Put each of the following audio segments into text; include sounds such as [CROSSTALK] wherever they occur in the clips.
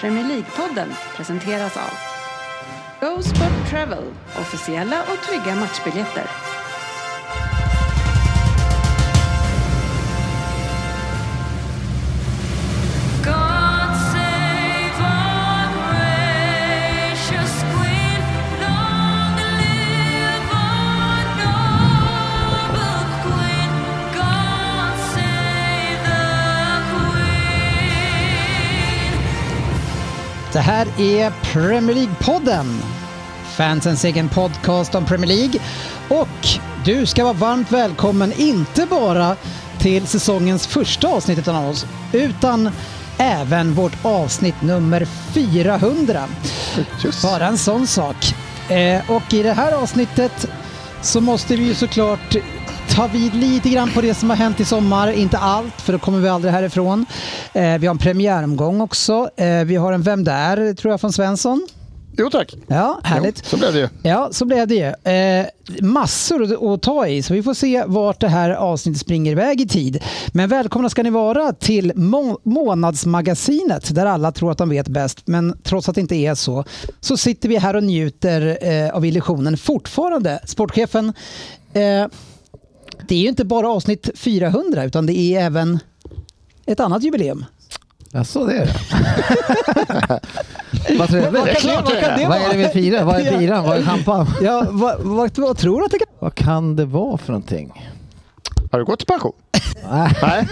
Premier League-podden presenteras av Go Sport Travel, officiella och trygga matchbiljetter. God save our gracious Queen. Long live our noble Queen. God save the Queen. Det här är Premier League-podden. Fansens egen podcast om Premier League. Och du ska vara varmt välkommen, inte bara till säsongens första avsnitt utan av oss, utan även vårt avsnitt nummer 400. Bara en sån sak. Eh, och i det här avsnittet så måste vi ju såklart ta vid lite grann på det som har hänt i sommar. Inte allt, för då kommer vi aldrig härifrån. Eh, vi har en premiäromgång också. Eh, vi har en Vem där? tror jag från Svensson. Jo tack. Ja, härligt. Jo, så blev det ju. Ja, så blev det ju. Eh, massor att- att ta i, så vi får se vart det här avsnittet springer iväg i tid. Men välkomna ska ni vara till må- Månadsmagasinet där alla tror att de vet bäst, men trots att det inte är så, så sitter vi här och njuter eh, av illusionen fortfarande. Sportchefen, eh, det är ju inte bara avsnitt 400, utan det är även ett annat jubileum. Jaså, det är det? [LAUGHS] vad trevligt. Vad kan det- vad kan det Vad är det vi firar? Vad är biran? Vad är champagne? Ja, vad, vad, vad tror du att det [LAUGHS] kan Vad kan det vara för någonting? Har du gått i pension? Nej.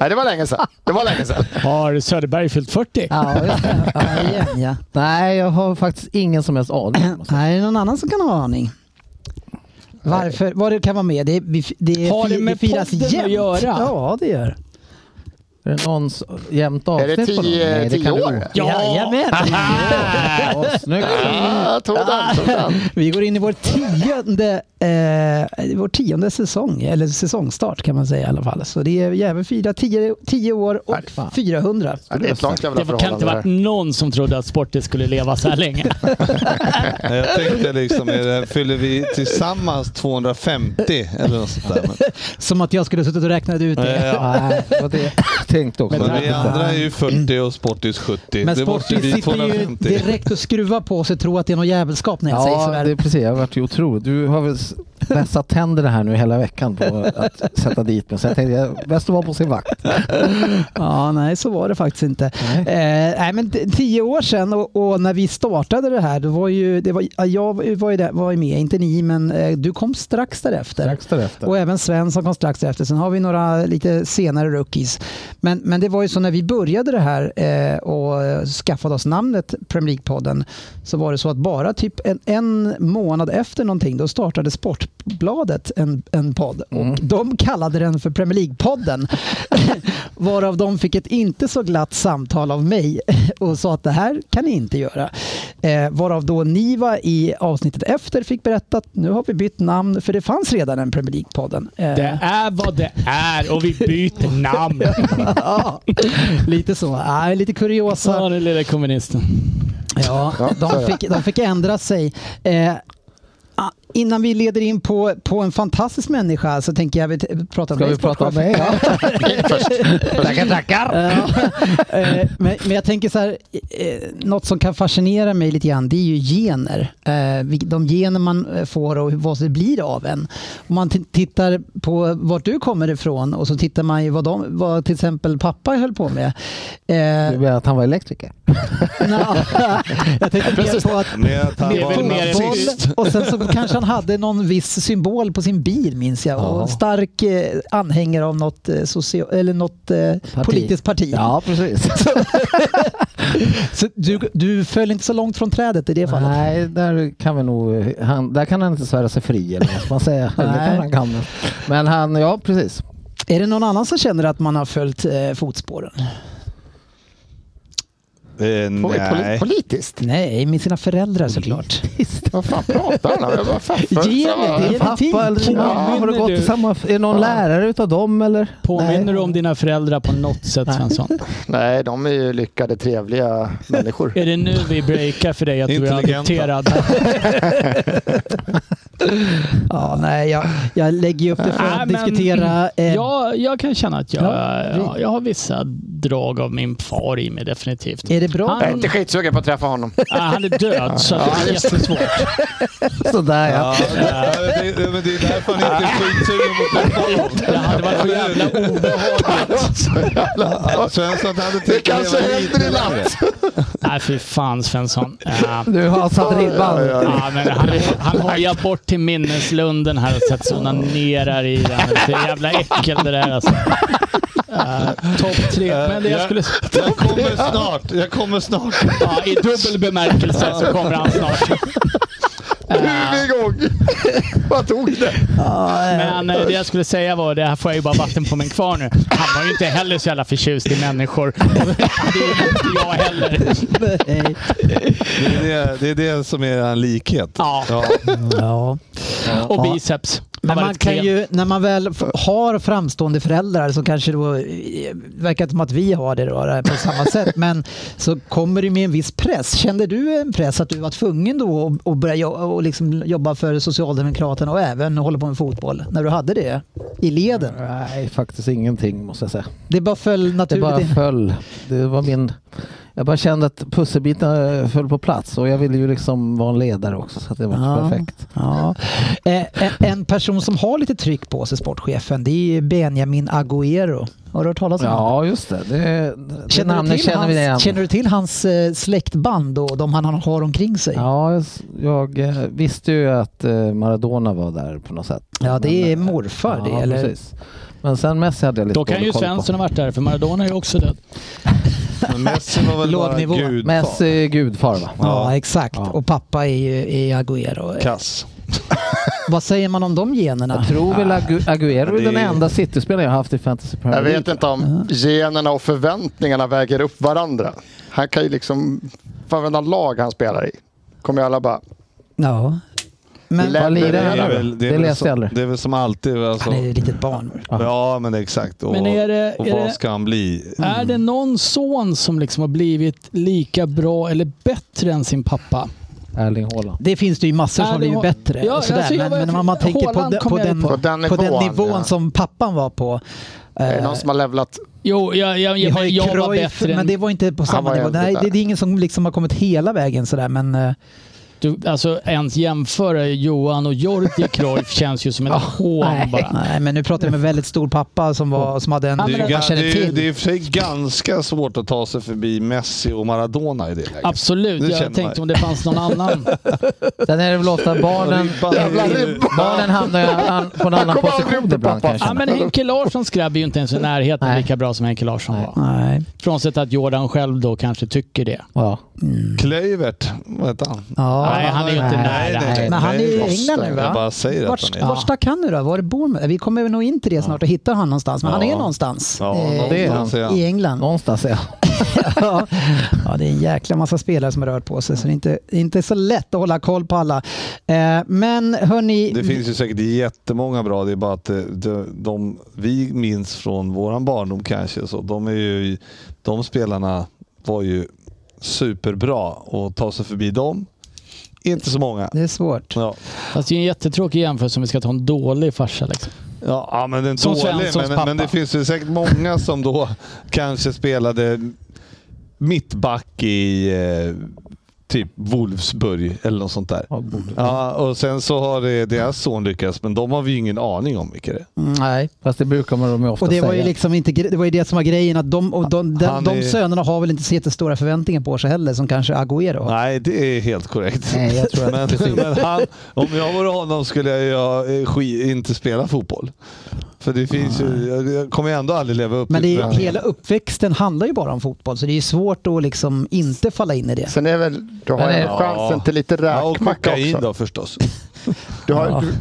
Nej, det var länge sedan. Det var länge sedan. Har Söderberg fyllt 40? Ja, just det. vara? igen, ja. [LAUGHS] Nej, jag har faktiskt ingen som helst [CLEARS THROAT] aning. måste jag Nej, är det någon annan som kan ha aning? Varför? Vad det kan vara med? Det, är- vi- det, är- Har det fi- med firas podden att jämt. göra? Ja, det gör säga. Är det någons jämnt avsnitt Är det på någon? tio- Nej, tio kan det år? vara. ja. Ah. Jajamän! Ja, snyggt. Ah, tog den, tog den. Vi går in i vår tionde, eh, vår tionde säsong, eller säsongstart kan man säga i alla fall. Så det är jävligt fyra, tio, tio år och Nej, fan. 400. Ja, det är ett långt jävla Det kan inte förhållande. varit där. någon som trodde att sporten skulle leva så här länge. Nej, Jag tänkte liksom, är det här, fyller vi tillsammans 250 eller något sånt där. Men, Som att jag skulle ha suttit och räknat ut det. Eh, ja. Nej, det var det jag [LAUGHS] tänkte också. men vi andra är ju 40 och Sportis 70. Men det måste Sportis bli sitter ju 250. direkt och skruvar på sig och tror att det är något jävelskap när jag säger Ja, sådär. det är precis. Jag har varit otroligt. Du har väl s- vässat tänderna här nu hela veckan på att sätta dit mig. Så jag tänkte, jag- bäst att vara på sin vakt. [LAUGHS] Ja, nej, så var det faktiskt inte. Nej. Eh, nej, men t- tio år sedan och, och när vi startade det här, då var ju, det var, ja, jag var ju- var, ju där, var ju med, inte ni, men eh, du kom strax därefter. Strax därefter. Och även Svensson kom strax därefter. Sen har vi några lite senare rookies. Men, men det var ju så när vi började det här eh, och eh, skaffade oss namnet Premier League-podden så var det så att bara typ en, en månad efter någonting då startade Sportbladet en, en podd och de kallade den för Premier League-podden. [LAUGHS] Varav de fick ett inte så glatt samtal av mig och sa att det här kan ni inte göra. Eh, varav då Niva i avsnittet efter fick berätta att nu har vi bytt namn för det fanns redan en Premier League-podden. Eh, Det är vad det är och vi byter namn. [LAUGHS] ja, lite så. Ah, lite kuriosa. Så den lilla kommunisten. Ja, de, fick, de fick ändra sig. Eh, ah, Innan vi leder in på, på en fantastisk människa så tänker jag vi t- prata Ska vi prata om sportchef. mig? Ja. [LAUGHS] Tackar, tackar. [LAUGHS] Eh, men, men jag tänker så här, eh, något som kan fascinera mig lite grann det är ju gener. Eh, vil- de gener man eh, får och hur- vad det blir av en. Om man t- tittar på vart du kommer ifrån och så tittar man ju vad, de, vad till exempel pappa höll på med. Du Eh, menar att han var elektriker? [LAUGHS] nja, jag tänkte mer på att Med att han Det är väl mer var än Fotboll, sist. och sen så kanske han hade någon viss symbol på sin bil minns jag. Och Ja. en stark eh, anhängare av något, eh, socio- eller något eh, politiskt parti. Ja, [LAUGHS] precis. Så du, du föll inte så långt från trädet i det fallet? Nej, där kan vi nog... Han, där kan han inte svära sig fri eller vad ska [LAUGHS] man säga. Eller det Nej. kan han kan. väl. Men han, ja precis. Är det någon annan som känner att man har följt eh, fotspåren? Eh, Poli- nej. politiskt? Nej, med sina föräldrar [LAUGHS] såklart. Vad fan pratar han om? Jag bara, fan, för- Ge mig så- det. Är fint? Pappa eller Påminner mamma, har du gått du- i samma... Är någon lärare utav [LAUGHS] dem eller? Påminner Nej. du om dina föräldrar på något sätt Svensson? Nej, de är ju lyckade, trevliga människor. Är det nu vi breakar för dig att du är Intelligenta. adopterad? Ja, nej, jag, jag lägger ju upp det för att Nej, men- diskutera. Eh, Jag, jag kan känna att jag, Ja, det- ja, jag har vissa drag av min far i mig definitivt. Är det bra? Jag är Han, inte skitsugen på att träffa honom. ah, han är död så att det är jättesvårt. Sådär ja. Ja, det, det, men det är därför han inte är skitsugen på att träffa honom. Det hade varit så jävla Ja, Svensson hade Det tänkt kanske leva händer lite i längre. natt. Nej, fy fan Svensson. Eh, Ja. Du har satt ribban. Ja, men han, han hojar bort till minneslunden här och sätter sig och onanerar i den. Det är jävla äckel det där alltså. Uh, Topp tre. Men det jag skulle... Jag kommer snart. Jag kommer snart. Ja, I dubbel bemärkelse så kommer han snart. Nu är vi igång. Vad tog det? Men eh, det jag skulle säga var, det här får jag ju bara vatten på min kvar nu. Han var ju inte heller så jävla förtjust i människor. Det är inte jag heller. [LAUGHS] Nej. Det är det, det, är det som är en likhet. Ja, Ja. och biceps. Han Men var man lite kan klen. ju, när man väl f- har framstående föräldrar så kanske då eh, verkar det som att vi har det då, eh, på samma [LAUGHS] sätt. Men så kommer det med en viss press. Kände du en press att du var tvungen då att- att börja jo- och liksom jobba för Socialdemokraterna och även hålla på med fotboll när du hade det i leden? Nej, faktiskt ingenting måste jag säga. Det bara föll Det bara naturligt in. föll. Det var min... Jag bara kände att pusselbitarna eh, föll på plats och jag ville ju liksom vara en ledare också så att det var Ja. perfekt. Ja. Eh, En, en person som har lite tryck på sig, sportchefen, det är ju Benjamin Agüero. Har du hört talas om honom? Ja, just det. det, det Alltså- Känner du, namnet till känner hans, vi igen. känner du till hans eh, släktband och de han han har omkring sig? Ja, Ja, jag, s- jag eh, visste ju att eh, Maradona var där på något sätt. det är Men, eh, morfar det. ja, Eller? precis. Men sen Messi hade jag lite Då kan dålig ju koll på. Svensson ha varit där, för Maradona är ju också död. Men Messi var väl Låg bara nivå. gud. Messi är gudfar va? Ja, exakt. Ja. Och pappa är ju är Agüero. Kass. Vad säger man om de generna? Jag tror väl Ah. Agu- Aguero är det är- den enda City-spelaren jag haft i Fantasy Premier Jag League. vet inte om generna och förväntningarna väger upp varandra. Han kan ju liksom, för varenda lag han spelar i, kommer ju alla bara, Ja. Men Lä- Vad Men det lirar är han då? väl- Det väl läste jag som, aldrig. det är väl som alltid. Alltså. han är ju ett litet barn. Ja, men exakt. Och, Men är det- och är vad det- ska han bli? Är det någon son som liksom har blivit lika bra eller bättre än sin pappa? Erling Haaland. Det finns det ju massor Ja, som det blir har- bättre. Ja, och sådär. alltså, jag men, vet- men om man tänker på, Haaland den- på, kommer jag den, ju på på, den den nivån, nivån, ja. som pappan var på. eh, är det någon som har levlat? Jo, jag, jag, Vi har jag, ju jag var Cruyff, bättre men än... det var inte på samma var nivå. äldre Nej, där. det, det är ingen som liksom har kommit hela vägen sådär. Men, eh, Du, alltså ens jämföra Johan och Jordi Cruyff känns ju som ett [LAUGHS] hån bara. Nej, men nu pratar jag med en väldigt stor pappa som, var, som hade en... Det är, ju, man ga- det, känner är, ju- till. det är i och för sig ganska svårt att ta sig förbi Messi och Maradona i det läget. Absolut, Det jag känner tänkte man ju. om det fanns någon [LAUGHS] annan. Sen är det väl ofta barnen, Ribban- Jävla ribban. barnen hamnar ju an, på en kommer annan aldrig upp position till ibland pappa. kanske. ja, men Henke Larssons grabb är ju inte ens i närheten Nej. lika bra som Henke Larsson Nej. var. Nej. Frånsett att Jordan själv då kanske tycker det. Ja. Klövert, vad heter han? Ja. Nej, han är ju inte Nej, nära. nej. Men han är ju i Nej, England nu Jag va? bara säger att Vart, han är. vart stack han nu då? Var bor man? Vi kommer nog in till det snart och hittar han någonstans. Men han är Ja. någonstans Ja, eh, någonstans det är han. är han. i England. Någonstans är ja. [LAUGHS] ja, det är en jäkla massa spelare som har rört på sig så det är inte, inte så lätt att hålla koll på alla. Eh, men hörni, Det finns ju säkert jättemånga bra, det är bara att de, de, de vi minns från våran barndom kanske, så de, är ju, de spelarna var ju superbra och ta sig förbi dem. Inte så många. det är svårt. Ja, Fast det är ju en jättetråkig jämförelse om vi ska ta en dålig farsa. Liksom. ja ja, men, den Som dålig, Svenssons men, men det pappa. finns ju säkert många som då kanske spelade mittback i eh, typ Wolfsburg eller något sånt där. Ja, och sen så har det, deras son lyckats, men de har vi ju ingen aning om vilka det är. Nej. Fast det brukar man de ju ofta Och det var ju säga. liksom inte, gre- det var ju det som var grejen att de, och de, de, Han de, är- sönerna har väl inte så jättestora förväntningar på sig heller som kanske Agüero har. Nej, det är helt korrekt. Nej, jag tror att... Men, men han, om jag vore honom skulle jag eh, ski, inte spela fotboll. För det finns ju, jag, jag kommer ju ändå aldrig leva upp Men det är, förväntningarna. hela uppväxten handlar ju bara om fotboll så det är ju svårt att liksom inte falla in i det. Sen är väl, du har Men ju är- chansen till lite Ja, och räkmacka kokain också. då förstås. Du, har, du,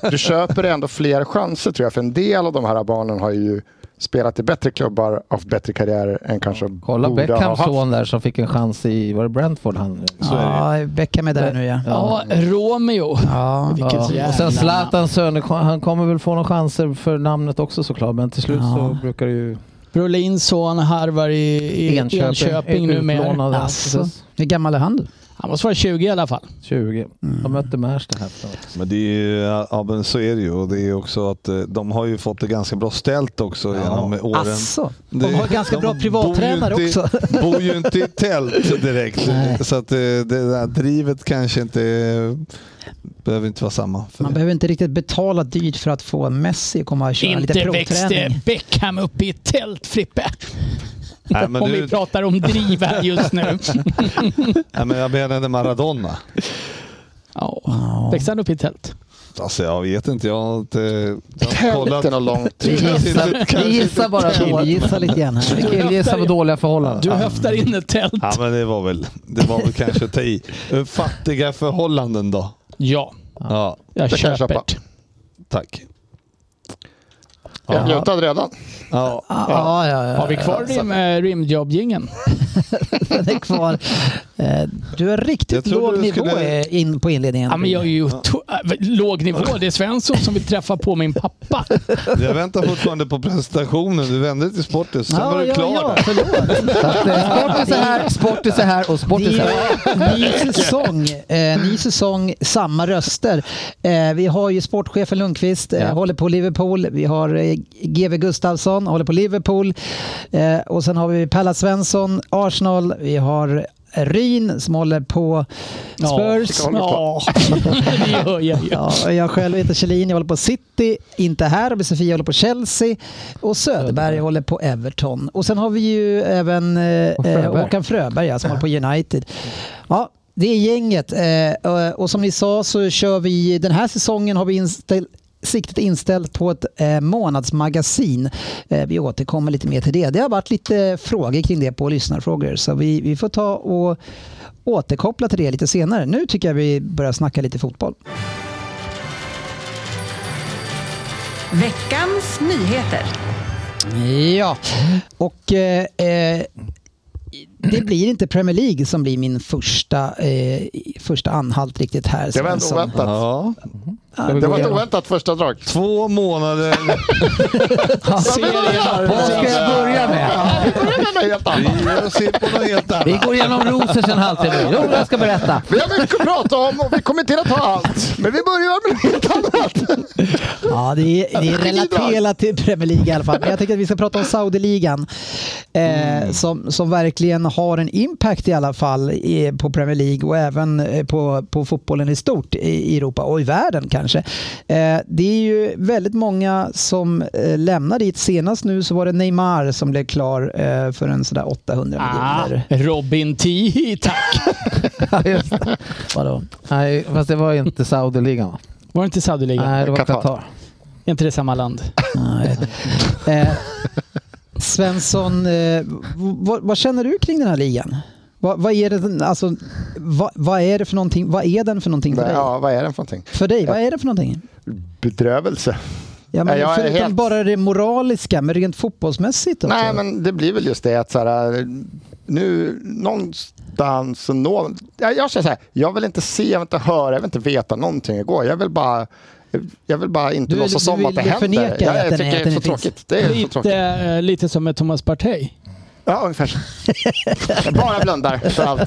du, du köper ändå fler chanser tror jag, för en del av de här barnen har ju spelat i bättre klubbar och haft bättre karriärer än kanske Kolla borde ha Beckhams haft. son där som fick en chans i, var det Brentford han? Så är det ju. Ja, Beckham är där nu ja. Ja, Romeo. Ja, Vilket Ja. jävla Och sen namn. Zlatans söner, han kommer väl få några chanser för namnet också såklart, men till slut så brukar det ju... Brolins son harvar i, i Enköping, är numera. utlånad. Alltså, Precis. hur gammal är han? då? Han måste vara 20 i alla fall. 20. Mm. De mötte Märsta här för ett tag. Men det är ju, ja men så är det ju. Och det är ju också att eh, de har ju fått det ganska bra ställt också genom åren. Asså, Det- de har ganska de bra bor ju privattränare inte i- Alltså, också. [LAUGHS] Bor ju inte i tält direkt. Nej. Så att eh, det där drivet kanske inte eh, behöver inte vara samma. för Man det. behöver inte riktigt betala dyrt för att få en Messi att komma och köra lite Inte växte provträning. Beckham upp i ett tält, Frippe. Nej, [LAUGHS] men Om du- vi pratar om driv här just nu. Nej, men jag menade Maradona. [LAUGHS] Ja, växte han upp i ett tält? Alltså jag vet inte, jag har inte... Jag har kollat. Hälften av långt. Vi gissar, Kanske vi gissar bara då. Gissa lite grann här. Killgissar på dåliga förhållanden. Du höftar in ett tält. Ja men det var väl, det var väl kanske att ta i. Eh, Fattiga förhållanden då? Ja, Ja, jag Det kan jag köper köpa. det. tack. Jag är lutad redan. Ja, Ja, ja, ja. Har vi kvar rim, eh, rimjobb-jingeln? [LAUGHS] Den är kvar. Eh, Du är Jag riktigt trodde låg du nivå skulle- eh, in på inledningen. Ja, men jag är ju to- äh, låg nivå. Det är Svensson som vill träffa på min pappa. jag väntar fortfarande på presentationen. Du vände dig till sporten, sen var du klar ja, där. [LAUGHS] förlåt. Så att, eh, Sportis är här, Sportis är här och Det Sportis är här. är ny säsong, eh, ny säsong, samma röster. Eh, vi har ju sportchefen Lundqvist, eh, Ja. håller på Liverpool. Vi har eh, GV Gustafsson, håller på Liverpool. Eh, och sen har vi Pella Svensson, Arsenal. Vi har Ryn som håller på Spurs. håller Ja, [LAUGHS] det gör jag ju. Ja, och jag själv heter Kjellin, jag håller på City, inte här, och Sofia håller på Chelsea och Söderberg håller på Everton. Och sen har vi ju även eh, Och Fröberg. eh, Håkan Fröberg ja, som håller på United. Ja, det är gänget eh, och- och som ni sa så kör vi, den här säsongen har vi inställ, siktet inställt på ett eh, månadsmagasin. Eh, vi återkommer lite mer till det. Det har varit lite frågor kring det på lyssnarfrågor så vi, vi får ta och återkoppla till det lite senare. Nu tycker jag vi börjar snacka lite fotboll. Veckans nyheter. Ja, och eh, eh, det blir inte Premier League som blir min första, eh, första anhalt riktigt här. Det var ändå Svensson. oväntat. Ja. Det var ett oväntat första drag. [LAUGHS] Två månader. Vad ska jag börja med? Vi ger oss in på något helt Vi annat. går igenom Rosers en halvtimme. Jo, jag ska berätta. Vi har mycket att prata om och vi kommer inte att ta allt. Men vi börjar med något helt annat. Ja, det är, det är relaterat till Premier League i alla fall. Men jag tänker att vi ska prata om Saudi-ligan eh, som, som verkligen har en impact i alla fall eh, på Premier League och även eh, på, på fotbollen i stort i, i Europa och i världen kanske. Eh, det är ju väldigt många som eh, lämnar dit. Senast nu så var det Neymar som blev klar eh, för en sådär 800 Ah, miljoner. Robin Tihi, tack. Just det. Vadå? Nej, fast det var inte Saudi-ligan va? Var det inte Saudi-ligan? Nej, det var Qatar. Qatar. Är inte det samma land? Nej. Eh, Svensson, eh, vad, vad känner du kring den här ligan? Vad, vad, är, det, den- alltså, vad, vad är det för någonting? Vad är den för någonting för dig? Ja, vad är den för någonting? För dig, vad är det för någonting? Bedrövelse. Ja, men Nej, jag är förutom helt- bara det moraliska, men rent fotbollsmässigt också. Nej, men det blir väl just det att så här, nu någonstans och nå... Jag, jag känner så här, jag vill inte se, jag vill inte höra, jag vill inte veta någonting igår. Jag vill bara, jag vill bara inte Du- låtsas du som att det vill händer. förneka jag, att jag den är- tycker att det är den så finns. tråkigt. Det är så Lite, tråkigt. eh, lite som med Thomas Partey. Ja, ungefär så. Jag [LAUGHS] bara blundar för allt.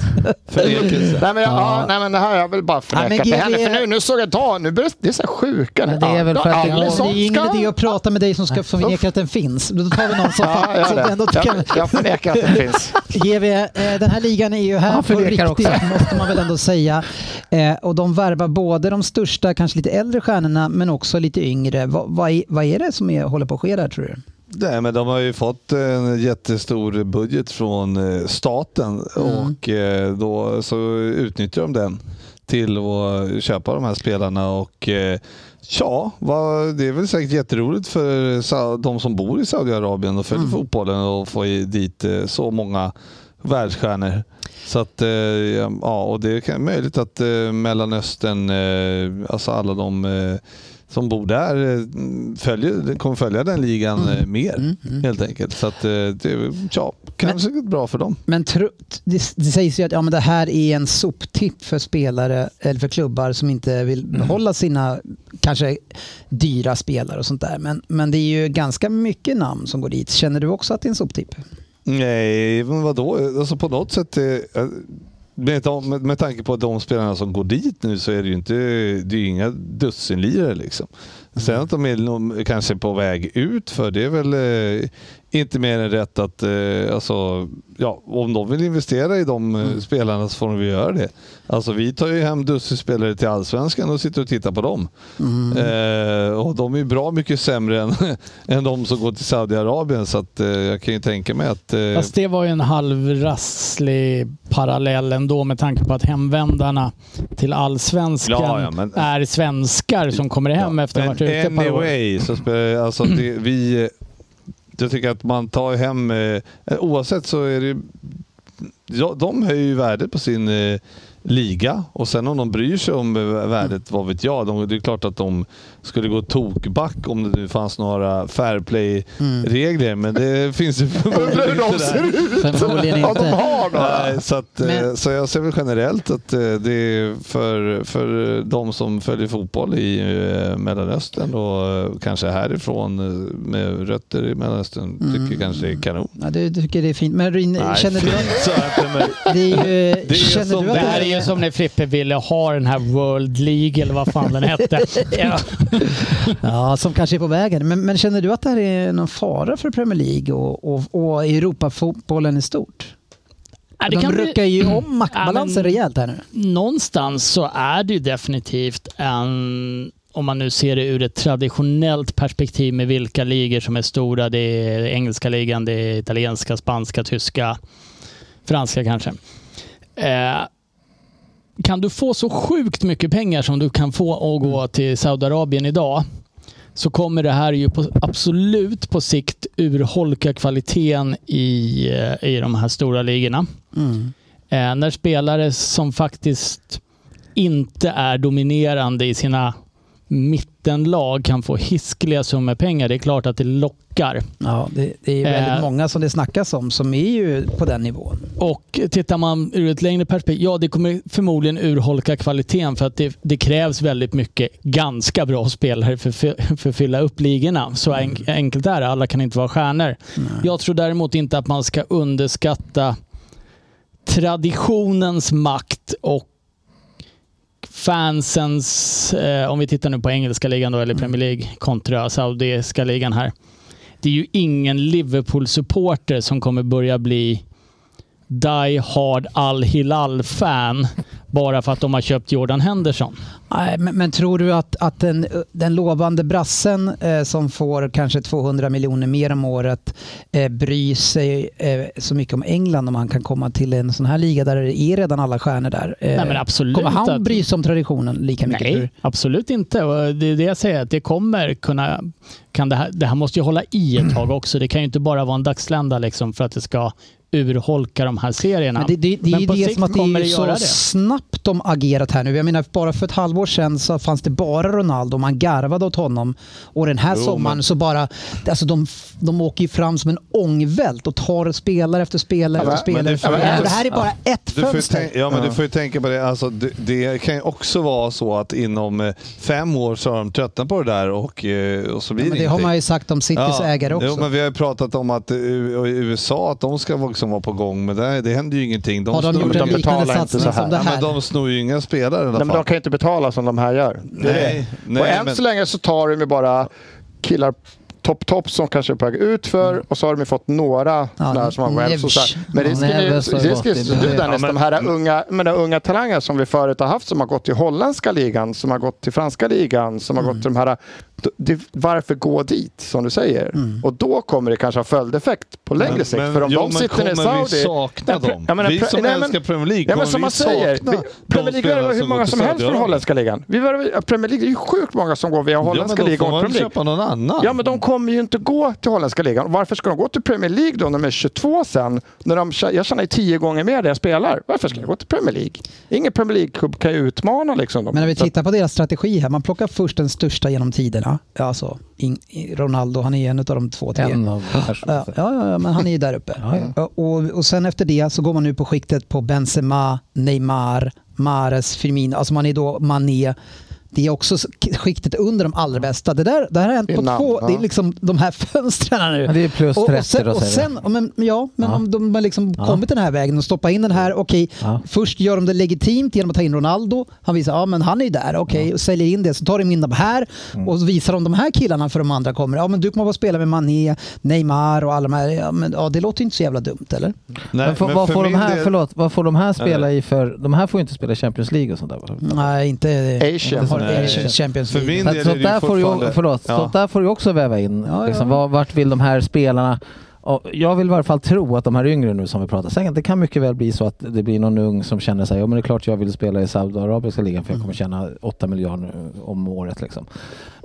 Förnekelse. Nej men, jag, ja, nej men det här, jag vill bara Ja, förneka men att det GV händer. För nu, nu såg jag idag, nu börjar det är så här sjuka. Men det är väl för att det- Ja, det är ingen idé Ja, att prata med dig som ska förneka att den finns. Då tar vi någon som, Ja, som jag, ändå gör det. kan... jag, jag förnekar att det finns. GV, eh, den här ligan är ju här Han på riktigt förnekar också. måste man väl ändå säga. Eh, och de värvar både de största, kanske lite äldre stjärnorna men också lite yngre. Va, vad är- vad är det som är, håller på att ske där tror du? Nej, men de har ju fått en jättestor budget från eh, staten Mm. och eh, då så utnyttjar de den till att köpa de här spelarna och eh, ja, vad- det är väl säkert jätteroligt för Sa- de som bor i Saudiarabien och följer fotbollen och få i- dit eh, så många världsstjärnor. Så att, eh, ja, och det är kan- möjligt att eh, Mellanöstern, eh, alltså alla de eh, som bor där eh, följer, kommer följa den ligan eh, mer helt enkelt. Så att eh, det är ja, kanske bra för dem. Men tro, det, det sägs ju att ja, men det här är en soptipp för spelare eller för klubbar som inte vill behålla sina kanske dyra spelare och sånt där. Men, men det är ju ganska mycket namn som går dit. Känner du också att det är en soptipp? Nej, men vadå? Alltså på något sätt, eh, Med, de, med, med tanke på de spelarna som går dit nu så är det ju inte, det är ju inga dussinlirare liksom. Sen att de är nog kanske på väg ut för det är väl eh, inte mer än rätt att eh, alltså, ja, om de vill investera i de eh, spelarna så får de väl göra det. Alltså vi tar ju hem dussinspelare till Allsvenskan och sitter och tittar på dem. Eh, och de är ju bra mycket sämre än, [LAUGHS] än de som går till Saudiarabien så att, eh, jag kan ju tänka mig att... eh, Fast det var ju en halvrasslig parallell ändå med tanke på att hemvändarna till allsvenskan Ja, ja, men- är svenskar som kommer hem efter att ha varit ute ett par år. anyway, så spelar alltså det, vi... Jag tycker att man tar hem... eh, Oavsett så är det ju- ja, De höjer ju värdet på sin eh, liga och sen om de bryr sig om eh, värdet, vad vet jag. De, det är klart att de skulle gå tokback om det nu fanns några fair play-regler, men det finns ju Undrar hur förmodligen de inte ser där. ut! Förmodligen Ja, de inte. har några. Nej, så, att, eh, Men- så jag ser väl generellt att eh, det är för, för de som följer fotboll i eh, Mellanöstern och eh, kanske härifrån eh, med rötter i Mellanöstern tycker kanske det är kanon. Ja, du tycker det är fint. Men Rin, Mm. känner du att Så att, eh, [LAUGHS] men, det är ju... Det är känner som du att Det här är ju som när Frippe ville ha den här World League eller vad fan den hette. [LAUGHS] ja. Ja, som kanske är på vägen. Men, men känner du att det här är någon fara för Premier League och, och, och Europafotbollen i stort? Ja, det De kan bli- ruckar ju om maktbalansen Ja, men- rejält här nu. någonstans så är det ju definitivt en, om man nu ser det ur ett traditionellt perspektiv med vilka ligor som är stora. Det är engelska ligan, det är italienska, spanska, tyska, franska kanske. Eh, kan du få så sjukt mycket pengar som du kan få att gå till Saudiarabien idag så kommer det här ju på, absolut på sikt urholka kvaliteten i, eh, i de här stora ligorna. Mm. Eh, när spelare som faktiskt inte är dominerande i sina mittenlag kan få hiskliga summor pengar. Det är klart att det lockar. Ja, det, det är ju väldigt Eh. många som det snackas om som är ju på den nivån. Och tittar man ur ett längre perspektiv, ja det kommer förmodligen urholka kvaliteten för att det, det krävs väldigt mycket ganska bra spelare för, för, för att fylla upp ligorna. Så enk, enkelt är det, alla kan inte vara stjärnor. Jag tror däremot inte att man ska underskatta traditionens makt och fansens, eh, om vi tittar nu på engelska ligan då, eller Premier League kontra saudiska ligan här. Det är ju ingen Liverpool-supporter som kommer börja bli Die Hard Al Hilal-fan bara för att de har köpt Jordan Henderson. Nej, men, men tror du att, att den, den lovande brassen eh, som får kanske 200 miljoner mer om året eh, bryr sig eh, så mycket om England om han kan komma till en sån här liga där det är redan alla stjärnor där? Eh, Nej, men absolut kommer han att- bry sig om traditionen lika mycket? tror du? Nej, absolut inte. Och det är det jag säger, att det kommer kunna... Kan det, här, det här måste ju hålla i ett tag också. Det kan ju inte bara vara en dagslända liksom för att det ska urholka de här serierna. Men det, det, det är Men ju på det sikt som att det kommer är ju det så göra det. snabbt de agerat här nu. Jag menar, bara för ett halvår sedan så fanns det bara Ronaldo. Man garvade åt honom. Och den här Jo, sommaren men- så bara... Alltså de, de åker ju fram som en ångvält och tar spelare efter spelare Ja, men- efter men spelare. det- efter spelare. ja, men- Och det här är bara ett Du får ju fönster. tänka, ja, men du får ju tänka på det. Alltså, det. Det kan ju också vara så att inom eh, fem år så har de tröttnat på det där och, eh, och så blir Ja, det men det har ingenting. man ju sagt om Citys ägare också. Jo, men vi har ju pratat om att eh, U- USA att de ska liksom vara på gång, men det, det händer ju ingenting. har de snor- gjort en de betalar liknande inte satsning så här. som det Ja, här? men de snor ju inga spelare i alla Nej, men de fall. kan ju inte betala som de här gör. Det är Nej, det. nej, och än men- så länge så tar de ju bara killar topp-topp som kanske är på väg ut för Mm. och så har de ju fått några sådana här som har Neves. Webs och så här. Men risken är ju Neves har gått risken är så i- stor, Ja, Dennis, de här unga, men de unga talanger som vi förut har haft som har gått till holländska ligan, som har gått till franska ligan, som har Mm. gått till de här. Det, varför gå dit som du säger? Mm. Och då kommer det kanske ha följdeffekt på längre Men- sikt. men- för om jo, de men sitter i kommer vi Saudi... sakna Nej, pre- dem? jag menar, Vi pre- som nej, men- älskar Premier League, Ja, men kommer som vi man säger, sakna vi- de Premier League spelare värvar hur som många går till som helst från Saudiarabien? holländska ligan. Vi värvar- ja, Premier League, det är ju sjukt många som går via holländska ja, men då ligan får och man Premier köpa League. någon annan. Ja, men de kommer ju inte gå till holländska ligan. Varför ska de gå till Premier League då när de är 22 sen? När de, tjä- jag tjänar ju tio gånger mer där jag spelar. Varför ska jag gå till Premier League? Ingen Premier League-klubb kan ju utmana liksom dem. Men när vi tittar på deras strategi här, man plockar först den största genom tiderna. Ja, Alltså, in, i- Ronaldo, han är ju en av de två, tre. En av Ja, personerna. alltså. ja, ja, men han är ju där [LAUGHS] uppe. Ja, Och, och sen efter det så går man nu på skiktet på Benzema, Neymar, Mares, Firmino. Alltså man är då Mané. det är också skiktet under de allra bästa. Det, där, det här har hänt Det är på namn, två, ja. det är liksom de här fönstren nu. Ja, det är plus och, 30 och sen, då, och säger sen men, Ja, men Ja. om de har liksom Ja. kommit den här vägen och stoppat in den här, okej, Ja. först gör de det legitimt genom att ta in Ronaldo. Han visar, ja men han är ju där, okej, och säljer in det. Så tar de in de här Mm. och så visar de de här killarna för de andra kommer. Ja men du kommer bara spela med Mané, Neymar och alla de här. Ja, men, ja, det låter ju inte så jävla dumt eller? Nej, men får, men vad, för får de min här, del- förlåt, vad får de här spela Eller- i för... De här får ju inte spela i Champions League och sånt där va? Nej, inte Asian. Har Nej. Asian Champions För League. min- Så att del är Sånt det ju där, får ju, fortfarande- förlåt, Ja. sånt där får du också väva in. ja. Liksom, vad- vart vill de här spelarna... Och jag vill i varje fall tro att de här yngre nu som vi pratar, sen, det kan mycket väl bli så att det blir någon ung som känner sig, ja men det är klart jag vill spela i Saudiarabiska ligan för jag kommer Mm. tjäna 8 miljarder om året. Liksom.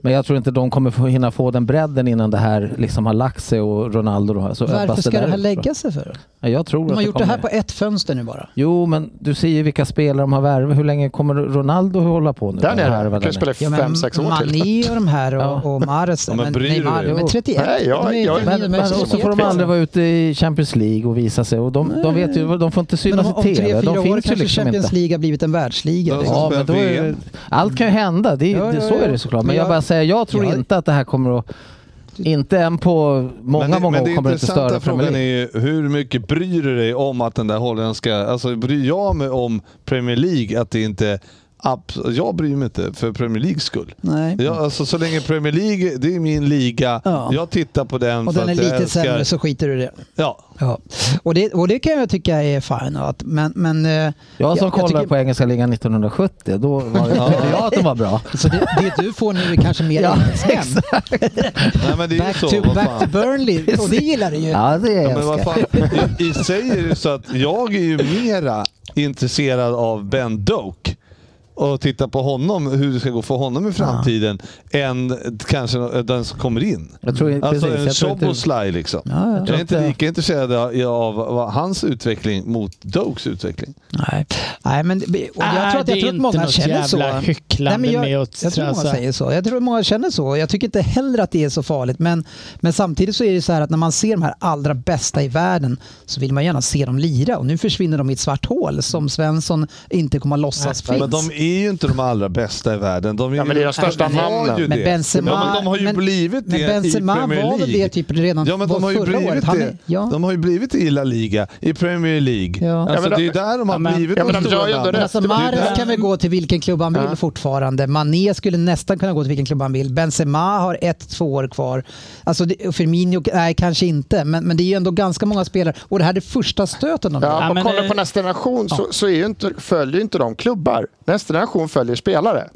Men jag tror inte de kommer få, hinna få den bredden innan det här liksom har lagt sig och Ronaldo då, har- så Varför öppnas ska det där här ut, tror jag. lägga sig för? Ja, jag tror De att har gjort det kommer- här på ett fönster nu bara. Jo, men du ser ju vilka spelare de har värvat. Hur länge kommer Ronaldo hålla på nu? Där Och nere. härva Du där kan nere? spela i fem, sex år till. Mané och de här och, och Mares. Ja, men bryr du Neymar, dig? de är 31. Nej, jag- de är, jag- de är, Men, de är, men, och så får de aldrig vara ute i Champions League och visa sig. Och de, de, vet ju, de får inte Men om, synas om i tre, fyra TV. De år finns kanske ju liksom Champions inte. League har blivit en världsliga. Ja, liksom. Ja, men då är, det- allt kan ju hända. Det är, Ja, det, ja, så ja. är det såklart. Men Men jag jag- bara säger, jag tror jag- inte att det här kommer att... Inte än på många, men det, många men det år kommer det inte störa intressanta Premier frågan är League. ju hur mycket bryr du dig om att den där holländska... Alltså bryr jag mig om Premier League att det inte... abs- Jag bryr mig inte för Premier Leagues skull. Nej. Ja, alltså, så länge Premier League, det är min liga. Ja. Jag tittar på den Och för den är att jag lite älskar... sämre så skiter du i det. Ja. Ja. Och, det. och det kan jag tycka är fine. Att, men, men, eh, Jag som kollade tycker- på engelska ligan 1970, då var det, tyckte jag att de var bra. Så det, det du får nu är kanske mer Ja, engelsmän. Nej, men det är ju Back, så. to, vad back fan. to Burnley. Och det gillar du ju. Ja, det är Ja, men vad jag. fan, i, i sig är det så att jag är ju mera intresserad av Ben Doak och titta på honom, hur det ska gå för honom i framtiden, än kanske den som kommer in. Jag tror, Alltså precis, jag tror en inte- Soboslaj liksom. Ja, ja. Jag är inte inte- lika intresserad av, av vad, hans utveckling mot Doaks utveckling. Nej. Nej, men och jag Nej, tror att, det jag är tror att inte många något känner så. jävla hycklande Nej, men jag, med att jag tror många trasa. säger så. Jag tror att många känner så. Jag tycker inte heller att det är så farligt. Men, men samtidigt så är det så här att när man ser de här allra bästa i världen så vill man gärna se dem lira. Och nu försvinner de i ett svart hål som Svensson inte kommer att låtsas finns. Men de är ju inte de allra bästa i världen. De är, Ja, men det är de största de var namnen. Ju Men det. Benzema- ja, men de har ju men- blivit det men Benzema i var Premier väl League. det typ redan ja, men vår- de har ju förra blivit året. Han det. är- ja. De har ju blivit i La Liga, i Premier League. Ja. Alltså, Ja, men det de- är ju där de har Ja, men- blivit Ja, men de stora gör ju ändå namnen. rätt. Alltså Det är ju Mahrez där- kan väl gå till vilken klubb han vill Ja. fortfarande. Mané skulle nästan kunna gå till vilken klubb han vill. Benzema har ett, två år kvar. Alltså det, Firmino, nej kanske inte, men, men det är ju ändå ganska många spelare. Och det här är första stöten de Ja, Ja, och men, kolla eh, på nästa generation så, så är ju inte, följer ju inte de klubbar. Nästa generation följer spelare.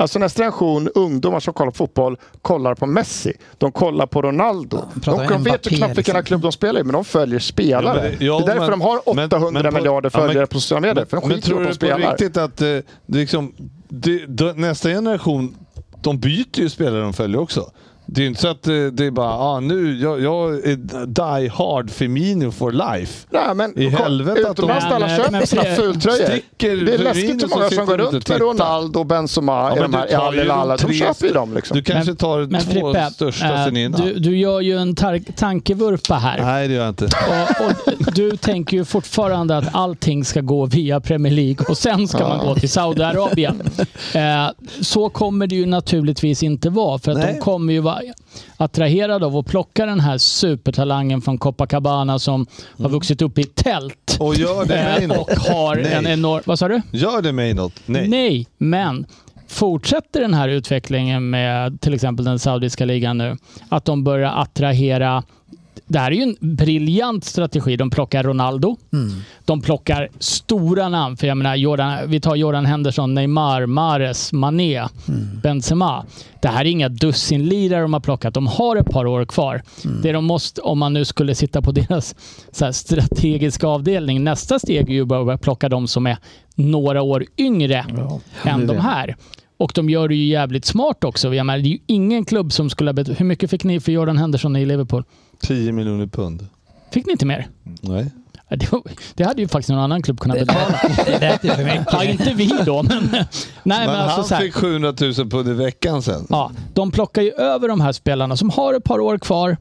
Alltså nästa generation ungdomar som kollar på fotboll kollar på Messi. De kollar på Ronaldo. pratar de om de vet Mbappé, ju knappt vilken liksom. klubb de spelar i, men de följer spelare. Ja, det, men det- ja, är därför men- de har 800 men- men på- miljarder ja, men- följare på sociala medier. För de Men skiter i tror att du de på spelar. riktigt att eh, det liksom, det, det, nästa generation, de byter ju spelare de följer också. Det är ju inte så att eh, det är bara, ah, nu, jag, jag är die hard Firmino for life. Nej, men, I kolla, helvete att de- utomlands där alla Men- köper men- sina fultröjor. Sticker Det är läskigt Firmino hur många som som går sitter ute runt och med tittar. Ronaldo och Benzema Ja, i men de här du tar ju i alla. de De tre köper ju st- dem liksom. Du kanske tar två största eh, sen innan. du, du gör ju en tar- tankevurpa här. Nej, det gör jag inte. Och, Eh, och du tänker ju fortfarande att allting ska gå via Premier League och sen ska man gå till Saudiarabien. Eh, så kommer det ju naturligtvis inte vara för att Nej. de kommer ju vara attraherade av att plocka den här supertalangen från Copacabana som har vuxit upp i tält Och [LAUGHS] gör det mig eh, något. och har Mm. Nej. en enorm... Vad sa du? Gör det mig något? Nej. men fortsätter den här utvecklingen med till exempel den saudiska ligan nu, att de börjar attrahera det här är ju en briljant strategi. De plockar Ronaldo. De plockar stora namn. För jag menar, Jordan, vi tar Jordan Henderson, Neymar, Mahrez, Mané, Benzema. Det här är inga dussinlirare de har plockat. De har ett par år kvar. Mm. Det de måste, om man nu skulle sitta på [LAUGHS] deras så här, strategiska avdelning. Nästa steg är ju bara att börja plocka de som är några år yngre än de här. Och de gör det ju jävligt smart också. Jag menar, det är ju ingen klubb som skulle ha bet- Hur mycket fick ni för Jordan Henderson i Liverpool? 10 miljoner pund. Fick ni inte mer? Nej. Ja, Det, var- det hade ju faktiskt någon annan klubb kunnat betala. [LAUGHS] Det lät ju för mycket. Ja, inte vi då, men... Nej, men, Men, alltså så han här. fick 700 000 pund i veckan sen. Ja, de plockar ju över de här spelarna som har ett par år kvar.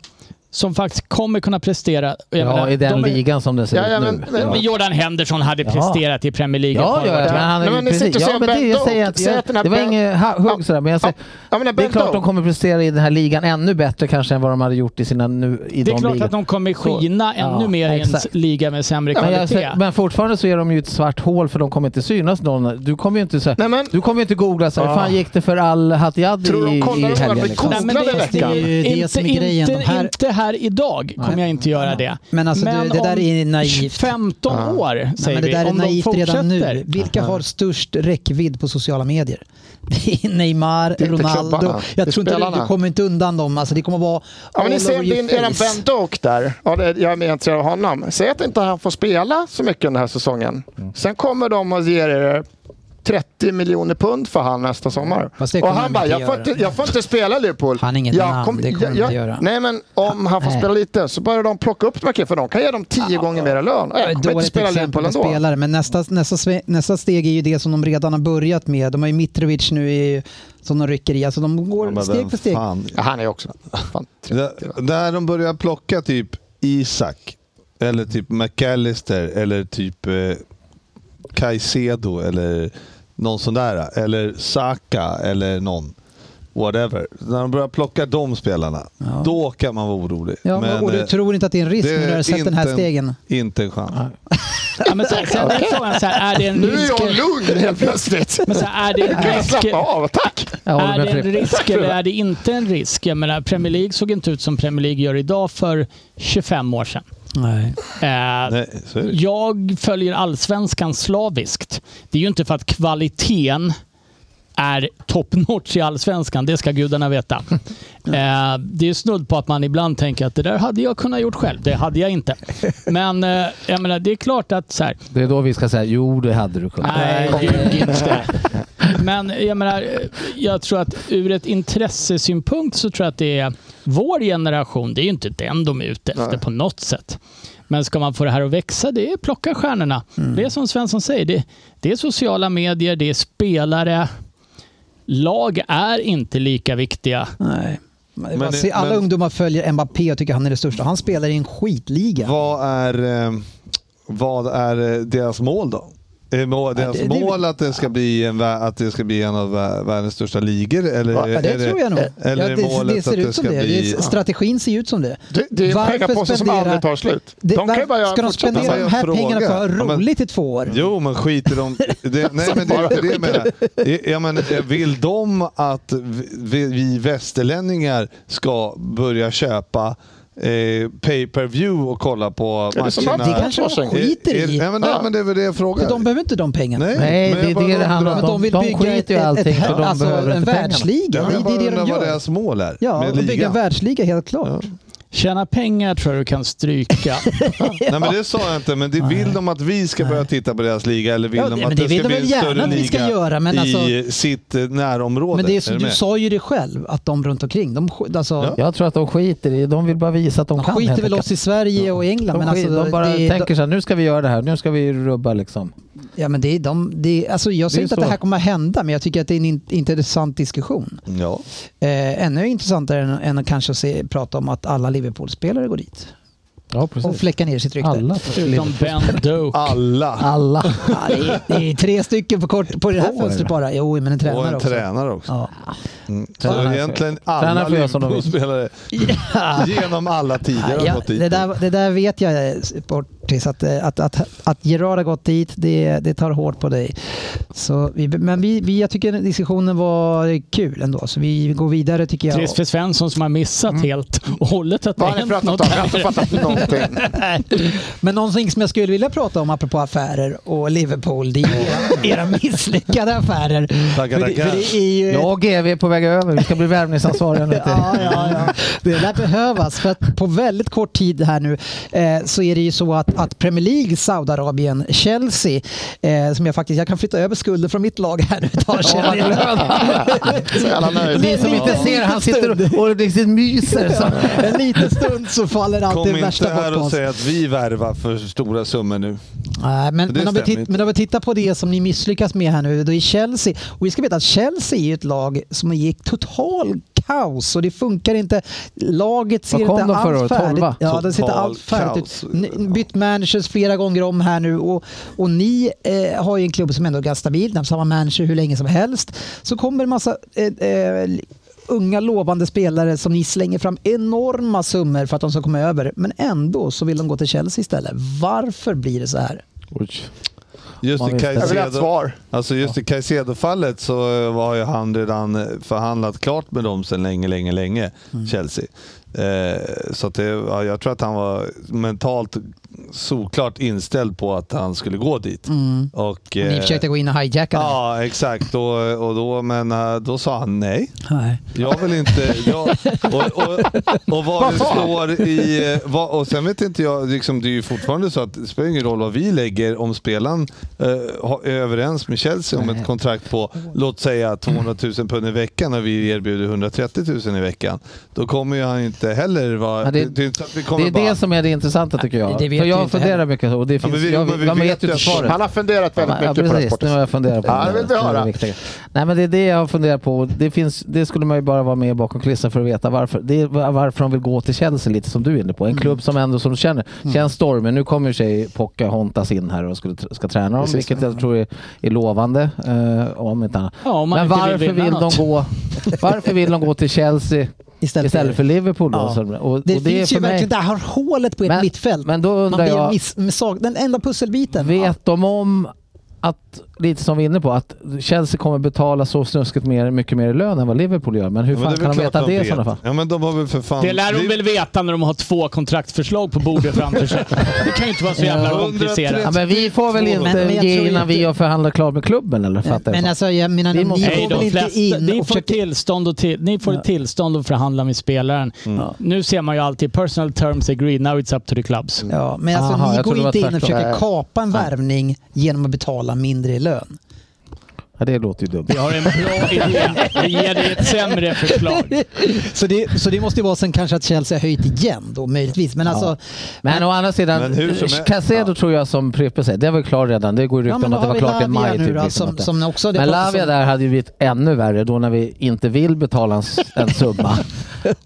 som faktiskt kommer kunna prestera. Jag menar, Ja, i den de är- ligan som den ser Ja, ja, ut nu. men- men- Men Jordan Henderson hade Ja. presterat i Premier League. Ja, ja, ja, men han är Nej, ju men ni precis. sitter och Ja, säger men det, är ju- Bento. säger att Säg jag, att den här det var Ben- inget ha- hugg sådär, men jag säger, Ja, men det är Bento. klart de kommer prestera i den här ligan ännu bättre kanske än vad de hade gjort i sina nu i Det är de klart ligorna. att de kommer Så- skina ännu Ja, mer i en exakt. liga med sämre men, jag, kvalitet. säger- men fortfarande så är de ju ett svart hål för de kommer inte synas någon. Du kommer ju inte så här, Nej, men- du kommer ju inte googla så här, Ah. hur fan gick det för al Hatiadi Tror du de i, i kollar hur många helgen? blir Liksom. Nej, men det- Googlade det är veckan. ju det som är grejen. Inte, De här- inte här idag kommer Nej. jag inte göra det. Men alltså, du, det om där är naivt. 15 år Nej, säger men det där vi, är om de naivt redan nu. fortsätter. Vilka har störst räckvidd på sociala medier? [LAUGHS] Det är Neymar, är inte Ronaldo. klubbarna. Jag Det är tror inte du, spelarna. du kommer inte undan dem. Alltså, det kommer vara Ja, men ni all ser over your din, eran face. Ben Doak där. Ja, det, jag är mer intresserad av honom. Säg att inte han får spela så mycket den här säsongen. Mm. Sen kommer de och ger er 30 miljoner pund för han nästa sommar. Fast det Och kommer de han bara, inte jag får göra. inte, jag får inte spela i Liverpool. Han är inget jag namn, det kommer de inte göra. Nej, men om han får Nej. spela lite så börjar de plocka upp de här killarna, för de kan ge dem 10 gånger mer lön. Och Jag kommer inte Dåligt spela i exempel Liverpool på ändå. spelare, men nästa, nästa, sve- nästa steg är ju det som de redan har börjat med. De har ju Mitrovic nu i, som de rycker i. Alltså de går Ja, men steg vem för steg. Fan. Ja, han är också fan, 30. Där, där de börjar plocka typ Isak, eller typ McAllister, eller typ eh, Caicedo, eller någon sån där. Eller Saka, eller någon. Whatever. När de börjar plocka de spelarna, då kan man vara orolig. Ja, men, och eh, du tror inte att det är en risk det när du har är sett den inte här en- stegen? Inte en chans. Ja, men sen, sen är frågan så här, är det en Nu är risk... jag lugn [LAUGHS] helt plötsligt. Men så här, är det en Kan jag risk, slappa av? Tack! Jag håller är med det en Fredrik. risk eller är det inte en risk? Jag menar, Premier League såg inte ut som Premier League gör idag för 25 år sedan. Nej. Eh, Nej, så är det. Jag följer allsvenskan slaviskt. Det är ju inte för att kvaliteten är top notch i allsvenskan, det ska gudarna veta. Eh, det är snudd på att man ibland tänker att det där hade jag kunnat gjort själv. Det hade jag inte. Men eh, jag menar, det är klart att så här, Det är då vi ska säga, jo det hade du kunnat. Nej, ljug inte. [LAUGHS] Men jag menar, jag tror att ur ett intressesynpunkt så tror jag att det är vår generation, det är ju inte den de är ute efter Nej. på något sätt. Men ska man få det här att växa, det är plocka stjärnorna. Mm. Det är som Svensson säger, det, det är sociala medier, det är spelare. Lag är inte lika viktiga. Nej. Men, Men det- se, alla men- ungdomar följer Mbappé och tycker han är det största. Han spelar i en skitliga. Vad är, eh, vad är eh, deras mål då? Är må- deras det- det- mål att det, ska bli en, vä- att det ska bli en av vä- världens största ligor? Eller, Ja, det Ja, är det tror jag nog. Eller ja, är det, målet det ser att ut det som ska det. bli... det. Strategin ser ju ut som det. Det, det är Varför pengapåsen som spendera- aldrig tar slut. det de kan ju bara ska de fortsätta så spendera här. de här Jag pengarna på att ha frågar. Ja, men- roligt i två år? Jo, men skiter de... Det, nej, men det är inte det jag menar. Eh, Ja, men, eh, vill de att vi, vi västerlänningar ska börja köpa eh, pay-per-view och kolla på Är det som matcherna? att- Det kanske de Varsågod. skiter Eh, eh, i. Nej, men, nej, Ja. men det är väl det jag För frågar. de behöver inte de pengarna. Nej, Nej, men det jag är bara det det handlar undrar. Men de vill De bygga skiter ett, ju i ett, allting, för de alltså, behöver en inte pengarna. världsliga. Ja, Det jag bara är det de undrar vad gör. deras mål är Ja, med de bygger en ligan. världsliga helt klart. Tjäna pengar tror jag du [LAUGHS] kan stryka. Nej men det sa jag inte, men det vill de att vi ska börja titta på deras liga eller vill Ja, de det- att men det, det vill de ska bli väl en gärna större att vi ska liga göra, men i alltså- sitt eh, närområde? Men det är, så- du du med? sa ju det själv, att de runt omkring, de, sk- alltså, Jag tror att de skiter i De vill bara visa att de, de kan. skiter helt väl enkelt. oss i Sverige och England. de, Men skit- alltså, de bara det, tänker så här, nu ska vi göra det här, nu ska vi rubba liksom. Ja, men det är de, det är, alltså jag Det är säger inte att det så. här kommer att hända, men jag tycker att det är en in, intressant diskussion. Ja. Eh, ännu intressantare än, än att kanske se, prata om att alla Liverpool-spelare går dit Ja, och precis. fläckar ner sitt rykte. Alla. Utom Ben Doak. Alla. Alla. Ja, det, är, [LAUGHS] det är tre stycken på, kort, på det här Två, fönstret eller? bara. Jo, men en tränare Och en också. tränare också. Mm. Ja. Så Tränare. egentligen Tränare alla får göra som de vill. Liverpool-spelare genom alla tider har Ah. Ja, gått dit. det, där, det där vet jag, eh, Sportis, att, eh, att, att, att Gerard har gått dit, det, det tar hårt på dig. Så vi, men vi, vi, jag tycker diskussionen var kul ändå, så vi går vidare tycker jag. Trist för Svensson som har missat helt och hållet att det Mm. Vad har ni hänt pratat om? något Jag har inte här. fattat någonting. [LAUGHS] [LAUGHS] Men någonting som jag skulle vilja prata om apropå affärer och Liverpool, det är ju era, era misslyckade affärer. Tackar, För det, tackar. för det är ju Jag och GV är på väg över, vi ska bli värvningsansvariga nu. till- Eh, [LAUGHS] Ja, ja, ja. Det lär behövas för att på väldigt kort tid här nu eh, så är det ju så att, att Premier League, Saudiarabien, Chelsea, eh, som jag faktiskt, jag kan flytta över skulder från mitt lag här nu ett tag. Ja, vad [LAUGHS] Så jävla nöjd. Ni som inte ser, han sitter och- och liksom myser. [LAUGHS] Så. En liten stund så faller allt Kom det inte värsta här bort på och oss. säg att vi värvar för stora summor nu. Nej, men, det men, om vi stämmer titt, inte. men om vi tittar på det som ni misslyckas med här nu, då är Chelsea. Och vi ska veta att Chelsea är ju ett lag som gick total kaos och det funkar inte. Laget ser Vad kom inte de förra alls året? färdigt Tolva? Ja, det ser inte Total alls färdigt kaos. ut. Ni- Bytt managers flera gånger om här nu och, och ni eh, har ju en klubb som ändå är ganska stabil, de har samma manager hur länge som helst. Så kommer en massa eh, eh, unga lovande spelare som ni slänger fram enorma summor för att de ska komma över, men ändå så vill de gå till Chelsea istället. Varför blir det så här? Oj. Just Man i vet inte. Jag vill ha ett Caicedo, svar. alltså just i Caicedo-fallet så eh, har ju han redan eh, förhandlat klart med dem sedan länge, länge, länge, Mm. Chelsea. Eh, så att det, ja, jag tror att han var mentalt såklart inställd på att han skulle gå dit. Och, Mm. Ni eh, försökte gå in och hijacka den. Ja, exakt. Och, och då, men eh, då sa han nej. Nej. Jag vill inte... Jag, och, och, och vad det står i... eh, Vad, och sen vet inte jag, liksom, det är ju fortfarande så att det spelar ingen roll vad vi lägger om spelaren eh, har- är överens med Chelsea om ett kontrakt på, låt säga 200 000 pund i veckan och vi erbjuder 130 000 i veckan. Då kommer ju han inte heller vara... Ja, det- det, det är inte så att vi Det kommer är bara... det som är det intressanta tycker jag. det vet För vi jag inte funderar heller. mycket och det finns, men vi- jag, men vi man vet vet ju ju inte att- svaret. Han har funderat väldigt mycket på ja, den här precis. Nu har sporten. jag funderat på Ja, det vill vi Det är höra. det viktiga. Nej, men det är det jag har funderat på. Det, finns, det skulle man ju bara vara med bakom kulisserna för att veta varför. Det är va- varför de vill gå till Chelsea lite som du är inne på. En klubb som ändå som du känner, känns stormig. Nu kommer ju i och för sig Pocka Hontas in här och skulle, tr- ska träna dem, vilket jag tror är, är lovande. eh, om inte annat. Ja, om man Men inte varför vill vill, vinna de något. gå, varför vill de gå till Chelsea Istället istället för Liverpool? Då, Ja. som- och, och Det, det är finns ju för mig, verkligen, där har hålet på ert Men- mittfält. men då Man undrar blir jag, miss, med sag, den enda pusselbiten. Ja. Vet de om att, lite som vi är inne på, att Chelsea kommer betala så snuskigt mer, mycket mer i lön än vad Liverpool gör. Men hur Ja, men fan det är kan väl de klart veta de det i vet. sådana fall? Ja men de har väl för fan... Det lär de väl veta när de har två kontraktförslag på bordet framför sig. Det kan ju inte vara så jävla Ja. Ja, komplicerat. men vi får väl inte Men- men jag ge tror innan inte- vi har förhandlat klart med klubben eller? Fattar Men jag alltså, jag menar, Det ni måste- Nej, går väl de inte flesta, in ni och får, försöker... tillstånd och till, ni får tillstånd att förhandla med spelaren. Nu ser man ju alltid personal terms agreed, now it's up to the clubs. Ja, men alltså, Aha, ni jag går trodde inte det in var och tvärtom. försöker kapa en värvning genom att betala mindre i lön. ja, det låter ju dumt. Vi har en bra idé. Vi ger dig ett sämre förslag. Så det, så det måste ju vara sen kanske att Chelsea har höjt igen då möjligtvis. Men alltså, Men å andra sidan, Men hur som helst- Casedo tror jag som Prippe säger, det var ju klar redan. Det går ju ja, rykten men om då att det har var vi klart i Lavia maj. nu Typ, då, liksom, som, att det- som också... det men pratas Lavia om- där hade ju blivit ännu värre då när vi inte vill betala [LAUGHS] en, s- en summa.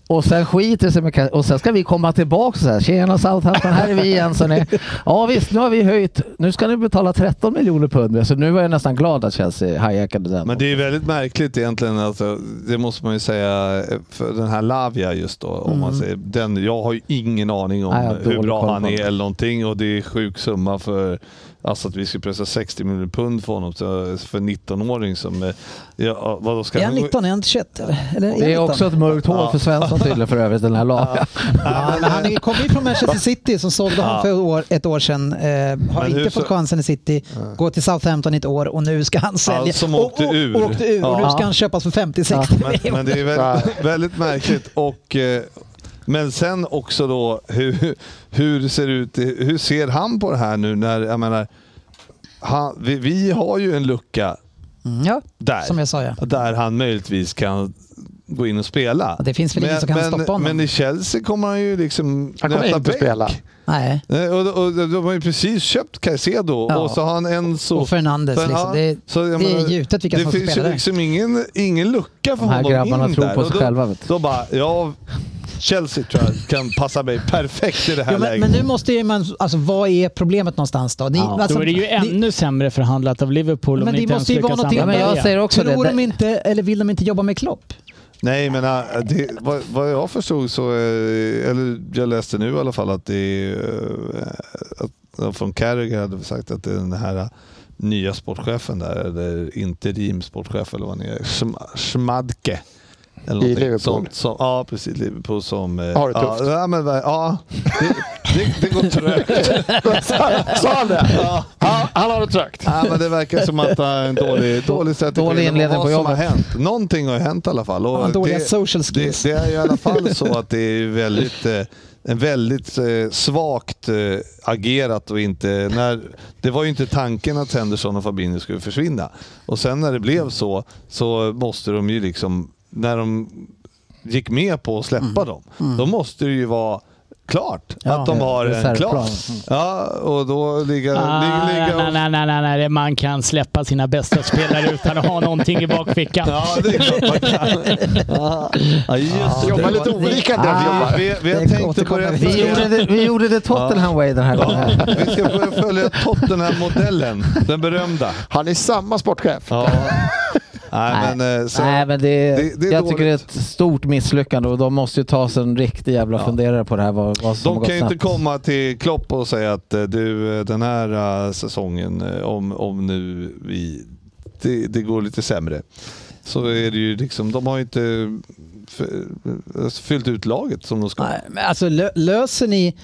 Och sen skiter det sig med, och sen ska vi komma tillbaka så här. Tjena Southampton, här är vi igen. Så ni, ja visst, nu har vi höjt. Nu ska ni betala 13 miljoner pund. Så nu var jag nästan glad att Chelsea hijackade den. Men det är ju väldigt märkligt egentligen. Alltså, det måste man ju säga för den här Lavia just då. Om man säger, den, jag har ju ingen aning om Mm. Nej, jag har hur dålig koll bra på han honom. är eller någonting. Och det är sjuk summa för alltså, att vi skulle pressa 60 miljoner pund för honom. Så, för 19-åring som... eh, Ja, vadå, ska Är han gå- 19? Är han inte 21? Eller? Eller det är han också 19? ett mörkt hål för Svensson tydligen för övrigt, den här lagen. Ja, men han kom ju från Manchester City som sålde honom Ja. för ett år, ett år sedan. Eh, har Men hur inte fått så- chansen i City. Går till Southampton i ett år och nu ska han sälja. som Och- åkte och, ur. Och, åkte ur. Och nu Ja. ska han köpas för 50-60 [LAUGHS] Men, men det är väldigt, väldigt märkligt. Och, eh, men sen också då, hur, hur, ser det ut, hur ser han på det här nu? När, jag menar, han, vi, vi har ju en lucka Mm, ja, där. som jag sa ja. Där han möjligtvis kan gå in och spela. Ja, det finns väl ingen som kan men, stoppa honom. Men i Chelsea kommer han ju liksom Han kommer nöta inte [LAUGHS] bänk. spela. Nej. Nej, Och, och, och de har ju precis köpt Caicedo Ja. och så har han Enzo. Och Fernandes, Sen- liksom. ja, Det- så jag det är gjutet vilka det som finns spelar ju där. liksom ingen, ingen lucka för [LAUGHS] De här honom grabbarna in tror där. på Och sig då, själva, vet du. Då bara, ja, Chelsea tror jag kan passa mig perfekt i det här Ja, men, läget. men nu måste ju man, alltså vad är problemet någonstans då? Ni, alltså, Då är det ju ni- ännu sämre förhandlat av Liverpool om Men ni det inte ens måste ju vara lyckas någonting. Ja, använda men jag det. säger också Tror det. de inte, eller vill de inte jobba med Klopp? Nej, men äh, det, vad, vad jag förstod så, eh, eller jag läste nu i alla fall att det är, eh, att från Carragher hade sagt att det är den här eh, nya sportchefen där, eller interimsportchef eller vad han är, Schm, Schmadke. Eller någonting Liverpool. Sånt, som, ja, precis. Liverpool som... eh, Har det tufft. Ja, ja, men, ja det, det, det går trögt. Sa han det? Han, han har det trögt. Ja, men det verkar som att det är en dålig, dålig strategi. Dålig Men inledning vad på som jobbet. Har hänt. Någonting har hänt i alla fall. Och Ja, dåliga social skills. det, det är ju i alla fall så att det är ju väldigt, eh, en väldigt eh, svagt eh, agerat och inte... När, det var ju inte tanken att Henderson och Fabinho skulle försvinna. Och sen när det blev så, så måste de ju liksom... När de gick med på att släppa dem, då måste det ju vara klart Ja, att de har en reservplan. Klas. Ja, och då ligger... Ah, ligger, ligger nej, nej, nej, nej, nej, man kan släppa sina bästa spelare utan att ha någonting i bakfickan. Ja, det är klart man kan. Ja, just det. Jobba lite olika där vi jobbar. Vi, vi har Det tänkt att återkommer börja vi. Vi gjorde det, vi gjorde det Tottenham way den här gången. Ja, vi ska börja följa Tottenham-modellen. Den berömda. Han är samma sportchef. Ja. Nej, men, eh, så, Nej, men det, det- det är jag tycker det är dåligt. ett stort misslyckande och de måste ju ta sig en riktig jävla funderare på det här. Vad, vad som har de gått kan ju inte snett. komma till Klopp och säga att eh, du, eh, den här eh, säsongen, eh, om, om nu vi, det, det går lite sämre. Så är det ju liksom, de har ju inte f- alltså, fyllt ut laget som de ska. Nej, men alltså lö- löser ni...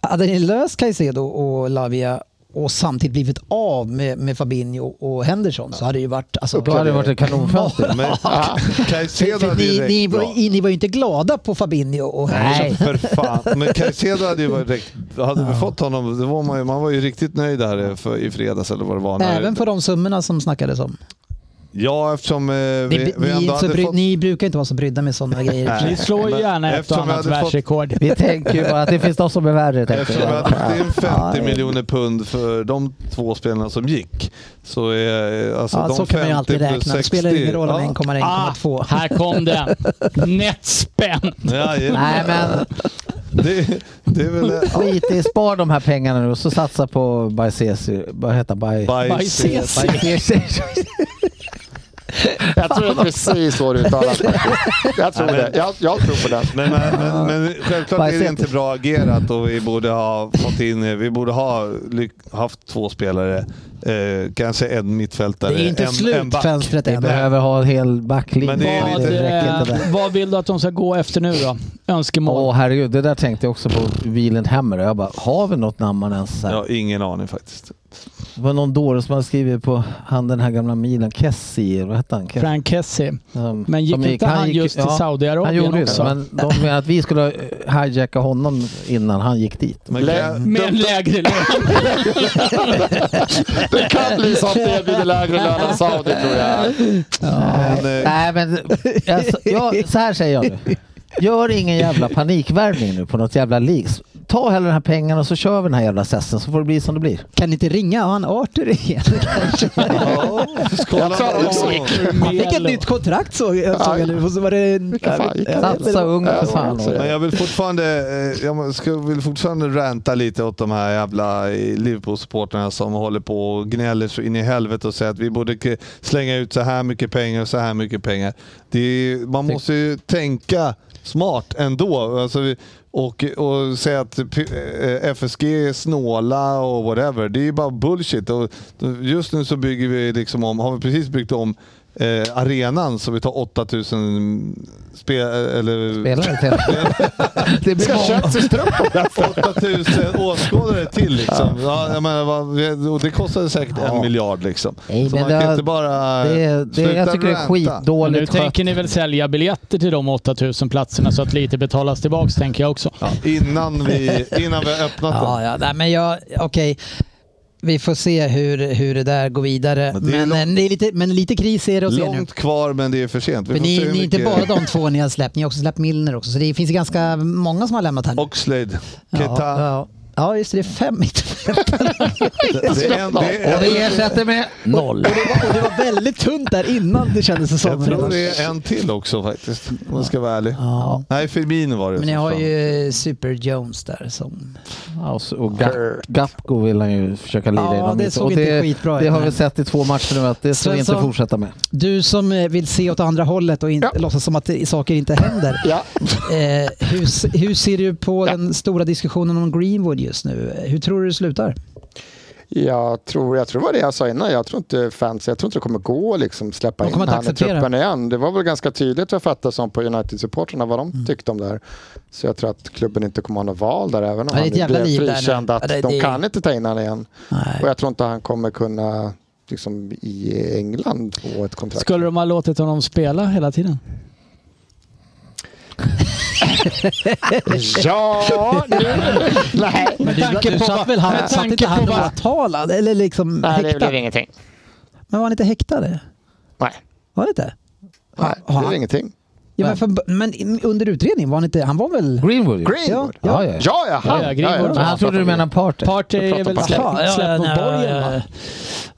Hade ni löst Caicedo och Lavia och samtidigt blivit av med, med Fabinho och Henderson så hade det ju varit... Alltså, Då hade det varit ett [LAUGHS] kanonfönster. [LAUGHS] Men För- Caicedo för hade ju ni, ni, räckt var, bra. i- ni var ju inte glada på Fabinho och Henderson. Nej, för fan. Men Caicedo hade ju varit direkt, Hade vi fått honom, då var man, ju, man var ju riktigt nöjd här eh, för, i fredags eller vad det var. när- Även för de summorna som snackades om. Ja, eftersom eh, Ni, vi, vi ni, ändå är inte så hade bry, fått... ni brukar inte vara så brydda med [LAUGHS] sådana grejer. Vi slår ju Men gärna ett och eftersom vi annat hade fått- världsrekord. Vi tänker ju bara att det finns de som är värre. tänker Eftersom vi jag. hade fått in 50 miljoner pund för de två spelarna som gick. Så är eh, alltså Ja, de så kan man ju 50 alltid räkna. plus 60. Det spelar ingen roll om ja. 1,1 Ah, 1,2. här kom den. Nettspänn. Ja, ja. Nej, men Det, det [LAUGHS] är väl... eh, skit i, spar de här pengarna nu och så satsa på Bajsesi. Vad heter han? Baj- Bajs. Bajses. Bajsesi. Jag tror precis så det uttalas. [LAUGHS] faktiskt. Jag tror det. Jag, jag tror på det. Men, men, men, men självklart är det Bajset. inte bra agerat och vi borde ha fått in, eh, vi borde ha lyck- haft två spelare, eh, kanske en mittfältare, Det är inte en, en slut back. fönstret Vi än. behöver ha en hel backlinje. Men det är Det, lite- räcker inte där. Vad, eh, vad vill du att de ska gå efter nu då? Önskemål? Åh herregud, det där tänkte jag också på Wieland Hammer. Jag bara, har vi något namn man ens så här? Jag har ingen aning faktiskt. Det var någon dåre som hade skrivit på han den här gamla milen, Kessie, vad hette han? Kes- Frank Kessie. som- Men gick som inte han, gick- just till ja, Han gjorde Saudiarabien ju också? det, men de menade att vi skulle eh, hijacka honom innan han gick dit. Men Lä- [LAUGHS] kan- Med en lägre lön. Det kan bli så att det blir lägre lön än Saudi tror jag. men, eh, Nej men, alltså, jag, så här säger jag nu. Gör ingen jävla panikvärvning nu på något jävla leaks. Ta hellre den här pengarna och så kör vi den här jävla sessen så får det bli som det blir. Kan ni inte ringa han Arthur [LAUGHS] igen? ja, skål. Jag tror också- Han fick ett nytt kontrakt såg jag. Såg jag nu. Och så var det, Vilka fan gick det? Satsa ungt för fan. Men jag vill fortfarande, eh, jag ska, vill fortfarande ranta lite åt de här jävla eh, Liverpool-supportrarna som håller på och gnäller så in i helvete och säger att vi borde k- slänga ut så här mycket pengar och så här mycket pengar. Det är, man måste ju tänka smart ändå. Alltså, vi- och, och säga att P- eh, FSG är snåla och whatever. Det är ju bara bullshit. Och just nu så bygger vi liksom om, har vi precis byggt om eh, arenan så vi tar 8000 spel, eller Spelare till. [LAUGHS] Det blir Ska många. Chelseas trupp 8000 åskådare till liksom. Ja, jag menar, vad- och det kostade säkert en miljard liksom. Nej, så men man kan det- inte bara Det, det, sluta jag tycker det är ranta. Men Nu skitdåligt skött. tänker ni väl sälja biljetter till de 8000 platserna så att lite betalas tillbaks tänker jag också. Ja, innan, vi, innan vi har öppnat Ja, den. ja, nej, men jag, okej. Vi får se hur, hur det där går vidare. Men Men, det är långt- eh, det är lite, men lite kris är det att se nu. Långt kvar men det är för sent. Vi För får ni, se hur ni är inte bara mycket- de två ni har släppt, ni har också släppt Milner också. Så det finns ju ganska många som har lämnat här nu. Oxlade, ja, Keta. ja. ja, just det. Det är fem mittfältare. Det, det är en, det Och är, vi ersätter med noll. Och det var väldigt tunt där innan det kändes jag säsongen. tror redan. det är en till också faktiskt. Om jag ska vara ärlig. Ja. Nej, Firmino var det. Men ni har Fan. ju Super Jones där som... Ja, Alltså, och så- och Gap- Gapko vill han ju försöka lira Ja, inom det mitt. såg Och inte skitbra ut, Det har vi men- sett i två matcher nu att det ska vi inte Svensson. fortsätta med. Du som eh, vill se åt andra hållet och inte Ja. låtsas som att det- saker inte händer. Ja. Eh, hur, s- hur ser du på Ja. den stora diskussionen om Greenwood just nu? Eh, Hur tror du det slutar? Jag tror, jag tror det var det jag sa innan. Jag tror inte fans, jag tror inte det kommer gå att liksom släppa De kommer in inte han i acceptera. truppen igen. Det var väl ganska tydligt vad jag fattade som på United-supportrarna vad de Mm. tyckte om det här. Så jag tror att klubben inte kommer att ha något val där även Ja, om det är han ett jävla blev liv där nu. frikänd Ja, att det- de det- kan inte ta in han igen. Nej. Och jag tror inte han kommer kunna liksom, i England få ett kontrakt. Skulle de ha låtit honom spela hela tiden? [LAUGHS] Ja, nu. Nej. Men tanke på vad- väl med han, satt tanke inte han på vad- åtalad eller liksom Nej, det häktad? blev ingenting. Men var han inte häktad? Nej, Var det inte? Nej det Har blev han- ingenting. Ja, men, för, men under utredning var han inte... Han var väl... Greenwood? ju. Greenwood? Ja, ja. Ja, ja, han. Ja, ja, Greenwood. Men han trodde du menade Party. Party är väl släpp, Jaha, ja, släpp mot nej, borgen va? ja.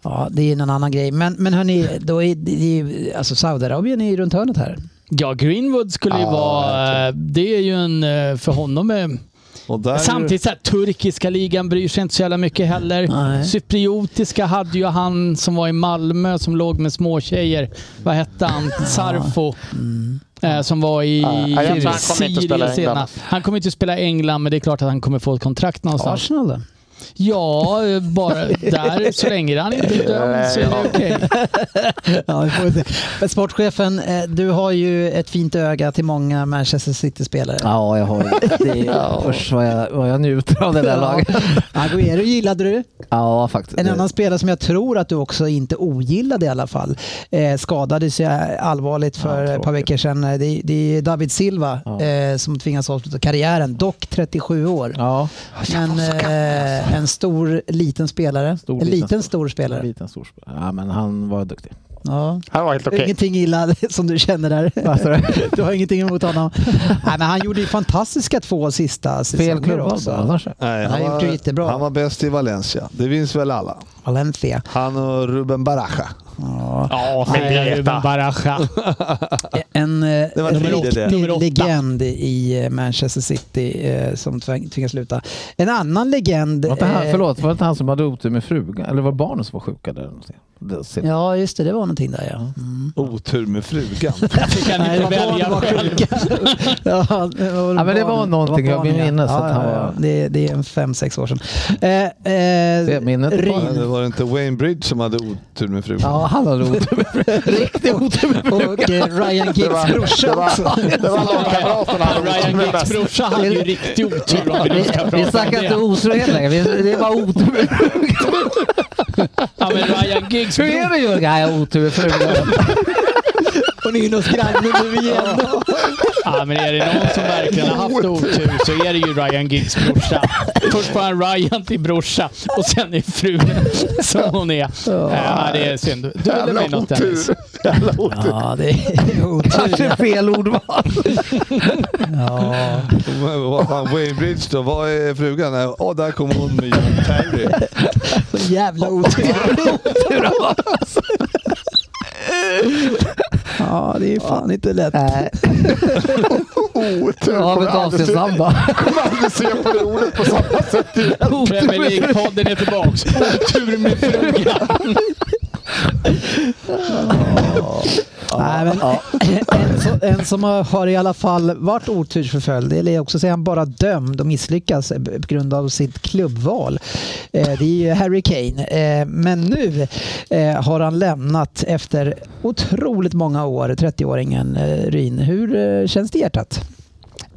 Ja, det är någon annan grej. Men, men hörni, då är, det är, ju- alltså Saudiarabien är ju runt hörnet här. Ja, Greenwood skulle ju Ja, vara... Det är ju en... eh, För honom är... Och där, Samtidigt så här, turkiska ligan bryr sig inte så jävla mycket heller. Nej. Cypriotiska hade ju han som var i Malmö som låg med småtjejer. Vad hette han? Sarfo. Eh, som var i Mm. Ja, jag tror han kommer inte spela i Syrien senast. Han kommer inte spela i England, men det är klart att han kommer få ett kontrakt någonstans. Arsenal då? Ja, eh, bara där. Så [LAUGHS] länge han inte är dömd så är det okej. Ja, vi får väl se. Men Sportchefen, eh, du har ju ett fint öga till många Manchester City-spelare. Ja, jag har [LAUGHS] det. är- Usch vad jag, vad jag njuter av det där laget. Agüero gillade du. Ja, faktiskt. En Det- annan spelare som jag tror att du också inte ogillade i alla fall. Eh, skadades ju allvarligt för ett par veckor sedan. Eh, Det, det är David Silva eh, som tvingas avsluta karriären, dock 37 år. Ja, Men eh, en stor, liten spelare. Stor, en liten, liten, stor. stor en spelare. liten storspelare. Ja, men han var duktig. Ja. Han var helt okej. Ingenting illa [LAUGHS] som du känner där. Alltså. [LAUGHS] Du har ingenting emot [LAUGHS] honom. Nej, men han gjorde ju fantastiska två sista Fel säsonger klubb alltså. också. också. Annars. nej, Han har gjort det jättebra. Han var bäst i Valencia. Det minns väl alla. Valencia. Han och Ruben Baraja. Ja, men det är Baraja. [LAUGHS] En eh, var en tidigt, det. Nummer riktig åtta. legend i eh, Manchester City eh, som tvang- tvingas sluta. En annan legend... Var inte han, eh, förlåt, var det inte han som hade otur med frugan? Eller var det barnen som var sjuka? Där? eller någonting? Det ser- Ja, just det. Det var någonting där ja. Mm. Otur med frugan. Fick han Nej, inte vad barn välja var själv. [LAUGHS] sjuka. ja, det var väl Ja, men det barn- var någonting, jag barn, vill minnas att han var- Det, det är en fem, sex år sedan. Eh, eh, Det minnet är Men det Ryn. var inte Wayne Bridge som hade otur med frugan? Ja, han hade otur med frugan. [LAUGHS] Riktig otur med frugan. Och eh, Ryan Det Giggs var, det brorsa också. var, det var lagkamraterna han var Ryan med Giggs bäst. brorsa hade ju riktig otur om vi [LAUGHS] nu ska Vi prata om snackar det. inte otrohet längre. Vi- Det är bara otur med Ja, men Ryan Giggs Hur är det Jörgen? Nej, jag har otur med frugan. Och ni är inne hos grannen nu igen. då. [LAUGHS] Ja, men är det någon som verkligen har haft otur så är det ju Ryan Giggs brorsa. Först får han Ryan till brorsa och sen är frun som hon är. Ja, det är synd. Du ville mig Jävla något Dennis. otur. Jävla otur. Ja, det är [LAUGHS] otur. Kanske fel ordval. Ja. Men [LAUGHS] Vad fan, Wayne Bridge då? Vad är frugan? Nej, Åh, där kom hon med John Terry. Så [LAUGHS] jävla otur. Ja, det är fan inte lätt. Nej, Otur. jag har Kommer aldrig ett avsnitt se- samba. Kommer aldrig se på det ordet på samma sätt igen. Premier League-podden är tillbaks. Otur med frugan. Nej, men en, som, en som har- har i alla fall varit otursförföljd, eller också säger han bara dömd och misslyckas eh, på grund av sitt klubbval. Eh, Det är ju Harry Kane. Eh, Men nu eh, har han lämnat efter otroligt många år, 30-åringen eh, Ryn. Hur eh, känns det i hjärtat?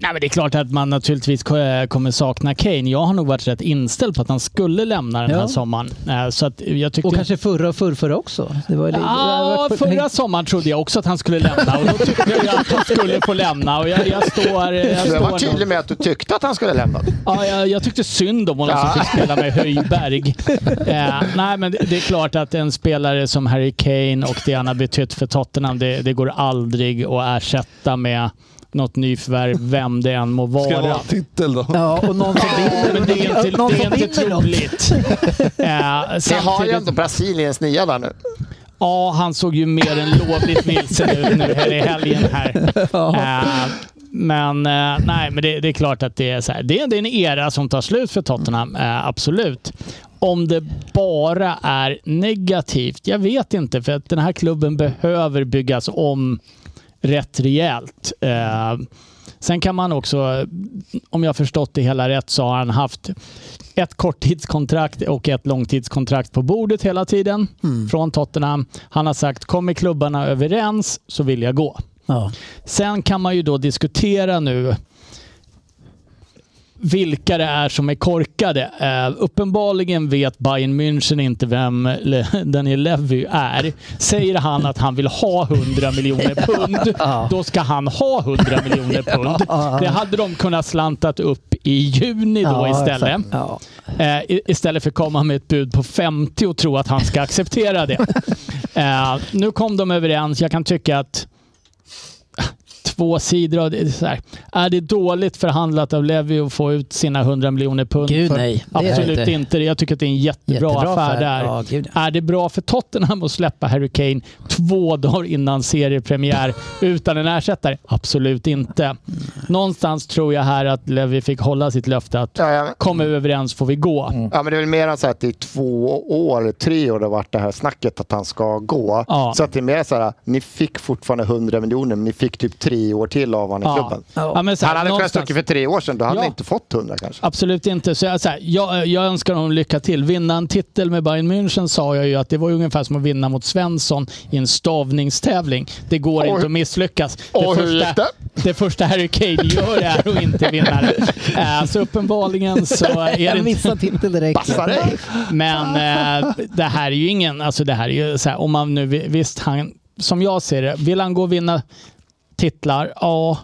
Nej, men det är klart att man naturligtvis ko- eh, kommer sakna Kane. Jag har nog varit rätt inställd på att han skulle lämna den här Ja. sommaren. Eh, Så att jag tyckte Och kanske förra och förrförra också? Det var ju- Ja, förra sommaren trodde jag också att han skulle lämna och då tyckte jag att han skulle få lämna. Och jag, jag står... Jag Du står var tydlig med att du tyckte att han skulle lämna. [LAUGHS] Ja, jag, jag tyckte synd om honom som fick spela med Höjberg. Eh, nej, men det, det är klart att en spelare som Harry Kane och det han har betytt för Tottenham, det, det går aldrig att ersätta med något nyförvärv, vem det än må Ska det vara vara. en titel då? Ja, och någon som vinner. Men det är inte, någon det som är inte vinner något. troligt. Eh, Vi har ju samtidigt, ändå Brasiliens nia där nu. ja, han såg ju mer än lovligt vilsen ut nu här i helgen här. Eh, men eh, nej, men det, det är klart att det är så här. Det, det är en era som tar slut för Tottenham, eh, absolut. Om det bara är negativt, jag vet inte. För att den här klubben behöver byggas om rätt rejält. Eh, sen kan man också, om jag har förstått det hela rätt, så har han haft ett korttidskontrakt och ett långtidskontrakt på bordet hela tiden Mm. från Tottenham. Han har sagt, kommer klubbarna överens så vill jag gå. Ja. Sen kan man ju då diskutera nu vilka det är som är korkade. Eh, uppenbarligen vet Bayern München inte vem Le- [LAUGHS] Daniel Levy är. Säger han att han vill ha [LAUGHS] 100 miljoner pund, då ska han ha 100 miljoner pund. Det hade de kunnat slantat upp i juni då Ja, istället. exakt. Ja. Eh, i- istället för att komma med ett bud på 50 och tro att han [LAUGHS] ska acceptera det. Eh, nu kom de överens. Jag kan tycka att två sidor av det. det är, så här, är det dåligt förhandlat av Levy att få ut sina 100 miljoner pund? Gud för? nej. Det är det Absolut inte. inte. Jag tycker att det är en jättebra, affär där. Ja, gud. ja. Är det bra för Tottenham att släppa Harry Kane två dagar innan seriepremiär utan en ersättare? Absolut inte. Någonstans tror jag här att Levy fick hålla sitt löfte att Ja, ja, kommer vi överens får vi gå. Ja, men det är väl mer än så här att det är två år, eller tre år det har varit det här snacket att han ska gå. Ja. Så att det är mer så här, ni fick fortfarande 100 miljoner, men ni fick typ tre år till av honom i klubben. Ja, men så här, han hade kunnat någonstans- stuckit för tre år sedan, då hade Ja. han inte fått 100 kanske. Absolut inte. Så jag, så här, jag, jag önskar honom lycka till. Vinna en titel med Bayern München sa jag ju att det var ju ungefär som att vinna mot Svensson i en stavningstävling. Det går Och hur- inte att misslyckas. Det och hur gick första, det? det första Harry Kane gör är att inte [LAUGHS] vinna det. Eh, Så uppenbarligen så är det En inte... missad titel direkt. Passar dig! Men eh, det här är ju ingen... Alltså det här är ju så här, om man nu... vi- Visst, han, som jag ser det, vill han gå och vinna titlar? Ja.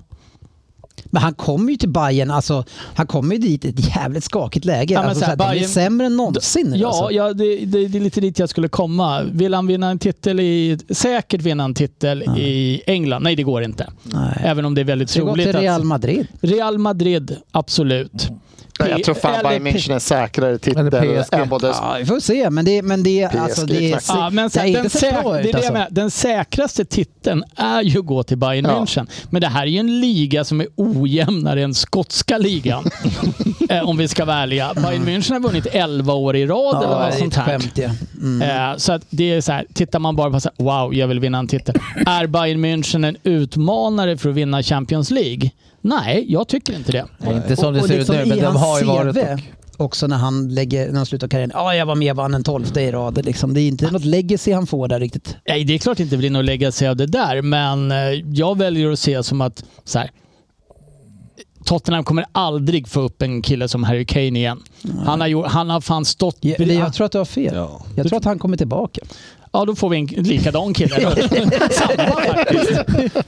Men han kommer ju till Bayern, alltså, han kommer ju dit i ett jävligt skakigt läge. Ja, men alltså, så så här, här, De är Bayern- sämre än någonsin. nu, Ja, alltså. ja det, det, det är lite dit jag skulle komma. Vill han vinna en titel i, säkert vinna en titel i England? Nej, det går inte. Nej. Även om det är väldigt Ska gå troligt. till Real att, Madrid. Real Madrid, absolut. Nej, jag tror fan eller Bayern P- München är säkrare Eller titel PSG. än både... Ja, vi får se, men det, men det, alltså, det, är, exakt. Ja, men så, det här, är den, inte så säk- bra det ut. är det jag Alltså. menar. den säkraste titeln är ju att gå till Bayern Ja. München. Men det här är ju en liga som är ojämnare än [LAUGHS] skotska ligan. Eh, om vi ska vara ärliga. Bayern München har vunnit 11 år i rad eller Ja, vad det är ett sånt här. skämt ja. Mm. Eh, Så att det är så här, tittar man bara på så här, wow, jag vill vinna [LAUGHS] en titel. Är Bayern München en utmanare för att vinna Champions League? Nej, jag tycker inte det. Nej, inte som det och ser liksom ut nu, men i de hans har ju varit... CV Också när han, lägger, när han slutar karriären. Ja, jag var med vann en tolfte i rad. Liksom. Det är inte något legacy han får där riktigt. Nej, det är klart inte blir något legacy av det där, men eh, jag väljer att se som att så här, Tottenham kommer aldrig få upp en kille som Harry Kane igen. Han har, gjort, han har fan stått... Jag, bredvid- jag tror att du har fel. Ja. Jag tror att han kommer tillbaka. Ja, då får vi en likadan kille. då. [LAUGHS] Samma faktiskt.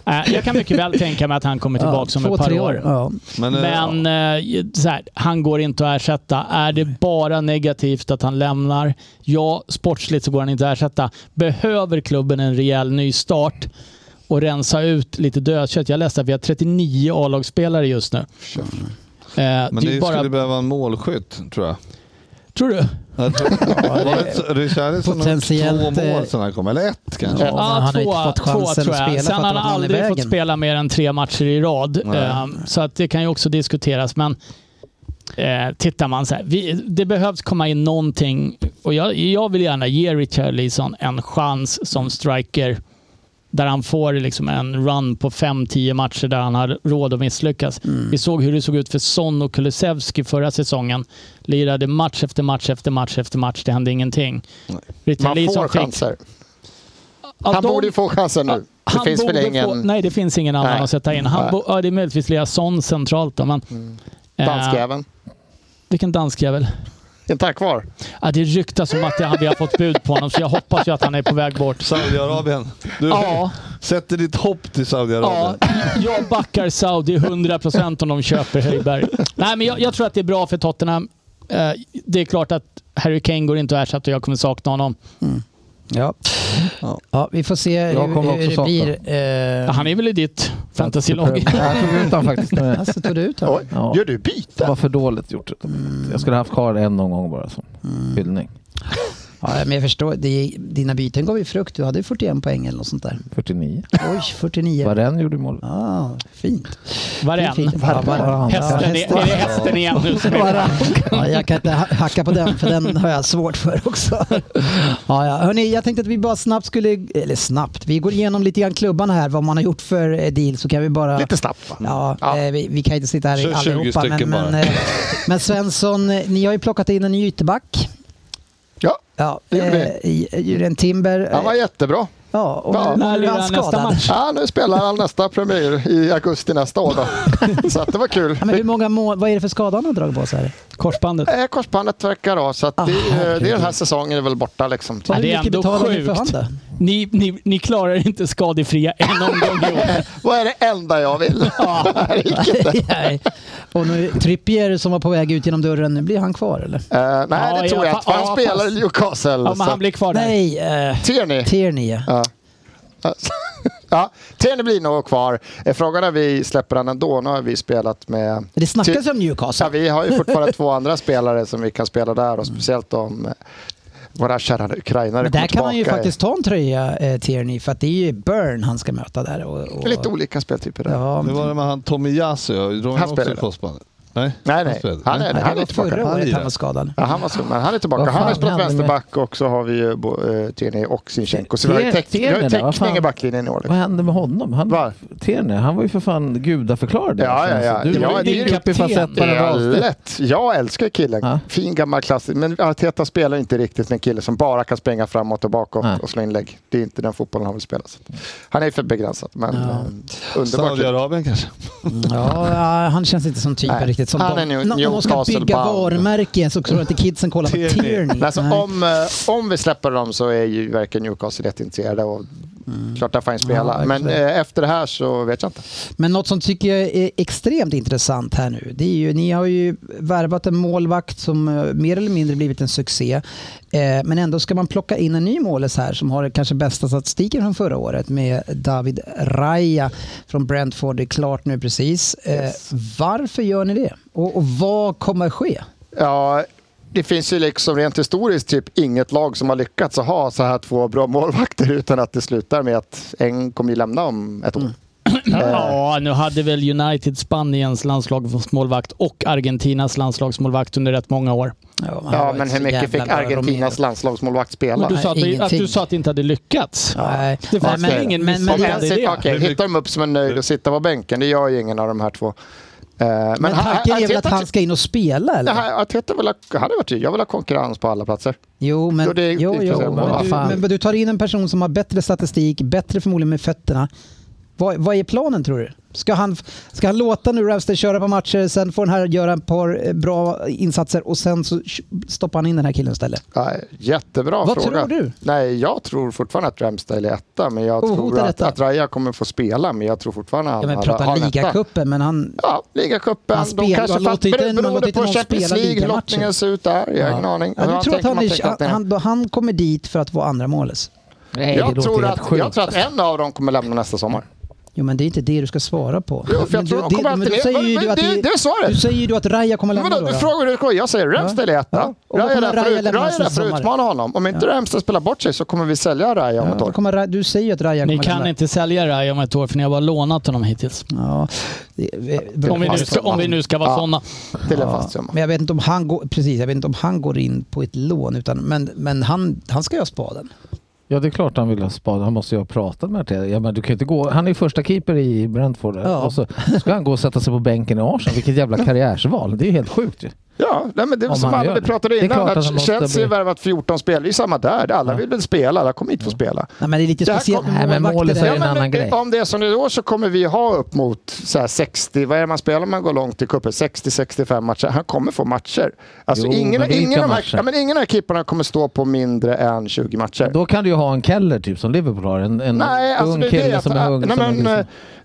Eh, Jag kan mycket väl tänka mig att han kommer tillbaka om två, ett par tre år. Ja. Men, eh, Men ja. eh, så här, han går inte att ersätta. Är det bara negativt att han lämnar? Ja, sportsligt så går han inte att ersätta. Behöver klubben en rejäl nystart och rensa ut lite dödkött? Jag läste att vi har 39 A-lagsspelare just nu. Eh, men det är det ju bara... skulle behöva en målskytt, tror jag. Tror du? Jag tror- Var det Richarlison Eh, har Potentiellt, gjort två eh, mål sedan han kom? Eller ett kanske? Ja, men han har inte fått chansen två, tror att jag. spela för Sen att han de har hamnar i aldrig fått vägen. spela mer än tre matcher i rad. Nej. Eh, Så att det kan ju också diskuteras. Men eh, tittar man så här, vi, det behövs komma in någonting. Och jag, jag vill gärna ge Richarlison en chans som striker där han får liksom en run på 5-10 matcher där han har råd att misslyckas. Mm. Vi såg hur det såg ut för Son och Kulusevski förra säsongen. Lirade match efter match efter match efter match. Det hände ingenting. Man Richarlison får fick- chanser. Ja, Han de- borde ju få chansen nu. Det han finns väl borde Få, ingen nej, det finns ingen annan Nej. att sätta in. Han Nej. Mm. bo, ja, det är möjligtvis Liasson centralt då, men... eh, danskjäveln. vilken danskjävel? Inte han kvar? Ja, det ryktas om att det, vi har fått bud på honom, så jag hoppas ju att han är på väg bort. Saudiarabien. Du Ja, sätter ditt hopp till ja, Saudiarabien. jag backar Saudi 100% om de köper Höjberg. Nej, men jag, jag tror att det är bra för Tottenham. Eh, det är klart att Harry Kane går inte att ersätta och jag kommer sakna honom. Ja. Ja. ja, vi får se hur, Jag kommer hur också det blir. Ja, Mm. Eh, han är väl i ditt fantasylag? Jag tog ut honom faktiskt. Det alltså, tog du ut honom? Oj, Ja. Gör du Mm. byte? var för dåligt gjort. Jag skulle haft kvar en omgång bara som Mm. hyllning. Ja, men jag förstår. Det, dina byten gav ju frukt. Du hade ju 41 poäng eller något sånt där. 49. Oj, 49. Varen gjorde mål. Ah, fint. Varann. Fint, fint. Ja, varann. Ja, Hästen, är, är det hästen. hästen igen nu som är Varann. Ja, jag kan inte ha- hacka på den, för den har jag svårt för också. Ja, ja. Hörrni, jag tänkte att vi bara snabbt skulle, eller snabbt, vi går igenom lite grann klubbarna här, vad man har gjort för eh, deal, så kan vi bara... Lite snabbt va? Ja, Ja. eh, Vi, vi kan inte sitta här Kör 20 allihopa. Men, stycken men, bara. eh, men Svensson, eh, ni har ju plockat in en ny ytterback. Ja, Ja, Det gjorde eh, i- Jurien Timber. eh, han var jättebra. ja, och Ja. nu, När nu är lirar han han nästa skadad. match? Ja, nu spelar han nästa premiär i augusti nästa år. [LAUGHS] Då. Så att det var kul. Ja, men hur många mål, vad är det för skada han har dragit på sig? här? Korsbandet. Eh, Korsbandet verkar ha, så att Ah, det, är- det är den här säsongen är väl borta. Liksom. Ja, Vad det är mycket ändå betalar ni för sjukt. honom Ni, ni, ni klarar inte skadefria en omgång i år. Vad är det enda jag [LAUGHS] vill? [LAUGHS] då? Nej. [LAUGHS] och nu Trippier som var på väg ut genom dörren, nu blir han kvar eller? Eh, nej, Ja, det tror ja, jag inte. för Han ja, spelar i fast- Newcastle. Ja, men så han att- blir kvar där. Nej, eh, Ser ni? Tierney. Ja. [LAUGHS] Alltså, Ja, Tierney blir nog kvar. Eh, Frågan är vi släpper han ändå. Nu har vi spelat med... Det snackas Ty- om Newcastle. Ja, vi har ju [LAUGHS] fortfarande två andra spelare som vi kan spela där och speciellt om eh, våra kära ukrainare Mm. Men där kommer kan man ju tillbaka. faktiskt ta en tröja, eh, Tierney, för att det är ju Burn han ska möta där. Och, Det är och, lite olika speltyper där. ja, Det var det med han Tommy Yasu. Drog Han han också spelade. i korsbandet? Nej, Nej, nej. spelade. Han är- Nej, det han var tillbaka. förra Han året han lirar. var skadad. Ja, han var skum, men han är tillbaka. Vad Han har fan spelat hände med- vänsterback och så har vi ju Bo- eh, Tierney och Sinchenko. Så vi har ju Te- täck- vi har ju Tierney där, vad täckning fan? i backlinjen i år. liksom. Vad hände med honom? Han, Va? Tierney, han var ju för fan gudaförklarad. Ja, ja, ja. Du Ja, var ju det är ju din kapten. kapten. Bara Ja, rakt ut. lätt. Jag älskar killen. Ja. Fin gammal klassisk. Men Arteta spelar inte riktigt med en kille som bara kan springa framåt och bakåt Nej. och slå inlägg. Det är inte den fotbollen han vill spela. Så. Han är för begränsad, men eh, underbart. Saudiarabien kanske? Ja, ja, han känns inte som typen Mm. Nej, riktigt. Som han är de- New- Nå- Om de ska Newcastle bygga bound. varumärken så tror jag inte kidsen kollar på Tierney. Tierney. Men Alltså, Nej. om, eh, om vi släpper dem så är ju verkligen Newcastle jätteintresserade och klart där får han spela. Mm. Ja, men verkligen. eh, efter det här så vet jag inte. Men något som tycker jag är extremt intressant här nu, det är ju, ni har ju värvat en målvakt som eh, mer eller mindre blivit en succé. Eh, men ändå ska man plocka in en ny målis här som har kanske bästa statistiken från förra året med David Raya från Brentford. Det är klart nu precis. Eh, Varför gör ni det? Och, och vad kommer ske? Ja, det finns ju liksom rent historiskt typ inget lag som har lyckats att ha så här två bra målvakter [LAUGHS] utan att det slutar med att en kommer ju lämna om ett år. Mm. Ja, nu hade väl United Spaniens landslagsmålvakt och Argentinas landslagsmålvakt under rätt många år. man har Ja, varit men hur så mycket jävla fick bra, Argentinas Romero. landslagsmålvakt spela? Men du sa att, det, att ingenting. du sa att det inte hade lyckats. Nej, Det fanns Nej, väl ingen men, men Om misslyckande det, en det är sitter, det. okej, hittar de upp som en nöjd och sitta på bänken, det gör ju ingen av de här två. Eh, Men, men han- tanken är väl att Arteta- han ska in och spela eller? det här- Arteta vill ha, han har varit tydlig, jag vill ha konkurrens på alla platser. Jo, men, Jo, det är jo, inte så jo, bra. men, du, Fan. men du tar in en person som har bättre statistik, bättre förmodligen med fötterna. Vad, vad är planen tror du? Ska han, ska han låta nu Ramstead köra på matcher, sen får den här göra ett par eh, bra insatser och sen så sh- stoppar han in den här killen istället? Nej, jättebra Vad fråga. tror du? Nej, jag tror fortfarande att Ramsdale är etta, men jag Oh, tror hotar att, etta. att Raja kommer få spela, men jag tror fortfarande att Ja, han men har- pratar har en etta. ligacupen, men han... Ja, ligacupen. Han de spelar- kanske han fatt, låter inte- bero- han beroende låter på inte hur någon Champions spela League ligamatcher. lottningen ser ut där. Jag har ingen aning. Ja, du tror att tänker han, man är, tänker att det han, är- han, han kommer dit för att vara andra målis? Nej, det jag, låter tror helt att, sjukt, jag tror att alltså. en av dem kommer lämna nästa sommar. Jo, men det är inte det du ska svara på. Jo, för jag Men du- tror de kommer men alltid du ner. säger ju Men du att det- det- det är svaret. Du säger ju du att Raja kommer lämna Vadå, då, du då? frågar hur det går. Jag säger Ramsdale är Ja. etta. Och då Raja är kommer där för Raja ut- lämna Raja är där nästa för att sommar. utmana honom. Om inte Ramsdale spelar bort sig så kommer vi sälja Raja om ett Ja, då år. kommer, Ra- du säger ju att Raja kommer Ni kan lämna. inte sälja Raja om ett år för ni har bara lånat honom hittills. Ja, det, det- Om vi nu ska, om vi nu ska vara Ja. sådana. Till en Ja, fast summa. Men jag vet inte om han går, precis, jag vet inte om han går in på ett lån, utan, men, men han, han ska göra spaden. Ja, det är klart han vill ha spaden. Han måste ju ha pratat med Arteta. Ja, men du kan ju inte gå. Han är ju första keeper i Brentford. där. Ja. Och så ska han gå och sätta sig på bänken i Arsenal. Vilket jävla [LAUGHS] karriärsval. Det är ju helt sjukt ju. Ja, nej, men det är Om som han alla gör vi det. pratade Det är innan. klart att han Att måste Chelsea har bli- värvat 14 spelare. Det är samma där. Alla vill väl spela. Alla kommer hit få spela. Nej, men det är lite Det här speciellt kom- med Nej, men målvakter målet där. är en men annan det- grej. Om det är som det är i år så kommer vi ha upp mot så här 60, vad är det man spelar om man går långt i cupen? 60-65 matcher. Han kommer få matcher. Alltså Jo, ingen, men vilka ingen, av de här, matcher? ja, men ingen av keeperna kommer stå på mindre än 20 matcher. Då kan du ju ha en Keller typ som Liverpool har. En, en Nej, alltså ung det är kille det att- som är ung. Nej, som är men, liksom-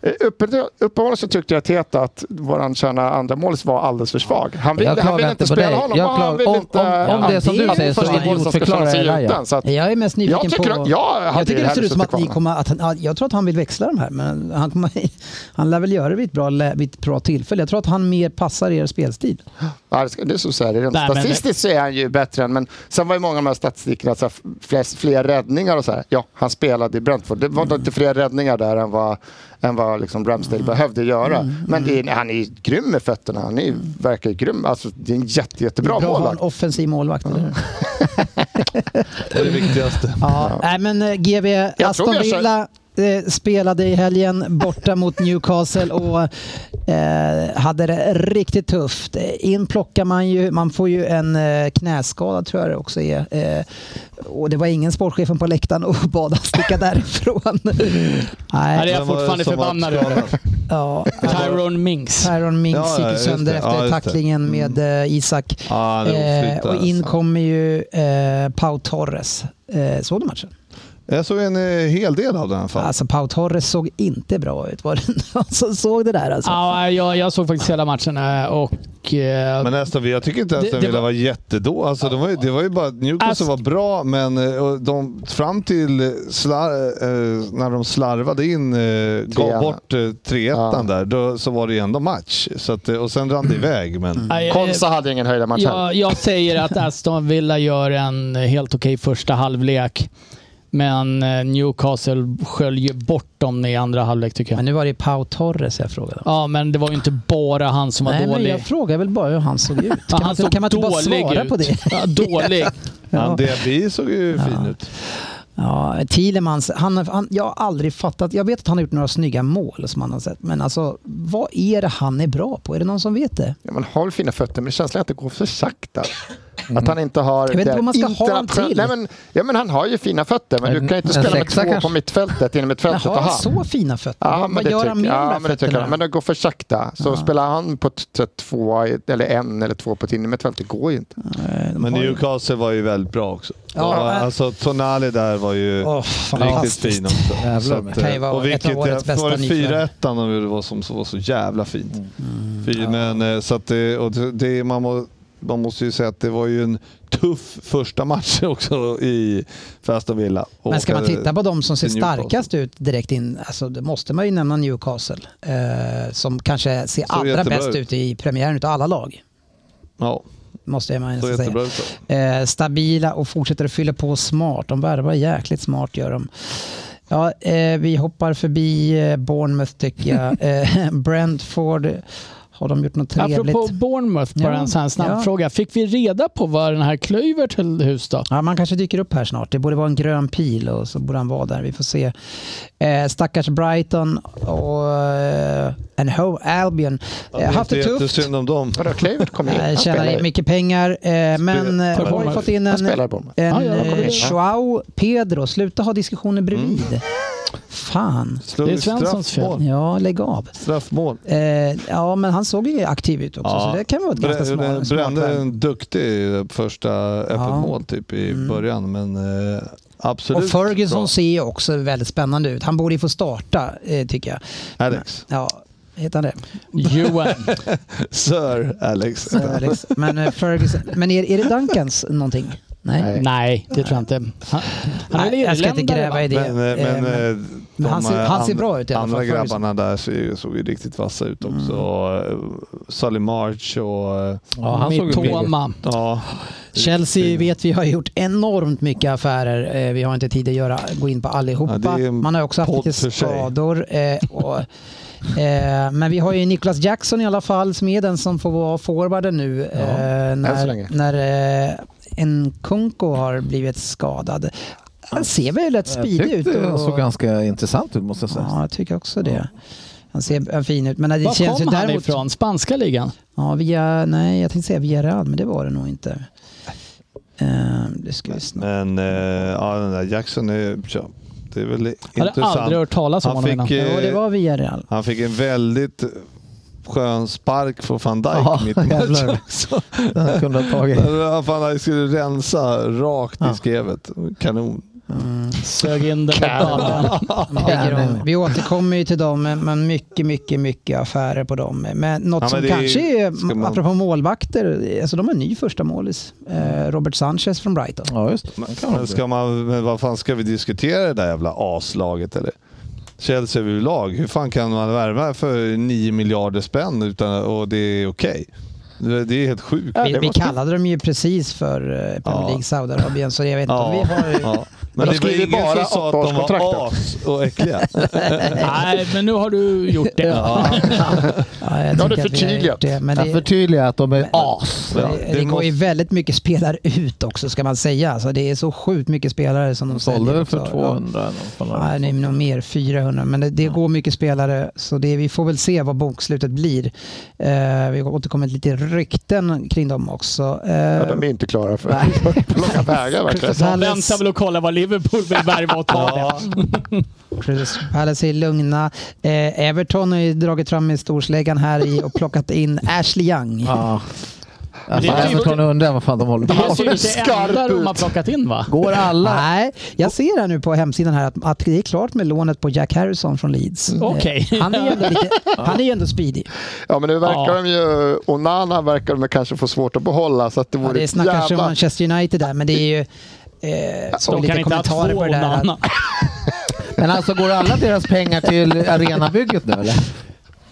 eh, uppe- Uppenbarligen så tyckte jag Teta att våran kära andramålis var alldeles för svag. Han ville, Jag han klagar ville inte inte på spela dig. honom. Jag och han klagar- ville om- inte, om- om det är som du han säger så första målet som ska idiotförklarar känna sig jag Raja. utan, så att- Jag är mest nyfiken Jag tycker, på... jag, hade jag tycker det hellre ser ut som suttit att ni kvar med kommer att, han, Jag tror att han vill växla de här, men han, kommer, [LAUGHS] han lär väl göra det vid ett, bra, lä- vid ett bra tillfälle. Jag tror att han mer passar er spelstil. Ja, det ska- det är så så här, rent Nej, men- statistiskt så är han ju bättre än, men sen var ju många av de här statistikerna, så här, flest, fler räddningar och så här. Ja, han spelade i Brentford. Det var inte fler räddningar där än vad, än vad liksom Ramsdale behövde göra. Men det är, han är ju grym med fötterna. Han är, verkar ju grym. Alltså, det är en jätte, jättebra bra att ha en målvakt. offensiv målvakt, eller hur? Det är det viktigaste. Ja, nej, men eh, GV, Aston tror vi har Villa eh, spelade i helgen borta mot Newcastle och eh, hade det riktigt tufft. Eh, In plockar man ju, man får ju en eh, knäskada tror jag det också är. Eh, och det var ingen sportchefen på läktaren och [LAUGHS] bad att sticka [LAUGHS] därifrån. Nej, det är nej, jag Vem var Mm. det fortfarande som var förbannad över. skadad? ja. Tyrone Mings. Tyron Mings Ja, ja, gick ju just det. sönder Ja, efter just det. Mm. tacklingen med eh, Isak. Ja, det är Eh, oflyt där, och in alltså. kommer ju eh, Pau Torres. Eh, såg du matchen? Jag såg en eh, hel del av den i alla fall. Alltså Pau Torres såg inte bra ut. Var det [LAUGHS] någon som såg det där alltså? Ja, jag, jag såg faktiskt hela matchen eh, och... eh, Men nästan, jag tycker inte ens Det- den det ville var- vara jättedå. Alltså, de var ju, det var ju bara Newcastle Alltså- var bra, men eh, och de, fram till slar, eh, när de slarvade in, eh, gav Trean. bort eh, 3-1 Ja. där, då, så var det ju ändå match. Så att, eh, och sen rann det iväg. Men, eh, Konsa hade ingen höjdarmatch heller. jag, jag säger att Aston Villa gör en helt okej första halvlek. Men eh, Newcastle sköljer bort dem i andra halvlek tycker Men jag. nu var det ju Pau Torres jag frågade. om. Ja, men det var ju inte bara han som var Nej, men dålig. jag frågar väl bara hur han såg [LAUGHS] ut. Ja, Kan, han man, såg kan man inte bara dålig svara ut. på det? Ja, dålig. ja. Diaby såg ju fin ut. [LAUGHS] Ja, Thielemans, han, han, jag har aldrig fattat. Jag vet att han har gjort några snygga mål som han har sett. Men alltså, vad är det han är bra på? Är det någon som vet det? Ja, men håll fina fötter, men känslan är att det går för sakta. Att han inte har... vet inte det vad man ska ha dem internationella- till. Nej, men, ja, men han har ju fina fötter, men du En- kan ju inte en spela med sexa två på kanske? mittfältet, inom mittfältet Har och han han. så fina fötter? Ja, men vad det gör han tycker, med de ja, där men det tycker fötterna? jag. Men det går för sakta. Så spelar han på t- t- två, eller en eller två på ett innermittfält, det går ju inte. Nej, de Men har ju- Newcastle var ju väldigt bra också. Ja, Ja, men- alltså Tonali där var ju Åh, riktigt fantastiskt. fin också. Jävlar, Så men- att, eh, Kan ju vara och vilket, ett av årets jag- bästa var det nyförvärv. Mm. 4-1 de gjorde var som så- var så jävla fint. Fy, men, eh, så att det, och det- det, man, må, man måste ju säga att det var ju en tuff första match [LAUGHS] också i för Aston Villa. Men ska man Och, eh, titta på de som ser till Newcastle. starkast ut direkt in, alltså, då måste man ju nämna Newcastle. Eh, som kanske ser Såg allra jättebra bäst ut. ut i premiären utav alla lag. Ja, Måste jag man så nästan jättebra säga. ut. så. Eh, stabila och fortsätter att fylla på smart. De värvar jäkligt smart gör de. Ja, eh, vi hoppar förbi eh, Bournemouth tycker jag. [LAUGHS] Eh, [LAUGHS] Brentford, har de gjort något trevligt? Apropå Bournemouth, bara Ja, en sån här snabb ja. fråga. Fick vi reda på vad den här Klöivert höll hus då? Ja, man kanske dyker upp här snart. Det borde vara en grön pil och så borde han vara där. Vi får se. Eh, stackars Brighton och eh, and Hove Albion. Eh, haft det det är tjänar jättesynd om dem. Vadå, Kluivert kom in. Eh, Han spelar tjänar ju. mycket pengar, eh, men eh, Spelar- har ju fått in Han en, spelar i Bournemouth. en Ja, ja, eh, kom in. Joao Pedro. Sluta ha diskussioner Mm. bredvid. Fan. Slog Det är Svenssons straffmål. Ja, lägg av. Straffmål. Eh, ja, men han såg ju aktiv ut också, Ja. så det kan vara ett ganska Brä- smart, smart Brände värv. en duktig eh, första öppet Ja. Mm. mål typ i början, men eh, absolut Och Ferguson bra. ser ju också väldigt spännande ut. Han borde ju få starta, eh, tycker jag. Alex. Ja, heter han det? Johan. Sir Alex. Så, Alex. Men, eh, Ferguson. Men är, är det Duncans någonting? [LAUGHS] Nej. Nej. Nej, det tror jag inte. Han, han är Nej, jag ska inte irländare, gräva va? i det. Men, eh, Eh, men, eh, de han ser- eh, han ser and- bra ut i alla fall, Andra Ferguson. grabbarna där ser ju, såg ju riktigt vassa ut också. Mm. Sully March och... eh, Ja, han såg ju billig ut. Mitoma. Ja, Chelsea vet vi har gjort enormt mycket affärer. Eh, Vi har inte tid att göra, gå in på allihopa. Ja, det är en Man har också haft podd lite för sig. skador. eh, Och, eh, men vi har ju Nicholas Jackson i alla fall som är den som får vara forwarden nu. eh, så när länge. när eh, en Kunko har blivit skadad. Han ser väl rätt Jag speedig ut. tyckte han och- såg ganska intressant ut måste jag säga. Ja, jag tycker också det. Han ser fin ut. Men det Var känns ju kom han däremot... ifrån? Spanska ligan? Ja, via, nej, jag tänkte säga via Real, men det var det nog inte. Eh, det ska vi snart. men eh, ja, den där Jackson är... Tja, det är väl Jag hade aldrig intressant. hört talas om Han honom fick, innan. eh, Ja, det var via Real. Han fick en väldigt skön spark från van Dijk Ja, [LAUGHS] mitt i matchen jävlar. också. Han kunde ha tagit. [LAUGHS] Där Van Dijk skulle rensa rakt i Ja. skrevet. Kanon. Sög in den med ballen. Lägger dem. Vi återkommer ju till dem, men- men mycket, mycket, mycket affärer på dem. Men något Ja, men som det är- kanske är, ska man- apropå målvakter, alltså de har en ny första målis. Eh, Robert Sanchez från Brighton. Ja, just det. Men, Det kan vara men, ska man, men vad fan ska vi diskutera det där jävla aslaget eller? Chelsea överlag, hur fan kan man värva för 9 miljarder spänn utan, och det är okej? Det- Det är helt sjukt. Vi, vi kallade dem ju precis för eh, Premier League Saudiarabien, så jag vet inte om vi har... ja. Men Men de det var skriver ingen bara som sa att de var åttaårskontraktet. as [LAUGHS] och äckliga. [LAUGHS] Nej, men nu har du gjort det. Ja, jag Nu har tycker du att vi har förtydligat. gjort det, men Jag det, förtydligar att de är as. Ja, det, det går ju måste- väldigt mycket spelare ut också ska man säga. Alltså, det är så sjukt mycket spelare som de De sålde väl också. för 200 eller något sånt där. Ja, nej, nog mer, 400. Men det, det går mycket spelare, så det, vi får väl se vad bokslutet blir. Eh, vi återkommer till lite rykten kring dem också. Eh, Ja, de är inte klara för på långa vägar verkligen. Palace- Vänta väl och kolla vad Liverpool vill värva åt honom. [LAUGHS] Precis. Palace är lugna. Eh, Everton har ju dragit fram i storsläggan här i och plockat in Ashley Young. Ja, Alltså, det är ju- Everton undrar vad fan de håller på Det med. ser ju inte enda de har plockat in va? Går alla... [LAUGHS] Nej, jag ser här nu på hemsidan här att, att det är klart med lånet på Jack Harrison från Leeds. Mm. Okej. Eh, [LAUGHS] Han är ju ändå, [LAUGHS] lite, han är ju ändå speedig. Ja, men nu verkar Ja. de ju... Onana verkar de kanske få svårt att behålla, så att det Ja, vore det ett snackas ju om jävla... Manchester United där, men det är ju... Eh, såg De kan lite inte ha två kommentarer på det där. att- Onana. Men alltså går alla deras pengar till arenabygget nu eller?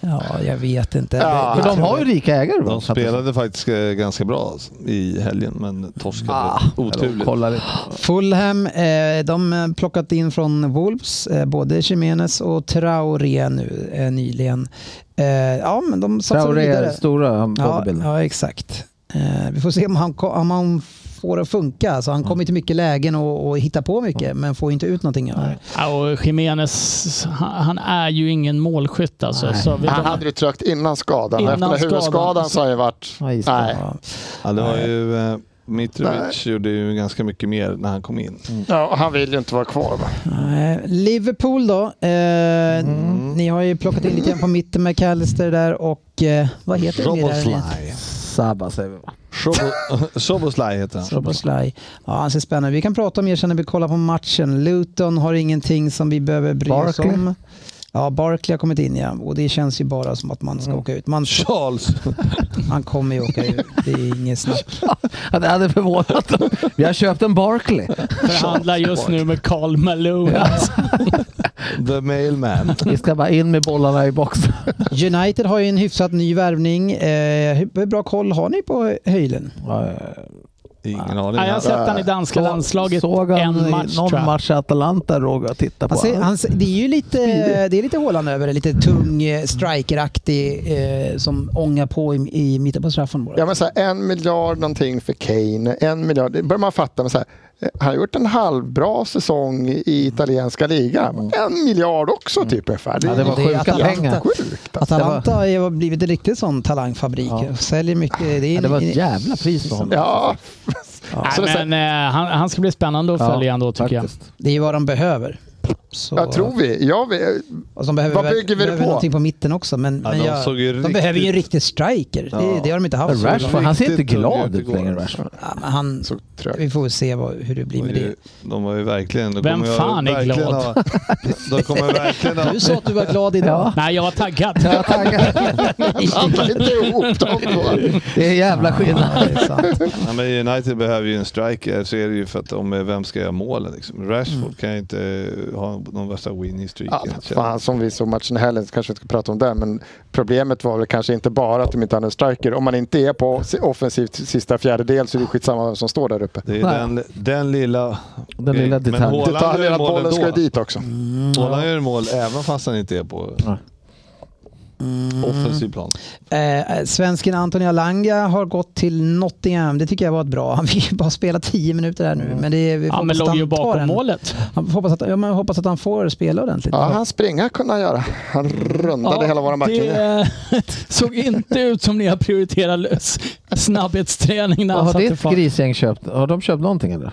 Ja, jag vet inte. Ja. För de har ju rika ägare. va? De spelade faktiskt eh, ganska bra i helgen, men torskade Ah, oturligt. Kolla lite. Fulham, eh, de har plockat in från Wolves, eh, både Jimenez och Traoré nu eh, nyligen. Eh, ja, men de satsar Traoré är vidare. stora Ja, bodybuilder. ja, exakt. Eh, vi får se om han, ko- om han får det att funka. Alltså, han Mm. kommer till mycket lägen och, och hittar på mycket, men får inte ut någonting. av det. Ja, och Jimenez, han, han är ju ingen målskytt alltså. Så vi, Han hade det trögt innan skadan. Efter Innan den här skadan. huvudskadan så har han ju varit... Ja, just det. Nej. Ja. Ja, det var ju, eh, Mitrovic gjorde ju ganska mycket mer när han kom in. Ja, och han vill ju inte vara kvar. Va? Nej, Liverpool då. Eh, Mm. Ni har ju plockat in lite grann på mitten med Callister där och eh, vad heter den ledaren? Roboslaj. Sabba säger vi va? Shobo- [LAUGHS] Soboslaj heter han. Roboslaj. Ja, han ser spännande. Vi kan prata om er sen när vi kollar på matchen. Luton har ingenting som vi behöver bry oss Barkley. om. Ja, Barkley har kommit in ja. Och det känns ju bara som att man Mm. ska åka ut. Man, Charles. han kommer ju åka ut. Det är inget snack. Ja, det hade förvånat dem. Vi har köpt en Barkley. förhandlar just nu med Carl Malone. The mailman. Vi ska bara in med bollarna i boxen. United har ju en hyfsat ny värvning. Eh, hur bra koll har ni på Höjlen? Ingen aning. Ja, jag har sett han i danska landslaget Såg han en match någon tror jag. match i Atalanta Roger att titta på? Han ser, han ser, det är ju lite, det är lite Haaland över det. Lite tung, eh, strikeraktig eh, som ångar på i, i mitten på straffområdet. Ja, men så här, en miljard någonting för Kane, en miljard. Det börjar man fatta. Men så här, eh, han har gjort en halvbra säsong i italienska ligan. En miljard också typ ungefär. Mm. Ja, det var är Det är sjuka Atalanta. pengar. sjukt. alltså. Atalanta har ju blivit en riktig sån talangfabrik. Ja. Säljer mycket. Det, är Ja, det var ett en- jävla pris för honom. Ja, Nej, Så det är så här- men, eh, han, han ska bli spännande att följa ändå tycker jag. faktiskt. det är ju vad de behöver. Så, jag tror vi. Jag vet, och de behöver, Vad verk- bygger vi det behöver på? någonting på mitten också. Men, Ja, men de jag, såg ju de riktigt- behöver ju en riktig striker. Det, Ja. det har de inte haft. så Rashford, långt. han ser inte Riktigt glad dålig ut längre. igår. Rashford. Ja, men han, så trögt. vi får väl se vad, hur det blir med det. De var ju verkligen... de Vem kommer ju fan är verkligen glad? ha- [LAUGHS] De kommer verkligen ha... Du sa att du var glad idag. Nej, jag var taggad. Ja, [LAUGHS] tackar. Blanda inte ihop dem då. Det är jävla skillnad. Ja, det är sant. Ja, men United behöver ju en striker, så är det ju för att de, vem ska göra målen? Liksom? Rashford Mm. kan ju inte ha någon värsta winning streak. Ja, egentligen. fan, som vi såg matchen i helgen så kanske vi inte ska prata om det. Men problemet var väl kanske inte bara att de inte hade en striker. Om man inte är på offensivt sista fjärdedel så är det skitsamma vem som står där uppe. Det är Nej. den, den lilla... Den lilla Men detaljen. Haaland gör Detaljen ju att mål bollen ändå. ska ju dit också. Haaland gör mål även fast han inte är på offensiv plan. Eh, svensken Anthony Alanga har gått till Nottingham. Det tycker jag var ett bra. Han fick ju bara spela 10 minutar där nu. Men det är, vi Mm. Ja, hoppas men att låg han ju tar bakom den. målet. Han hoppas att, ja, men jag hoppas att han får spela ordentligt. Ja, han springa kunde han göra. Han rundade hela våran backlinje. det eh, [LAUGHS] såg inte ut som ni har prioriterat lös- snabbhetsträning när han Har satte ditt fart. grisgäng köpt? Har de köpt någonting eller?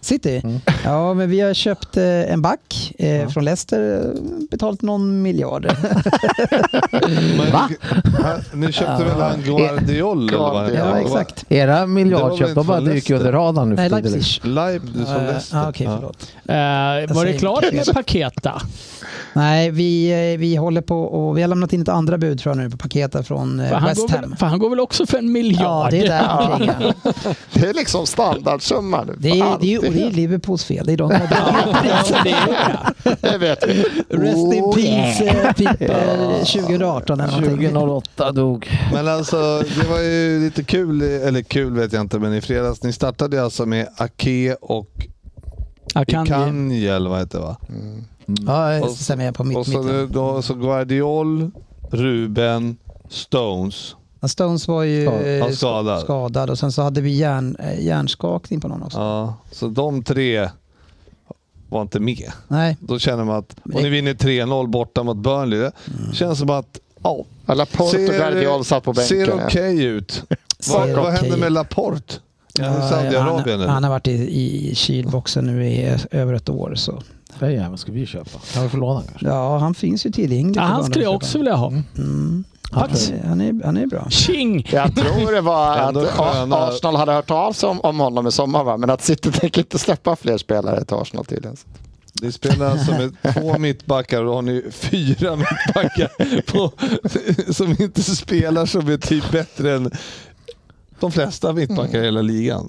City? Mm. Ja, men vi har köpt eh, en back eh, från Leicester. eh, Betalt någon miljard. Men, Va? Ni köpte väl han Guardiol? eller vad heter ja, Ja, han? Det var- exakt. Era Det var miljardköp, väl de bara inte från dyker ju under Leicester? radarn nu Nej, för tiden. liksom. Leipzig. Leipzig som Eh, Leicester. ah, Okej, Ja. förlåt. Eh, var det säger klart inte. med Paketa? Nej, vi, eh, vi håller på och vi har lämnat in ett andra bud tror jag nu på paketet från För eh, han, West går väl, Ham. för han går väl också för en miljard? Ja, det är där omkring, ja. Det är liksom standardsumman. Det är, det är, ju- och det är Liverpools fel. Det är de som har [LAUGHS] dragit [LAUGHS] [LAUGHS] Ja, det är det. det vet vi. Rest Oh, in peace [LAUGHS] eh, people 2018 eller någonting. 2008 dog. Men alltså, det var ju lite kul, eller kul vet jag inte, men i fredags, ni startade ju alltså med Ake och Akanji. Kanye, eller vad heter det va? Ja, Och- sen är jag på Och mitt, så, nu, mitt. då, så Guardiol, Ruben, Stones. Ja, Stones var ju Ja, eh, skadad. skadad och sen så hade vi hjärn, eh, hjärnskakning på någon också. Ja, så de tre var inte med. Nej, Då känner man att, Men och det- ni vinner 3-0 borta mot Burnley. Det Mm. känns som att, ja, Alla Portugal satt på ser bänken. okej [LAUGHS] ut. ser Vad, vad okej händer ut. med Laporte? Ja, Ja, I Saudiarabien han, nu? han har varit i, i kylboxen nu i eh, över ett år. Så. Den jäveln ska vi köpa. Kan vi få låna den kanske? Ja, han finns ju tillgänglig. Ja, för han vanliga skulle jag köpare. också vilja ha. Mm. Att, han, är, han är bra. Mm. Tjing! Jag tror det var Ändå att sköna- A- Arsenal hade hört av sig om, om honom i sommar, va? men att City tänker inte släppa fler spelare till Arsenal tydligen. Ni spelar [LAUGHS] alltså med två mittbackar och då har ni fyra mittbackar på, som inte spelar som är typ bättre än de flesta mittbackar Mm. i hela ligan.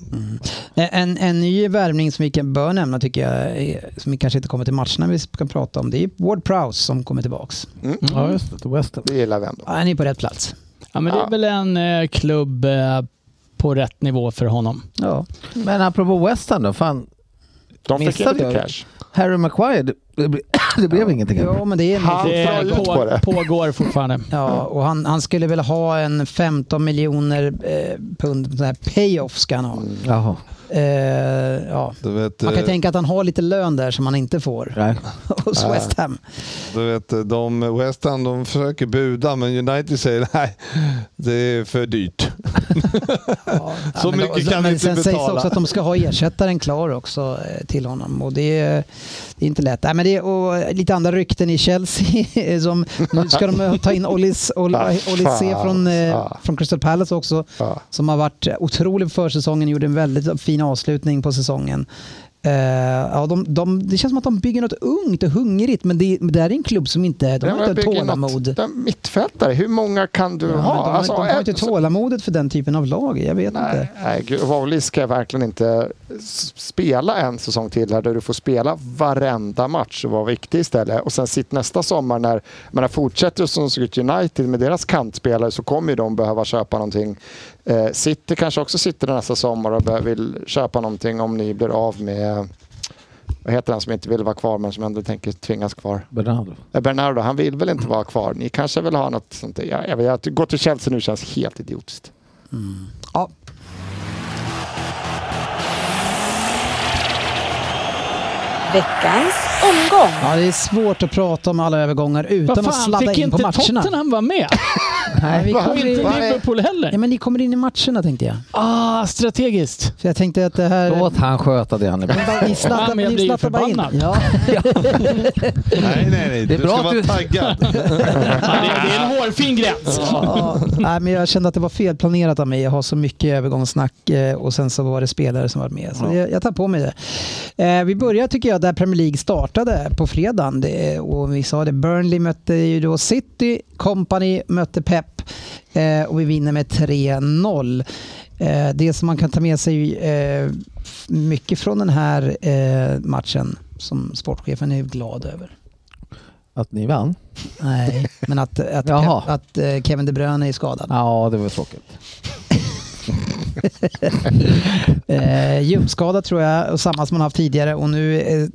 Eh, En, en ny värvning som vi kan- bör nämna tycker jag, är, som vi kanske inte kommer till matcherna vi ska prata om, det är Ward Prowse som kommer tillbaks. Ja, just det. Till West Ham. Det gillar vi ändå. Ja, Han är på rätt plats. Ja, men det är väl en eh, klubb eh, på rätt nivå för honom. Ja. Men apropå West Ham då. Fan, De fick Missade inte jag. cash. Harry Maguire, det, det, ble- [COUGHS] det blev ingenting. Ja, men det är Han- en, Det drar ut på det. Eh, pågår fortfarande. ja, och han, han skulle väl ha en 15 miljoner eh, pund, sån här payoff ska han ha. Jaha. Eh, ja. Du vet, Man Mm. kan eh, tänka att han har lite lön där som han inte får [LAUGHS] Nej. hos West Ham. du vet eh, de, West Ham de försöker buda men United säger nej, det är för dyrt. Ja, Så men mycket kan vi men inte sen sägs det betala. också att de ska ha ersättaren klar också eh, till honom och det, är- det är inte lätt. Nej, men det, är- och lite andra rykten i Chelsea. [LAUGHS] som, nu ska de ta in Ollis, [LAUGHS] Olli, Ah, Olli C fan. från, eh, Ah. från Crystal Palace Ah. också Ja. som har varit otrolig på försäsongen, gjorde en väldigt fin avslutning på säsongen. Eh, ja, de, de, det känns som att de bygger något ungt och hungrigt men det, det här är en klubb som inte, de Ja, har men inte bygger något- tålamod. de- Mittfältare, hur många kan du Ja, men ha? de, Alltså, de har inte en- tålamodet för den typen av lag. Jag vet inte. Nej, nej gud, Wally ska verkligen inte s- spela en säsong till här där du får spela varenda match och vara viktig istället. Och sen sitt nästa sommar när, men när fortsätter det som det såg ut i United med deras kantspelare så kommer ju de behöva köpa någonting. Eh, City kanske också sitter nästa sommar och bör- vill köpa någonting om ni blir av med vad heter han som inte vill vara kvar men som ändå tänker tvingas kvar? Bernardo. Eh, Bernardo, han vill väl inte vara kvar? Ni kanske vill ha något sånt? där? Jag, jag, jag, gå till Chelsea nu känns helt idiotiskt. Ja. Veckans omgång. ja, det är svårt att prata om alla övergångar Vad utan att fan, sladda fick in på inte matcherna. Tottenham vara med? Nej, [LAUGHS] vi Och kommer inte in... Va? Nej. Liverpool ja, heller. men ni kommer in i matcherna tänkte jag. Ah, strategiskt. Så jag tänkte att det här... Låt han sköta det han är bra på. Ni Ja, sladdar, men jag ni blir ju sladdar bara in. förbannad. Ja. Nej, nej, nej. Det är du bra ska att vara du- taggad. [LAUGHS] Ja, det, det är en hårfin gräns. Ja. [LAUGHS] Nej, men jag kände att det var felplanerat av mig. Jag har så mycket övergångssnack eh, och sen så var det spelare som var med. Så jag, jag tar på mig det. Eh, vi börjar tycker jag där Premier League startade på fredagen. Det, och vi sa det, Burnley mötte ju då City, Company mötte Pep eh, och vi vinner med 3-0. Eh, det som man kan ta med sig eh, f- mycket från den här eh, matchen som sportchefen är glad över. Att ni vann? Nej, men att, att, Jaha. Pep, att eh, Kevin De Bruyne är skadad. Ja, det var tråkigt. Eh, ljumskada tror jag, och samma som man haft tidigare. Och nu eh,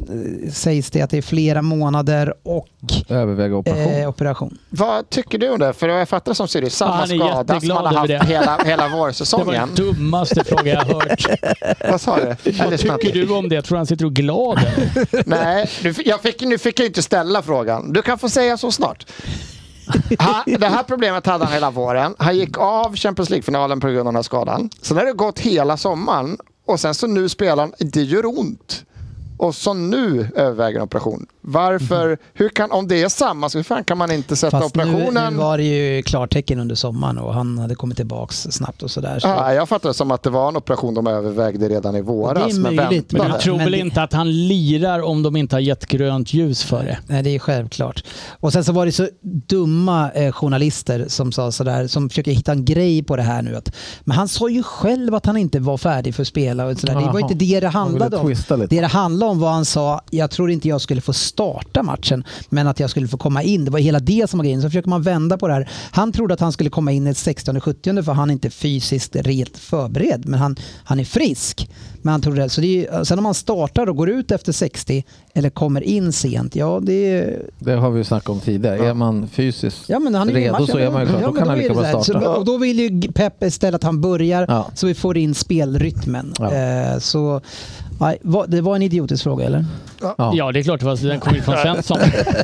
sägs det att det är flera månader och Överväga operation. eh, operation. Vad tycker du om det? För jag fattar det som Siri, Ja, samma han är skada som jätteglad han har haft över det. hela, hela [LAUGHS] Det var vårsäsongen. den dummaste frågan jag har [LAUGHS] hört. Vad sa du? Jag Vad lyssnade tycker inte. du om det? Jag tror han sitter och är glad. eller? Nej, du, jag fick, nu fick jag inte ställa frågan. Du kan få säga så snart. Ha, det här problemet hade han hela våren. Han gick av Champions League-finalen på grund av den här skadan. Sen har det gått hela sommaren och sen så nu spelar han, det gör ont. Och så nu överväger en operation. Varför? Hur kan, om det är samma, så hur fan kan man inte sätta Mm. Fast nu, operationen? nu var det ju klartecken under sommaren och han hade kommit tillbaka snabbt och sådär. Så. Ja, jag fattar det som att det var en operation de övervägde redan i våras. Det är men möjligt, Men du väntade. tror Men väl det- inte att han lirar om de inte har gett grönt ljus för det? Nej, det är självklart. Och sen så var det så dumma eh, journalister som sa sådär, som försöker hitta en grej på det här nu. Att, men han sa ju själv att han inte var färdig för att spela. Och sådär. Det var Aha. inte det det handlade ville om. twista lite. Det det handlade om var han sa, jag tror inte jag skulle få starta matchen, men att jag skulle få komma in. Det var hela det som var grejen. Så försöker man vända på det här. Han trodde att han skulle komma in i 60-70 för han är inte fysiskt rejält förberedd, men han, han är frisk. Men han trodde, så det är, ju- sen om man startar och går ut efter 60 eller kommer in sent, ja det är Det har vi ju snackat om tidigare. Är man fysiskt Ja, men han är ju i redo matchen. så är man ju klar. Ja, då men kan han är det lika så bra här. starta. Så, och då vill ju Pep istället att han börjar Ja. så vi får in spelrytmen. Ja. Eh, så Nej, va- det var en idiotisk fråga eller? Ja. Ja, det är klart. Det var, den kom in från Svensson. Nej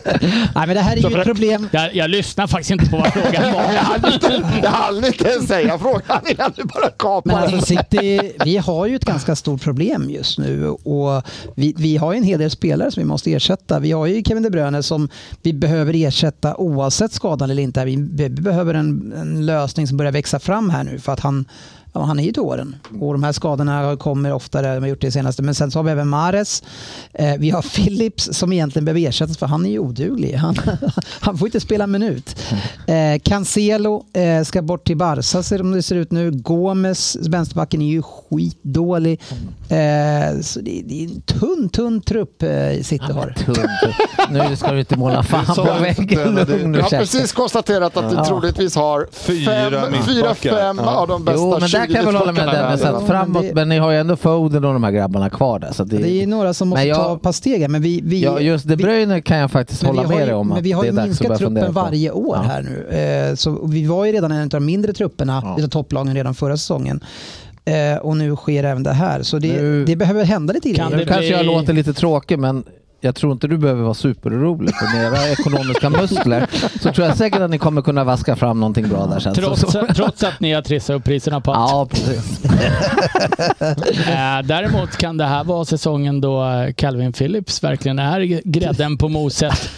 men det här är ju ett problem. Jag, jag lyssnar faktiskt inte på vad frågan [LAUGHS] var. Jag hann inte- jag hann inte ens säga frågan innan du bara Men kapade. alltså City, vi har ju ett ganska stort problem just nu och vi, vi har ju en hel del spelare som vi måste ersätta. Vi har ju Kevin De Bruyne som vi behöver ersätta oavsett skadan eller inte. Vi, vi behöver en, en lösning som börjar växa fram här nu för att han, ja, han är ju till åren. Och de här skadorna kommer oftare, de har gjort det senaste. Men sen så har vi även Mares. Eh, vi har [LAUGHS] Philips som egentligen behöver ersättas för han är ju oduglig. Han, [LAUGHS] han får inte spela en minut. Eh, Cancelo eh, ska bort till Barca ser om det ser ut nu. Gomes, vänsterbacken, är ju skitdålig. Eh, så det, det är en tunn, tunn trupp eh, City har. Nu ska du inte måla fan sa på inte väggen. när du- Lugn Jag och har käften. precis konstaterat att vi troligtvis har Fyra fem, mittbackar. fyra, fem Ja. av de bästa Jo, men där kan jag väl hålla med Dennis. mittbackarna i Att världen. framåt, det- men ni har ju ändå Foden och de här grabbarna kvar där. Så att det, Det är ju några som Men måste jag- ta ett par steg här, men vi... vi ja, just De vi- Bruyne kan jag faktiskt men vi hålla har med ju- dig om. Men att vi har det är ju dags att minskat börja fundera truppen på. varje år Ja. här nu. Eh, så vi var ju redan en av de mindre trupperna, Ja. utav topplagen, redan förra säsongen. Eh, och nu sker även det här. Så det, Nu- det behöver hända lite Kan grejer. Nu det kanske jag blir- låter lite tråkig, men jag tror inte du behöver vara superorolig för med [LAUGHS] era ekonomiska muskler så tror jag säkert att ni kommer kunna vaska fram någonting bra där sen. Trots, så, så. trots att ni har trissat upp priserna på allt. Ja, precis. Eh, Däremot kan det här vara säsongen då eh, Calvin Phillips verkligen är g- grädden på moset.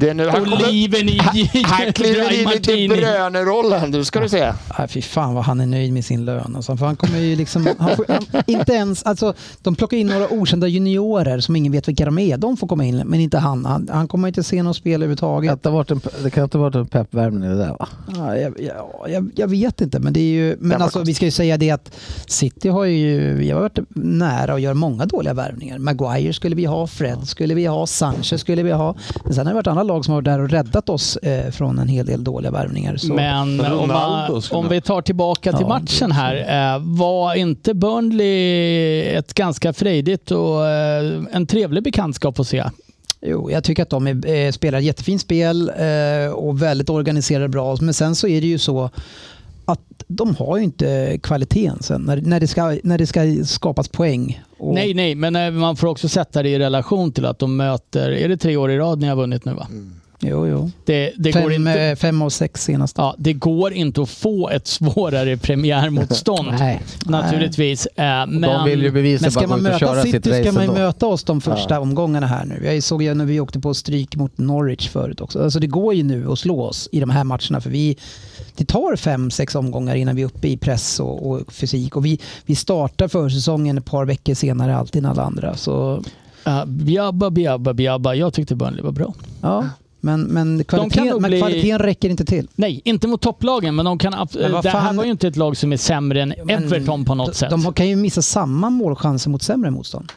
Det är nu han kommer... Oliven i [LAUGHS] Han kliver dry in i De martini. Bruyne-rollen, du ska du se. Ah, fy fan vad han är nöjd med sin lön. Alltså, för han kommer ju liksom, han får, han, inte ens, alltså, de plockar in några okända juniorer som ingen vet vilka de är. De får komma in, men inte han. Han, han kommer inte se något spel Det kan överhuvudtaget. inte ha varit en, det kan inte ha varit en peppvärmning det där va? Ja, jag, ja, jag, jag vet inte, men, det är ju, var men alltså, vi ska ju säga det att City har ju vi har varit nära och gör många dåliga värvningar. Maguire skulle vi ha, Fred skulle vi ha, Sanchez skulle vi ha. Men sen har det varit andra lag som har varit där och räddat oss eh, från en hel del dåliga värvningar. Så. Men om, Ronaldo man, skulle om jag- vi tar tillbaka till Ja, matchen här. eh, Var inte Burnley ett ganska frejdigt och eh, en trevlig bekantskap att se? Jo, jag tycker att de är, eh, spelar jättefint spel eh, och väldigt organiserade bra. Men sen så är det ju så att de har ju inte kvaliteten sen när, när, det, ska, när det ska skapas poäng. Och Nej, nej, men eh, man får också sätta det i relation till att de möter, är det tre år i rad ni har vunnit nu va? Jo, jo. Det, det går Fem, inte... eh, fem av sex senast. Ja, det går inte att få ett [LAUGHS] svårare premiärmotstånd Nej. naturligtvis. eh, Men, De vill ju Men bevisligen ska Mm. bara man gå ut och köra möta sitt City race ska man ju ändå. möta oss de första omgångarna här nu. Jag såg ju när vi åkte på stryk mot Norwich förut också. Alltså det går ju nu att slå oss i de här matcherna för vi, det tar fem, sex omgångar innan vi är uppe i press och, och fysik. Och vi, vi startar försäsongen ett par veckor senare alltid än alla andra. Så eh, bjabba, bjabba, bjabba. Jag tyckte Burnley var bra. ja, men, men, kvaliteten, nog men bli- kvaliteten räcker inte till. Nej, inte mot topplagen, men de kan... ab- Men vad det här fan- var ju inte ett lag som är sämre än Men Everton på något de, sätt. De har- kan ju missa samma målchanser mot sämre motstånd.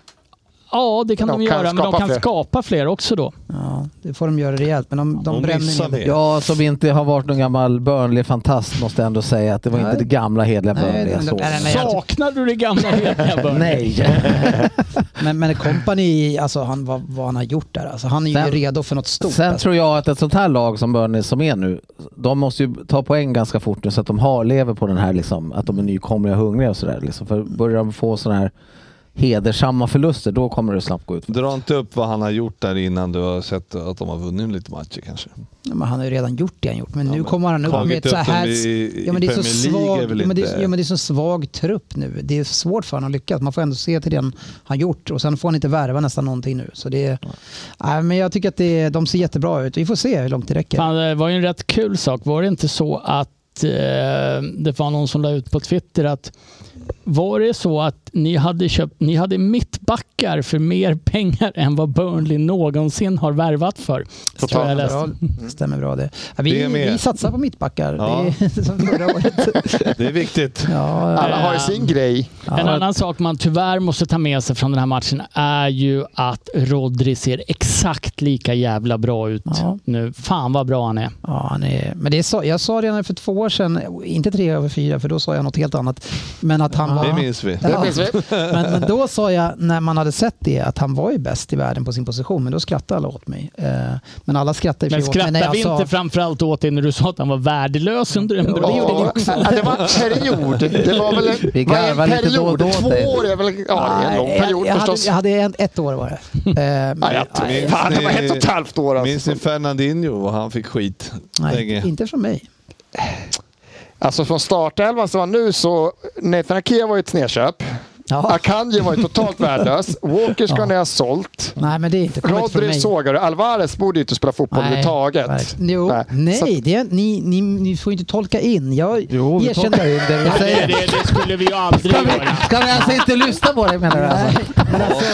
Ja, det kan De de, kan göra, men de skapa kan fler. skapa fler också då. Ja, det får de göra rejält. Men de, de, de missar bränner ner. det. Jag som inte har varit någon gammal Burnley-fantast måste ändå säga att det var Nej. inte det gamla hederliga Nej, Burnley jag men- såg. nej, nej, jag- Saknar du det [LAUGHS] gamla hederliga Burnley? Nej. Men, men Company, alltså han, vad, vad han har gjort där. Alltså, han är Sen- ju redo för något stort. Sen alltså. tror jag att ett sånt här lag som Burnley som är nu, de måste ju ta poäng ganska fort nu så att de har, lever på den här liksom, att de är nykomlingar och hungriga och sådär. Liksom. För börjar de få sådana här hedersamma förluster, då kommer det snabbt gå ut. Dra inte upp vad han har gjort där innan du har sett att de har vunnit lite matcher kanske. Ja, men han har ju redan gjort det han gjort. Men nu kommer han upp med ett så här... Ja, men det är så svag, ja, men det är, ja, men det är så svag trupp nu. Det är svårt för honom att lyckas. Man får ändå se till det han har gjort. Och sen får han inte värva nästan någonting nu. Så det är, nej, men jag tycker att det, är- de ser jättebra ut. Vi får se hur långt det räcker. Fan, det var ju en rätt kul sak. Var det inte så att eh, det var någon som la ut på Twitter att var det så att ni hade, köpt, ni hade mittbackar för mer pengar än vad Burnley någonsin har värvat för? Så tror jag jag läste. Bra. Stämmer bra det. Ja, vi, Det är med. vi satsar på mittbackar. Ja. Det är [LAUGHS] som förra året. Det är viktigt. Ja, Alla har ju sin grej. En annan sak man tyvärr måste ta med sig från den här matchen är ju att Rodri ser exakt lika jävla bra ut Ja. nu. Fan vad bra han är. Ja, han är, men det sa, jag sa redan för två år sedan, inte tre över fyra för då sa jag något helt annat, men att att han var... Det minns vi. Ja. Men, men då sa jag, när man hade sett det, att han var ju bäst i världen på sin position. Men då skrattade alla åt mig. Eh, Men alla skrattade i och för Men sig åt mig alltså- när skrattade jag vi sa... inte framförallt åt dig när du sa att han var värdelös under en det gjorde ni Ja, också. ja, det var en period. Det var väl en, Vi vad är garvar en lite period. då och då åt Två dig. år är väl... Ja, det är en lång Nej, jag- period jag, hade, förstås. jag hade en, ett år var det. Eh, men- Nej, jag- nej, Fan, det var ett och ett halvt år Minns alltså. ni Fernandinho? Och Han fick skit nej, länge. inte från mig. Alltså från startelvan som var nu så... Nathan Akia var ju ett snedköp. Ja. Akanji var ju totalt värdelös. Walker ska ni ha sålt. Nej, men det är inte kommit från Rodri mig. sågar du. Alvarez borde ju inte spela fotboll Nej, överhuvudtaget. verkligen. Jo, nej, Så att- det, är- ni, ni, ni får ju inte tolka in. Jag Jo, vi erkänner... tolkar in det vi Det, säger. det, det skulle vi ju aldrig Ska göra. vi, ska vi alltså inte lyssna på dig menar du? Alltså?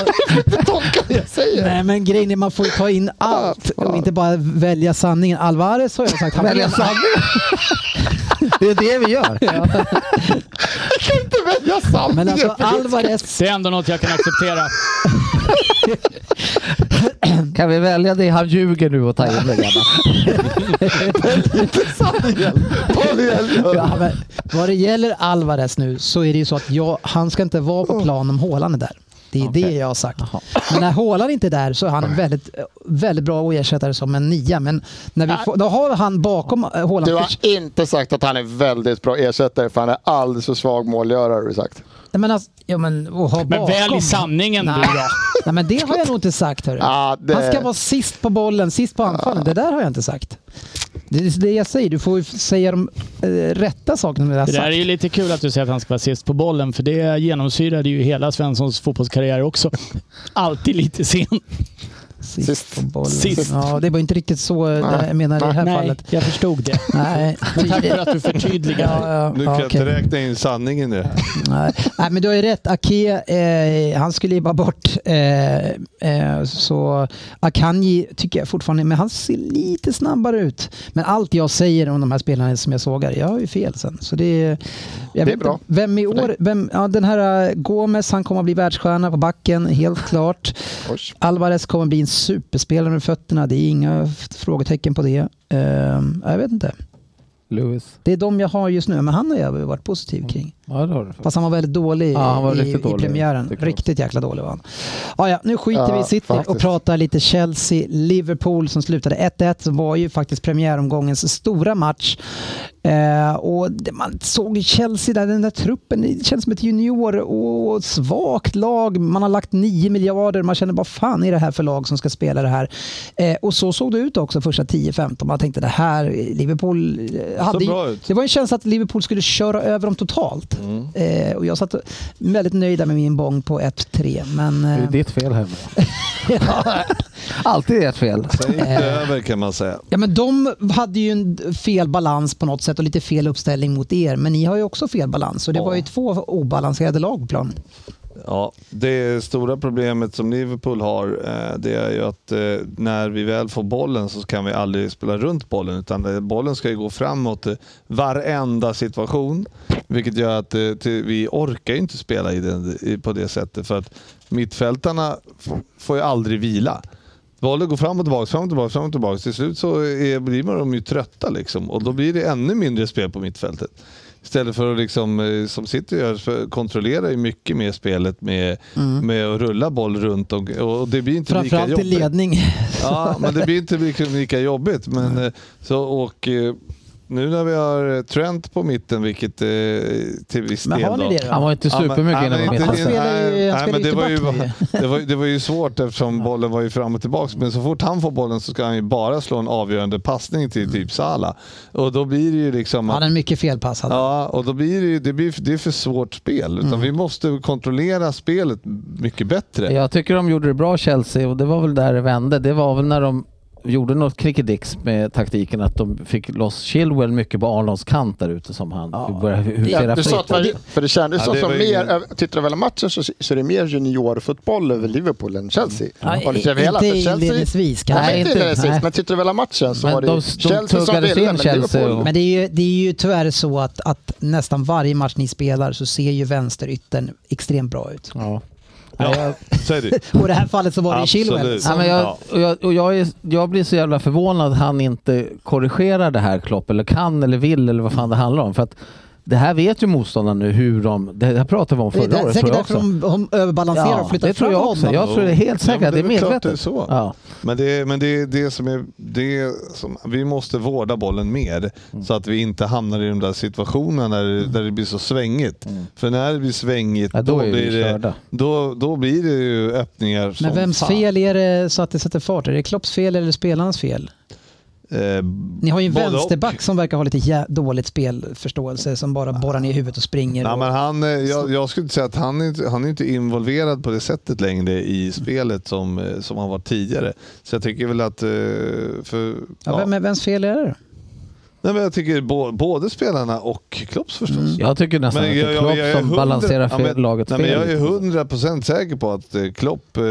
[LAUGHS] tolka det jag säger. Nej men grejen är man får ju ta in allt och inte bara välja sanningen. Alvarez har jag sagt. Han Välja sanningen? Det är det vi [LAUGHS] gör. Inte välja sanningen. Men alltså Alvarez, Det är ändå något jag kan acceptera. Kan vi välja det? Han ljuger nu och tar in det gamla. [LAUGHS] ja, men vad det gäller Alvarez nu så är det ju så att jag, han ska inte vara Mm. på plan om Haaland är där. Det är det jag har sagt. Men när Haaland inte är där så är han en väldigt, väldigt bra att ersätta det som en nia. Men när vi får, då har han bakom eh, Haaland. Du har inte sagt att han är väldigt bra ersättare för han är alldeles för svag målgörare har du sagt. Nej, men alltså, ja, men, och ha Men bakom. välj sanningen du Nej. då. Nej, men det har jag nog inte sagt. Hörru. Ja, det- Han ska vara sist på bollen, sist på anfallen. Det där har jag inte sagt. Det är det jag säger. Du får ju säga de eh, rätta sakerna. Jag har Det där är sagt. ju lite kul att du säger att han ska vara sist på bollen, för det genomsyrade ju hela Svenssons fotbollskarriär också. Alltid lite sen. Sist, Sist. på bollen. Sist. Ja, det var inte riktigt så eh, jag menar i det här Nej, fallet. jag förstod det. [LAUGHS] Nej. Tack för att du förtydligar. Ja, ja, Nu kan ja, jag inte okej. räkna in sanningen nu. Nej. Nej, men du har ju rätt. Ake, eh, han skulle ju bara bort. Eh, eh, så Akanji tycker jag fortfarande, men han ser lite snabbare ut. Men allt jag säger om de här spelarna som jag sågar, jag har ju fel sen. Så det, är- jag vet inte bra. Vem i För dig. år, vem, ja, den här eh, Gomes, han kommer att bli världsstjärna på backen, helt klart. Oj. Alvarez kommer att bli en superspelare med fötterna, det är inga f- frågetecken på det. Eh, jag vet inte. Lewis. Det är de jag har just nu, men han har jag varit positiv kring. Ja, det har du. Fast han var väldigt dålig Ja, han var i, riktigt dålig, i premiären. tycker jag Riktigt jäkla dålig var han. Ja, ja, nu skiter Ja, vi i City och faktiskt. pratar lite Chelsea-Liverpool som slutade 1-1. som var ju faktiskt premiäromgångens stora match. Eh, och det, man såg ju Chelsea där, den där truppen, det känns som ett junior och svagt lag. Man har lagt 9 miljarder, man känner vad fan är det här för lag som ska spela det här? Eh, och så såg det ut också första 10-15. Man tänkte det här, Liverpool eh, hade ju- bra ut. det var en känsla att Liverpool skulle köra över dem totalt. Eh, och jag satt väldigt nöjd där med min bong på 1-3. Men, Det är eh, ditt fel hemma. [LAUGHS] Alltid ert fel. Säg inte Eh. över kan man säga. ja, men de hade ju en fel balans på något sätt och lite fel uppställning mot er. Men ni har ju också fel balans och det Ja. var ju två obalanserade lag på planen. Ja, det stora problemet som Liverpool har eh, det är ju att eh, när vi väl får bollen så kan vi aldrig spela runt bollen utan eh, bollen ska ju gå framåt eh, varenda situation. Vilket gör att eh, till- vi orkar ju inte spela i den, i, på det sättet för att mittfältarna f- får ju aldrig vila. Bollen går fram och tillbaka, fram och tillbaka, fram och tillbaka. Till slut så är, blir man de ju trötta liksom och då blir det ännu mindre spel på mittfältet. Istället för att liksom, eh, som City gör, så kontrollerar ju mycket mer spelet med, med att rulla boll runt och, och det blir inte lika Mm. Framförallt i jobbigt. ledning. Ja, men det [LAUGHS] blir inte lika, lika jobbigt. Men, eh, så, och, eh, nu när vi har eh, Trent på mitten, vilket eh, till viss Men del har då, ni det Han då? var inte supermycket Ja, men- innan ja, men man inte- petade. Han spelar ju- nej, han spelar men ju det var ju- ytterback [LAUGHS] det var, det var ju svårt eftersom bollen var ju fram och tillbaka. Men så fort han får bollen så ska han ju bara slå en avgörande passning till typ Salah. Och då blir det ju liksom... Mm. Han att- hade mycket felpass. hade han. Ja, och då blir det ju det blir, det är för svårt spel. Mm. Utan Vi måste kontrollera spelet mycket bättre. Jag tycker de gjorde det bra Chelsea och det var väl där det vände. Det var väl när de gjorde något kickedicks med taktiken att de fick loss Chilwell mycket på Arnolds kant där ute som han började husera Ja, du sa att fritt. det, för det kändes Ja, som det som var mer, ingen- över- tittar du väl på matchen så, så är det mer juniorfotboll över Liverpool än Chelsea. Ja, Har du sett i- hela? inte För Chelsea- inledningsvis, Nej, kanske. men inte Nej, inte- inledningsvis. nej. Men tittar du väl på matchen så Men var det de- ju de Chelsea som tuggades ville, in men Chelsea Liverpool... och- Men det är, ju, det är ju tyvärr så att, att nästan varje match ni spelar så ser ju vänsteryttern extremt bra ut. Ja. Ja, [LAUGHS] säg du. Och i det här fallet så var det ju Chilwell. Absolut. Ja, som- men jag, och jag, och jag, är, jag blir så jävla förvånad att han inte korrigerar det här Klopp eller kan eller vill eller vad fan det handlar om. För att Det här vet ju motståndarna nu hur de... Det här pratade vi om Det förra är där- året tror säkert jag därför också. de de överbalanserar och flyttar det tror jag fram också. honom. Jag tror det är helt Ja, säkert men att det är väl klart det är medvetet. så. Ja. Men, det, är- men det, är det som är, det är som, vi måste vårda bollen mer Mm. så att vi inte hamnar i de där situationerna där, det- där det blir så svängigt. För när det blir svängigt Mm. Ja, då då, är vi blir det, körda. då, då blir det ju öppningar som Men vems fan. fel är det så att det sätter fart? Är det Klopps fel eller spelarnas fel? Eh, Ni har ju en både och. vänsterback som verkar ha lite jä- dåligt spelförståelse som bara borrar ner huvudet och springer. Nej, och- men han, eh, jag, jag skulle säga att han är, inte- han är inte involverad på det sättet längre Mm. i spelet som, eh, som han var tidigare. Så jag tycker väl att... eh, För, ja, ja. vem, vems fel är det? Nej, men jag tycker bo, både spelarna och Klopps förstås. Jag tycker nästan att det är Klopp är som hundra- balanserar ja, fel, men- laget nej, men fel. liksom. Jag är lite. hundra procent säker på att eh, Klopp eh,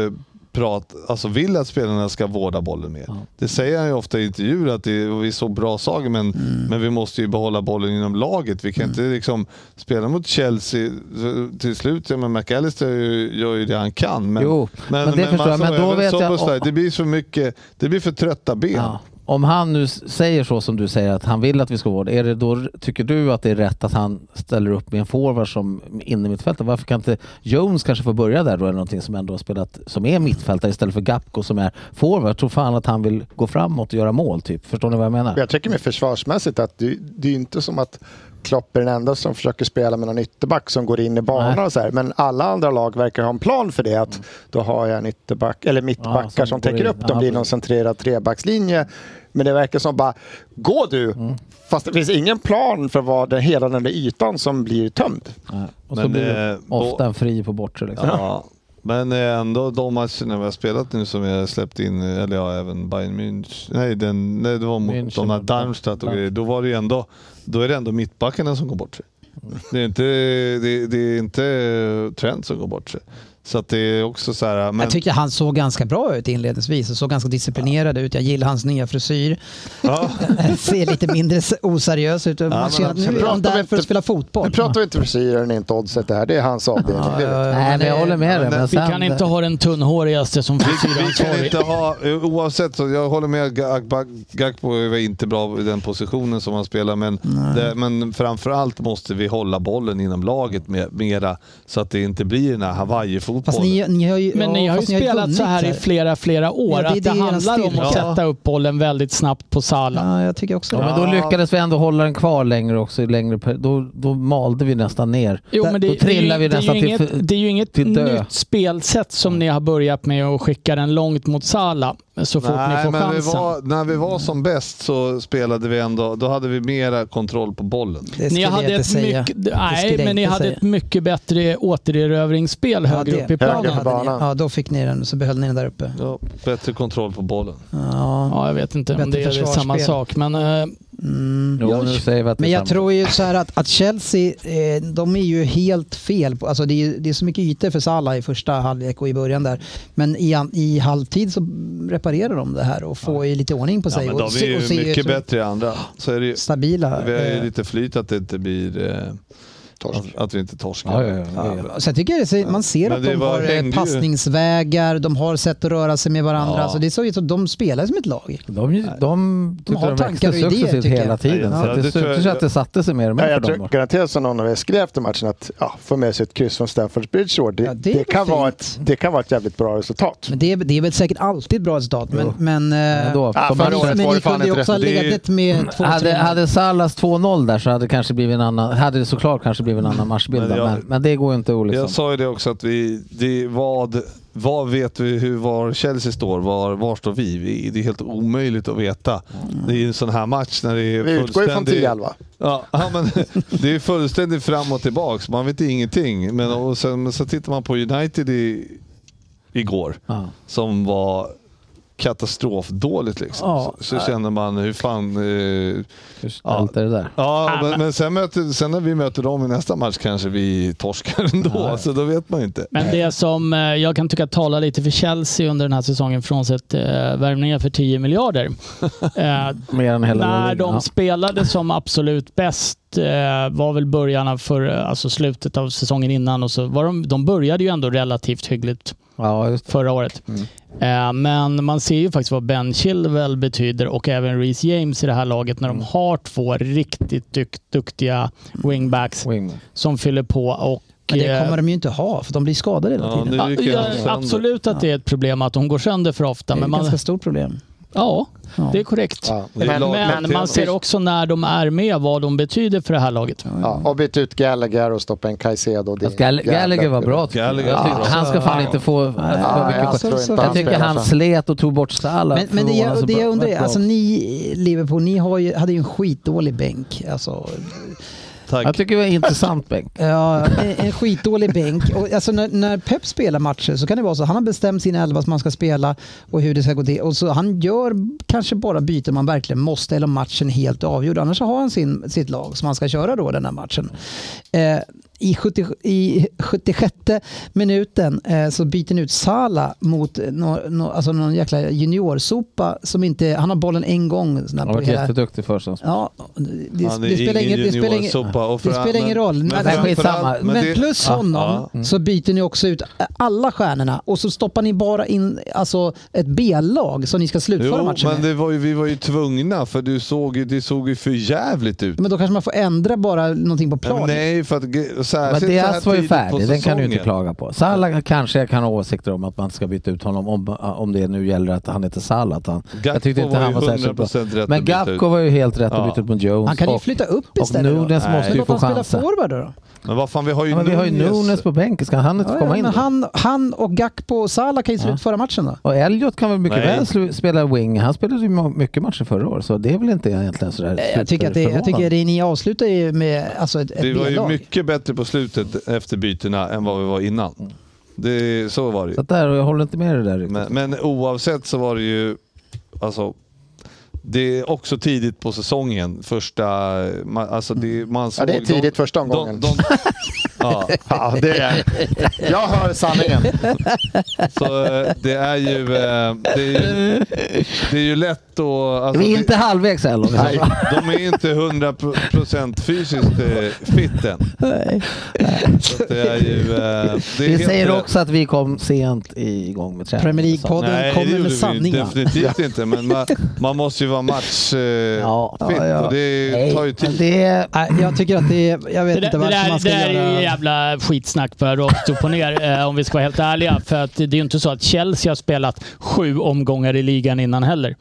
prat, alltså vill att spelarna ska vårda bollen mer. Det säger han ju ofta i intervjuer att det är, vi är så bra saker men, Mm. men vi måste ju behålla bollen inom laget. Vi kan inte liksom spela mot Chelsea så- till slut. Ja, men McAllister gör ju- gör ju det han kan. Men, Jo, men det förstår jag, man- men då även vet jag- Soboslaj, Det blir för mycket, det blir för trötta ben. Ja. Om han nu s- säger så som du säger att han vill att vi ska vårda, är det då, tycker du att det är rätt att han ställer upp med en forward som inne i mittfältet? Varför kan inte Jones kanske få börja där då eller någonting som ändå har spelat, som är mittfältare istället för Gapko som är forward? Jag tror fan att han vill gå framåt och göra mål typ. Förstår ni vad jag menar? Jag tycker med försvarsmässigt att det, det är ju inte som att Klopp är den enda som försöker spela med någon ytterback som går in i banan Nej. Mm. och så här. Men alla andra lag verkar ha en plan för det. Att Då har jag en ytterback, eller mittbackar Ja, som, som går täcker in. upp dem. Ja, blir någon precis. centrerad trebackslinje. Men det verkar som bara, gå du! Mm. Fast det finns ingen plan för vad den, hela den där ytan som blir tömd. Nej. Och så Men, blir det eh, ofta då- en fri på bortre liksom. Ja. Men eh, ändå de matcherna vi har spelat nu som jag släppt in, eller ja, även Bayern München. Nej, den, nej det var mot München. de här Darmstadt och grejer. Då var det ju ändå, då är det ändå mittbackarna som går bort sig. Det är inte, det, det är inte Trent som går bort sig. Så att det är också så här, men Jag tyckte han såg ganska bra ut inledningsvis och såg ganska disciplinerad ut. Jag gillar hans nya [LAUGHS] frisyr. ja, Ser lite mindre s- oseriös ut. Man men alltså, ser att nu är absolut. han där för att spela Nu fotboll. pratar vi inte frisyren, inte oddset det här. Det är hans avdelning. Ja, Det vet jag. ja, Nej men jag håller med dig. men Men Vi sen, kan inte ha den tunnhårigaste som vi kan frisyransvarig. inte ha, oavsett, så jag håller med Gakpo- Gakpo var inte bra i den positionen som han spelar, men, det, men framförallt måste vi hålla bollen inom laget med, mera så att det inte blir den här Fast Hawaii-fotbollen. ni, ni har ju, Men ni ja, har ju fast ni spelat vunnit så här i flera, flera år. Ja, det är att det det jag handlar om att styrka. sätta upp bollen väldigt snabbt på Salah. Ja, jag tycker också Ja, det. men då lyckades vi ändå hålla den kvar längre också. i Längre, per- då, då malde vi nästan ner. Jo, men det, då trillar det, är ju- vi nästan det är ju till- inget, Det är ju inget till dö. nytt spelsätt som ni har börjat med att skicka den långt mot Salah så fort ni får men vi chansen. var, när vi var som bäst så spelade vi ändå, då hade vi mera kontroll på bollen. Det Ni skulle hade jag inte ett säga. mycket, Det skulle nej, jag men ni inte hade säga. ett mycket bättre återerövringsspel det- högre upp i Högre planen. på hade ni. banan. Ja, då fick ni den så behöll ni den där uppe. Ja, bättre kontroll på bollen. Ja. Ja, jag vet inte om Bättre det är samma försvarsspel. sak, men eh, Mm. Jo, nu säger vi att Men vi jag samlar. tror ju så här att, att Chelsea, eh, de är ju helt fel. På, alltså det, är, ju- det är så mycket ytor för Salah i första halvlek och i början där. Men i, an- i halvtid så reparerar de det här och får ju lite ordning på Ja, sig. men och, då är vi se- och ser ju mycket så bättre i andra. Så är det ju. Stabila. Vi har ju eh, lite flyt att det inte blir eh, att, att vi inte torskar. Ja, ja, ja, ja. Ja, Sen tycker jag det ser, man ser Men att det de var- har eh, hängde ju. passningsvägar, de har sätt att röra sig med varandra. Ja. Så det såg ut som de spelar som ett lag. De, de, de, tyckte har de tankar växte och idéer, successivt tycker jag. hela tiden. Ja, så att det det tror jag- syntes att det satte sig mer och Ja, mer jag för tror dem. garanterat som någon av er skrev efter matchen att ja, få med sig ett kryss från Stamford Bridge i år. Det, Ja, det det, är väl kan vara ett, fint. det kan vara ett jävligt bra resultat. Men det, är- det är väl säkert alltid bra resultat. Men, men, eh, Ändå, Ja, de förra hade, året. men var ni det fan kunde ju inte också ha rätt. Det är ju- legat med två hade, tre. hade Salas 2-0 där så hade det kanske blivit en annan, hade det såklart kanske blivit en annan matchbild. Men Men, jag- men, det går ju inte att Jag liksom. sa ju det också att vi, det, vad, vad vet vi hur var Chelsea står? Var, var står vi? vi? Det är helt omöjligt att veta. Det är ju en sån här match när det är Vi utgår ju från fullständig- 10-11. Ja, ja, men det är fullständigt fram och tillbaks. Man vet ingenting. Men och sen, men så tittar man på United i, igår Ja. som var katastrofdåligt liksom. Ja. så, så känner man hur fan... Eh, Just Ja. Allt det där. Ja, men, men sen, möter, sen när vi möter dem i nästa match kanske vi torskar ändå, så då vet man ju inte. Men det som eh, jag kan tycka talar lite för Chelsea under den här säsongen, frånsett eh, värvningar för [LAUGHS] 10 miljarder. Eh, Mer än hela när ligan. de Ja. spelade som absolut bäst eh, var väl eh, början av för, alltså slutet av säsongen innan och så var de, de började ju ändå relativt hyggligt. Ja, just det. förra året. Mm. Eh, Men man ser ju faktiskt vad Ben Chilwell betyder och även Reece James i det här laget när de Mm. har två riktigt dyk- duktiga wingbacks Wing. som fyller på. Och, Men det eh, kommer de ju inte ha, för de blir skadade hela Ja, tiden. nu gick ju ja, han sönder. absolut att det är ett problem att de går sönder för det ofta. är Men ett man, ganska stort problem. ja, Ja. det är korrekt. Ja. Det är Men- lag- Men kapten. man ser också när de är med vad de betyder för det här laget. Ja, och bytt ut Gallagher och stoppa en Caicedo. Det är Fast Gall- jävla Gallagher var kul. bra tycker jag. Gallagher jag var tycker, bra. han ska fan inte få... Ja, för mycket jag, skit. tror inte jag tycker spelar han så. slet och tog bort Salah. Men, men det, förvånansvärt jag, det jag bra. undrar, är, alltså ni Liverpool, ni har ju, hade ju en skitdålig bänk. Alltså, Jag tycker det var intressant Bengt. ja, en- en skitdålig bänk. Och, alltså, när, när Pep spelar matcher så kan det vara så, han har bestämt sin elva som man ska spela och hur det ska gå till. Och så han gör kanske bara byten man verkligen måste eller om matchen är helt avgjord. Annars så har han sin, sitt lag som han ska köra då den här matchen. Eh, i, 70, I 76 minuten eh, så byter han ut Sala mot nå- nå- alltså någon jäkla juniorsopa som inte, han har bollen en gång. sån här Han på var hela- jätteduktig först. Ja, det, det, Han är spelar ingen, det, spelar ingen, juniorsoppa och för- det spelar ingen men- roll. men Men, Nej, skitsamma. framförallt- men men det- plus Ja, honom ja. mm. så byter ni också ut alla stjärnorna och så stoppar ni bara in alltså, ett B-lag som ni ska slutföra Jo, matchen men med. det var ju, vi var ju tvungna för du såg ju, det såg ju för jävligt ut. Men då kanske man får ändra bara någonting på planen. Nej, för att ge- Men särskilt så här Diaz var ju tidigt på färdig, den kan du ju inte säsongen. klaga på. Salah kanske jag kan ha åsikter om att man ska byta ut honom om, om det nu gäller att han heter Salah. Att han, jag tyckte inte var han ju var särskilt bra. 100% rätt Men att byta ut. Gapko var ju helt rätt att byta ut mot Jones. han kan ju och- flytta upp och istället. då. Nunes Men måste ju låt få han spela chansen. forward då. Men vad fan, vi har ju Ja, men vi har ju Nunes på bänken, ska han inte Ja, komma ja, in men då? han, han och Gakpo och Salah kan ju slutföra matchen då. Och Elliot kan väl mycket Nej. väl slu- spela wing. Han spelade ju ma- mycket matcher förra året så det är väl inte egentligen sådär Eh, Jag tycker att det, jag tycker superförvånande. det ni avslutar ju med alltså ett, ett Det var ju B-lag. mycket bättre på slutet efter bytena än vad vi var innan. Det, så var det Så ju. att där, jag håller inte med dig där riktigt. Men, men oavsett så var det ju... Alltså, det är också tidigt på säsongen. Första... ma- Alltså det, man såg, Ja, det är tidigt första de, de, omgången. de, ja, Ja, det är... Jag hör sanningen. så eh, det är ju... eh, Det är ju, det är ju lätt att... Alltså, vi är det- inte halvvägs heller. Nej, de är inte 100% fysiskt eh, fit än. Så att det är ju... eh, det är Vi helt säger rätt. också att vi kom sent igång med träningen. Premier League-podden Nej, det kommer gjorde med vi sanningar. definitivt inte. Men man, [LAUGHS] man måste ju vara matchfit eh, Ja, fit, ja, ja. och det Nej, tar ju men tid. Det är... Nej, jag tycker att det är, jag vet Det, inte där- det, varför där, man ska det där är ju göra... jävla skitsnack bara rakt upp och ner eh, om vi ska vara helt ärliga. För att det är ju inte så att Chelsea har spelat sju omgångar i ligan innan heller.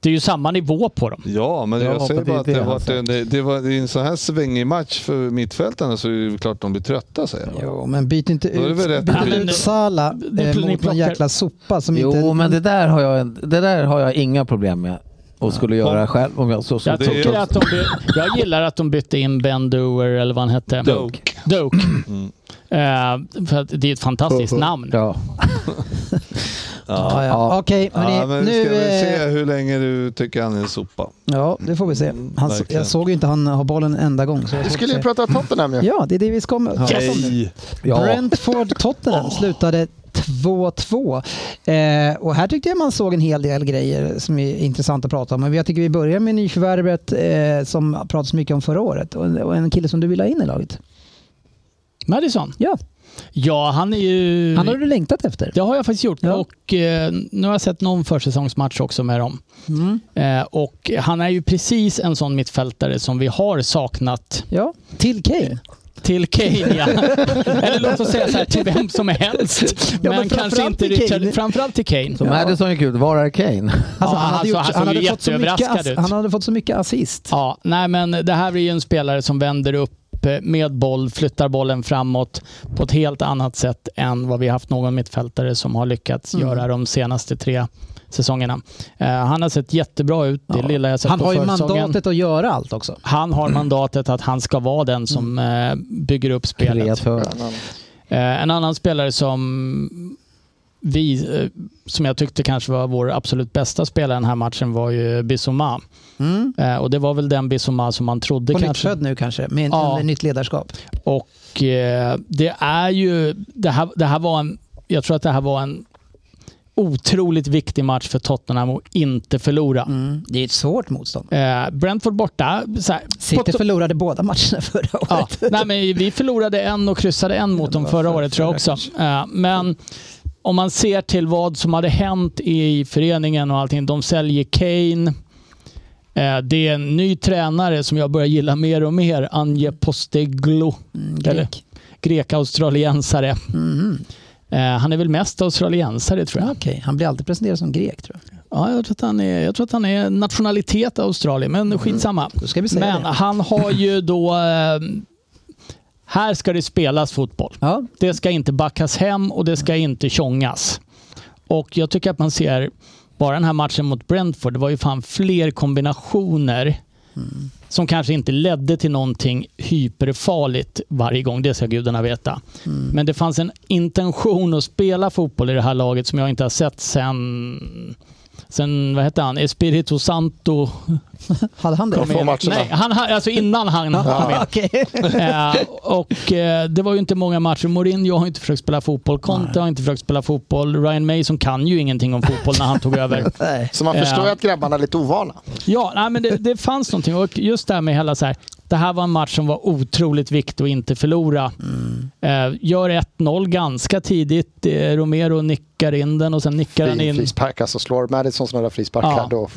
Det är ju samma nivå på dem. Ja, men Ja, jag säger men det bara är att det det, han var säger. en, det, det var i en sån här svängig match för mittfältarna så är det ju klart de blir trötta säger jag. Jo, men byt inte Då är det ut, väl rätt byt att inte byta. ut Sala Ni eh, pl- ni mot någon plockar- jäkla sopa som Jo, inte... men det där har jag, det där har jag inga problem med och skulle göra själv om jag så så Jag, det är tycker ju- att de by- jag gillar att de bytte in Ben Doer eller vad han hette. Doak. Mm. Doak. Eh, för att det är ett fantastiskt namn. Ja. Ja, ja. Ja. Okej, hörni, Ja, men nu nu... ska vi eh, se hur länge du tycker han är en sopa. Ja, det får vi se. Han, Mm, verkligen. jag såg ju inte han har bollen en enda gång. Så jag Vi får skulle se. ju prata Tottenham ju. Ja, det är det vi ska om. Nej. ja. Brentford-Tottenham slutade 2-2. Eh, och här tyckte jag man såg en hel del grejer som är intressant att prata om. Men jag tycker vi börjar med nyförvärvet eh, som pratades mycket om förra året. Och, och en kille som du vill ha in i laget. Madison. Ja, Ja, han är ju... han har du längtat efter. Det har jag faktiskt gjort. Ja. Och eh, Nu har jag sett någon försäsongsmatch också med dem. Mm. Eh, och Han är ju precis en sån mittfältare som vi har saknat Ja, till Kane. till Kane. [LAUGHS] Ja. Eller låt oss säga så här, till vem som helst. men men kanske framförallt inte till Kane. Richard. Framförallt till Kane. Så Madison gick ut, var är Kane? Alltså, Ja, han, hade alltså, gjort, han han, såg ju hade fått så mycket jätteöverraskad ass, ut. han hade fått så mycket assist. Ja, nej men det här blir ju en spelare som vänder upp eh, med boll, flyttar bollen framåt på ett helt annat sätt än vad vi haft någon mittfältare som har lyckats Mm. göra de senaste tre säsongerna. Eh, han har sett jättebra ut, det Ja. lilla jag sett Han på har ju försäsongen. mandatet att göra allt också. Han har mandatet att han ska vara den som Mm. eh, bygger upp spelet. Kreatör. Eh, En annan spelare som vi, eh, som jag tyckte kanske var vår absolut bästa spelare den här matchen var ju Bissoma. Eh, Mm. Och det var väl den Bissoma som man trodde På nytt kanske... född nu kanske, med en, Ja. en nytt ledarskap. Och eh, det är ju, det här, det här var en, jag tror att det här var en otroligt viktig match för Tottenham att inte förlora. Mm. Det är ett svårt motstånd. Eh, Brentford borta. Så här, på City to- förlorade båda matcherna [LAUGHS] förra ja, året. nej, men vi förlorade en och kryssade en mot det dem var förra för- året tror jag förra också. Eh, men om man ser till vad som hade hänt i föreningen och allting. De säljer Kane. Eh, Det är en ny tränare som jag börjar gilla mer och mer, Anje Posteglo. Eller? Mm, Grek. Grek-australiensare. Mhm. Eh, Han är väl mest australiensare tror Ja, jag. Okej, han blir alltid presenterad som grek tror jag. Ja, jag, tror att han är, jag tror att han är nationalitet Australien, men skitsamma. Då Mm. ska vi säga Men det. han har ju då... eh, Här ska det spelas fotboll. Ja, Det ska inte backas hem och det ska inte tjongas. Och jag tycker att man ser, bara den här matchen mot Brentford, det var ju fan fler kombinationer som kanske inte ledde till någonting hyperfarligt varje gång, det ska gudarna veta. Men det fanns en intention att spela fotboll i det här laget som jag inte har sett sen Sen, vad hette han, Espirito Santo? hade han det? Kom igen. På matcherna. Nej, han, ha- alltså innan han kom in. Ja, [LAUGHS] okej. Eh, och eh, det var ju inte många matcher. Mourinho har inte försökt spela fotboll. Conte har inte försökt spela fotboll. Ryan Mason kan ju ingenting om fotboll när han tog över. Nej. Så man förstår Ja. ju att grabbarna är lite ovana. Ja, nej, men det, det fanns någonting. Och just det här med hela så här. Det här var en match som var otroligt viktig att inte förlora. Eh, gör 1-0 ganska tidigt. Eh, Romero nickar in den och sen nickar han Fin in. frispark alltså. Slår Madison sådana där frisparkar Ja. då.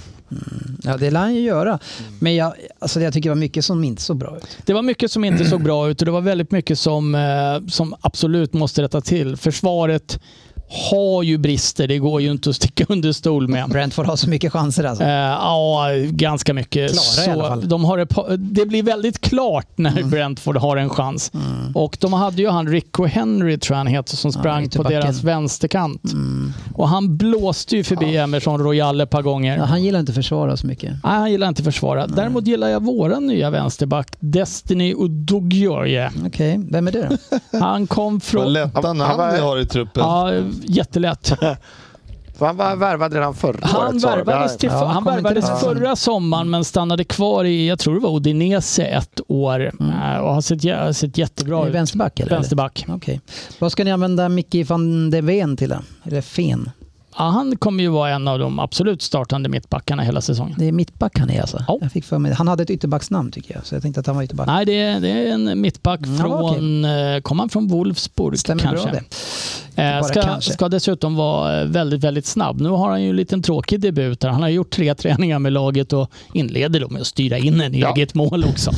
Ja, det lär han ju göra. Men jag, alltså, jag tycker det var mycket som inte såg bra ut. Det var mycket som inte såg bra ut och det var väldigt mycket som, eh, som absolut måste rätta till. Försvaret har ju brister. Det går ju inte att sticka under stol med. Brentford har så mycket chanser alltså. Eh, Ja, ganska mycket. Klara i så alla fall. Mm. De har ett, par- det blir väldigt klart när Brentford har en chans. Och de hade ju han Rico Henry, tror jag han heter, som sprang på ytterbacken. deras vänsterkant. Mm. Och han blåste ju förbi Emerson Royal ett par gånger. Ja, han gillar inte att försvara så mycket. Nej, han gillar inte försvara. Däremot gillar jag våran nya vänsterback, Destiny [LAUGHS] Odogioje. Okej, vem är det då? Han kom Vad från... lätta Han- namn han var- ni har i truppen. Ja, jättelätt. För han var värvad redan förra Han året. sa de. värvades, till, Ja, han kommer inte värvades ihåg. förra sommaren men stannade kvar i, jag tror det var Odinese ett år eh, och har sett, jä- sett jättebra Mm. Är det ut. vänsterback eller? Vänsterback. Eller? Okej. Vad ska ni använda Mickey van de Ven till då? Eller Fen? Ja, han kommer ju vara en av de absolut startande mittbackarna hela säsongen. Det är mittback han är alltså? Ja. Jag fick för mig. Han hade ett ytterbacksnamn tycker jag, så jag tänkte att han var ytterback. Nej, det är, det är en mittback Mm, Ja, från... eh, Kom han från Wolfsburg Stämmer kanske? bra det. Eh, Bara Ska, kanske. ska dessutom vara eh, väldigt, väldigt snabb. Nu har han ju en liten tråkig debut. Där. Han har gjort tre [LAUGHS] träningar med laget och inleder då med att styra in en Ja. eget mål [LAUGHS] också.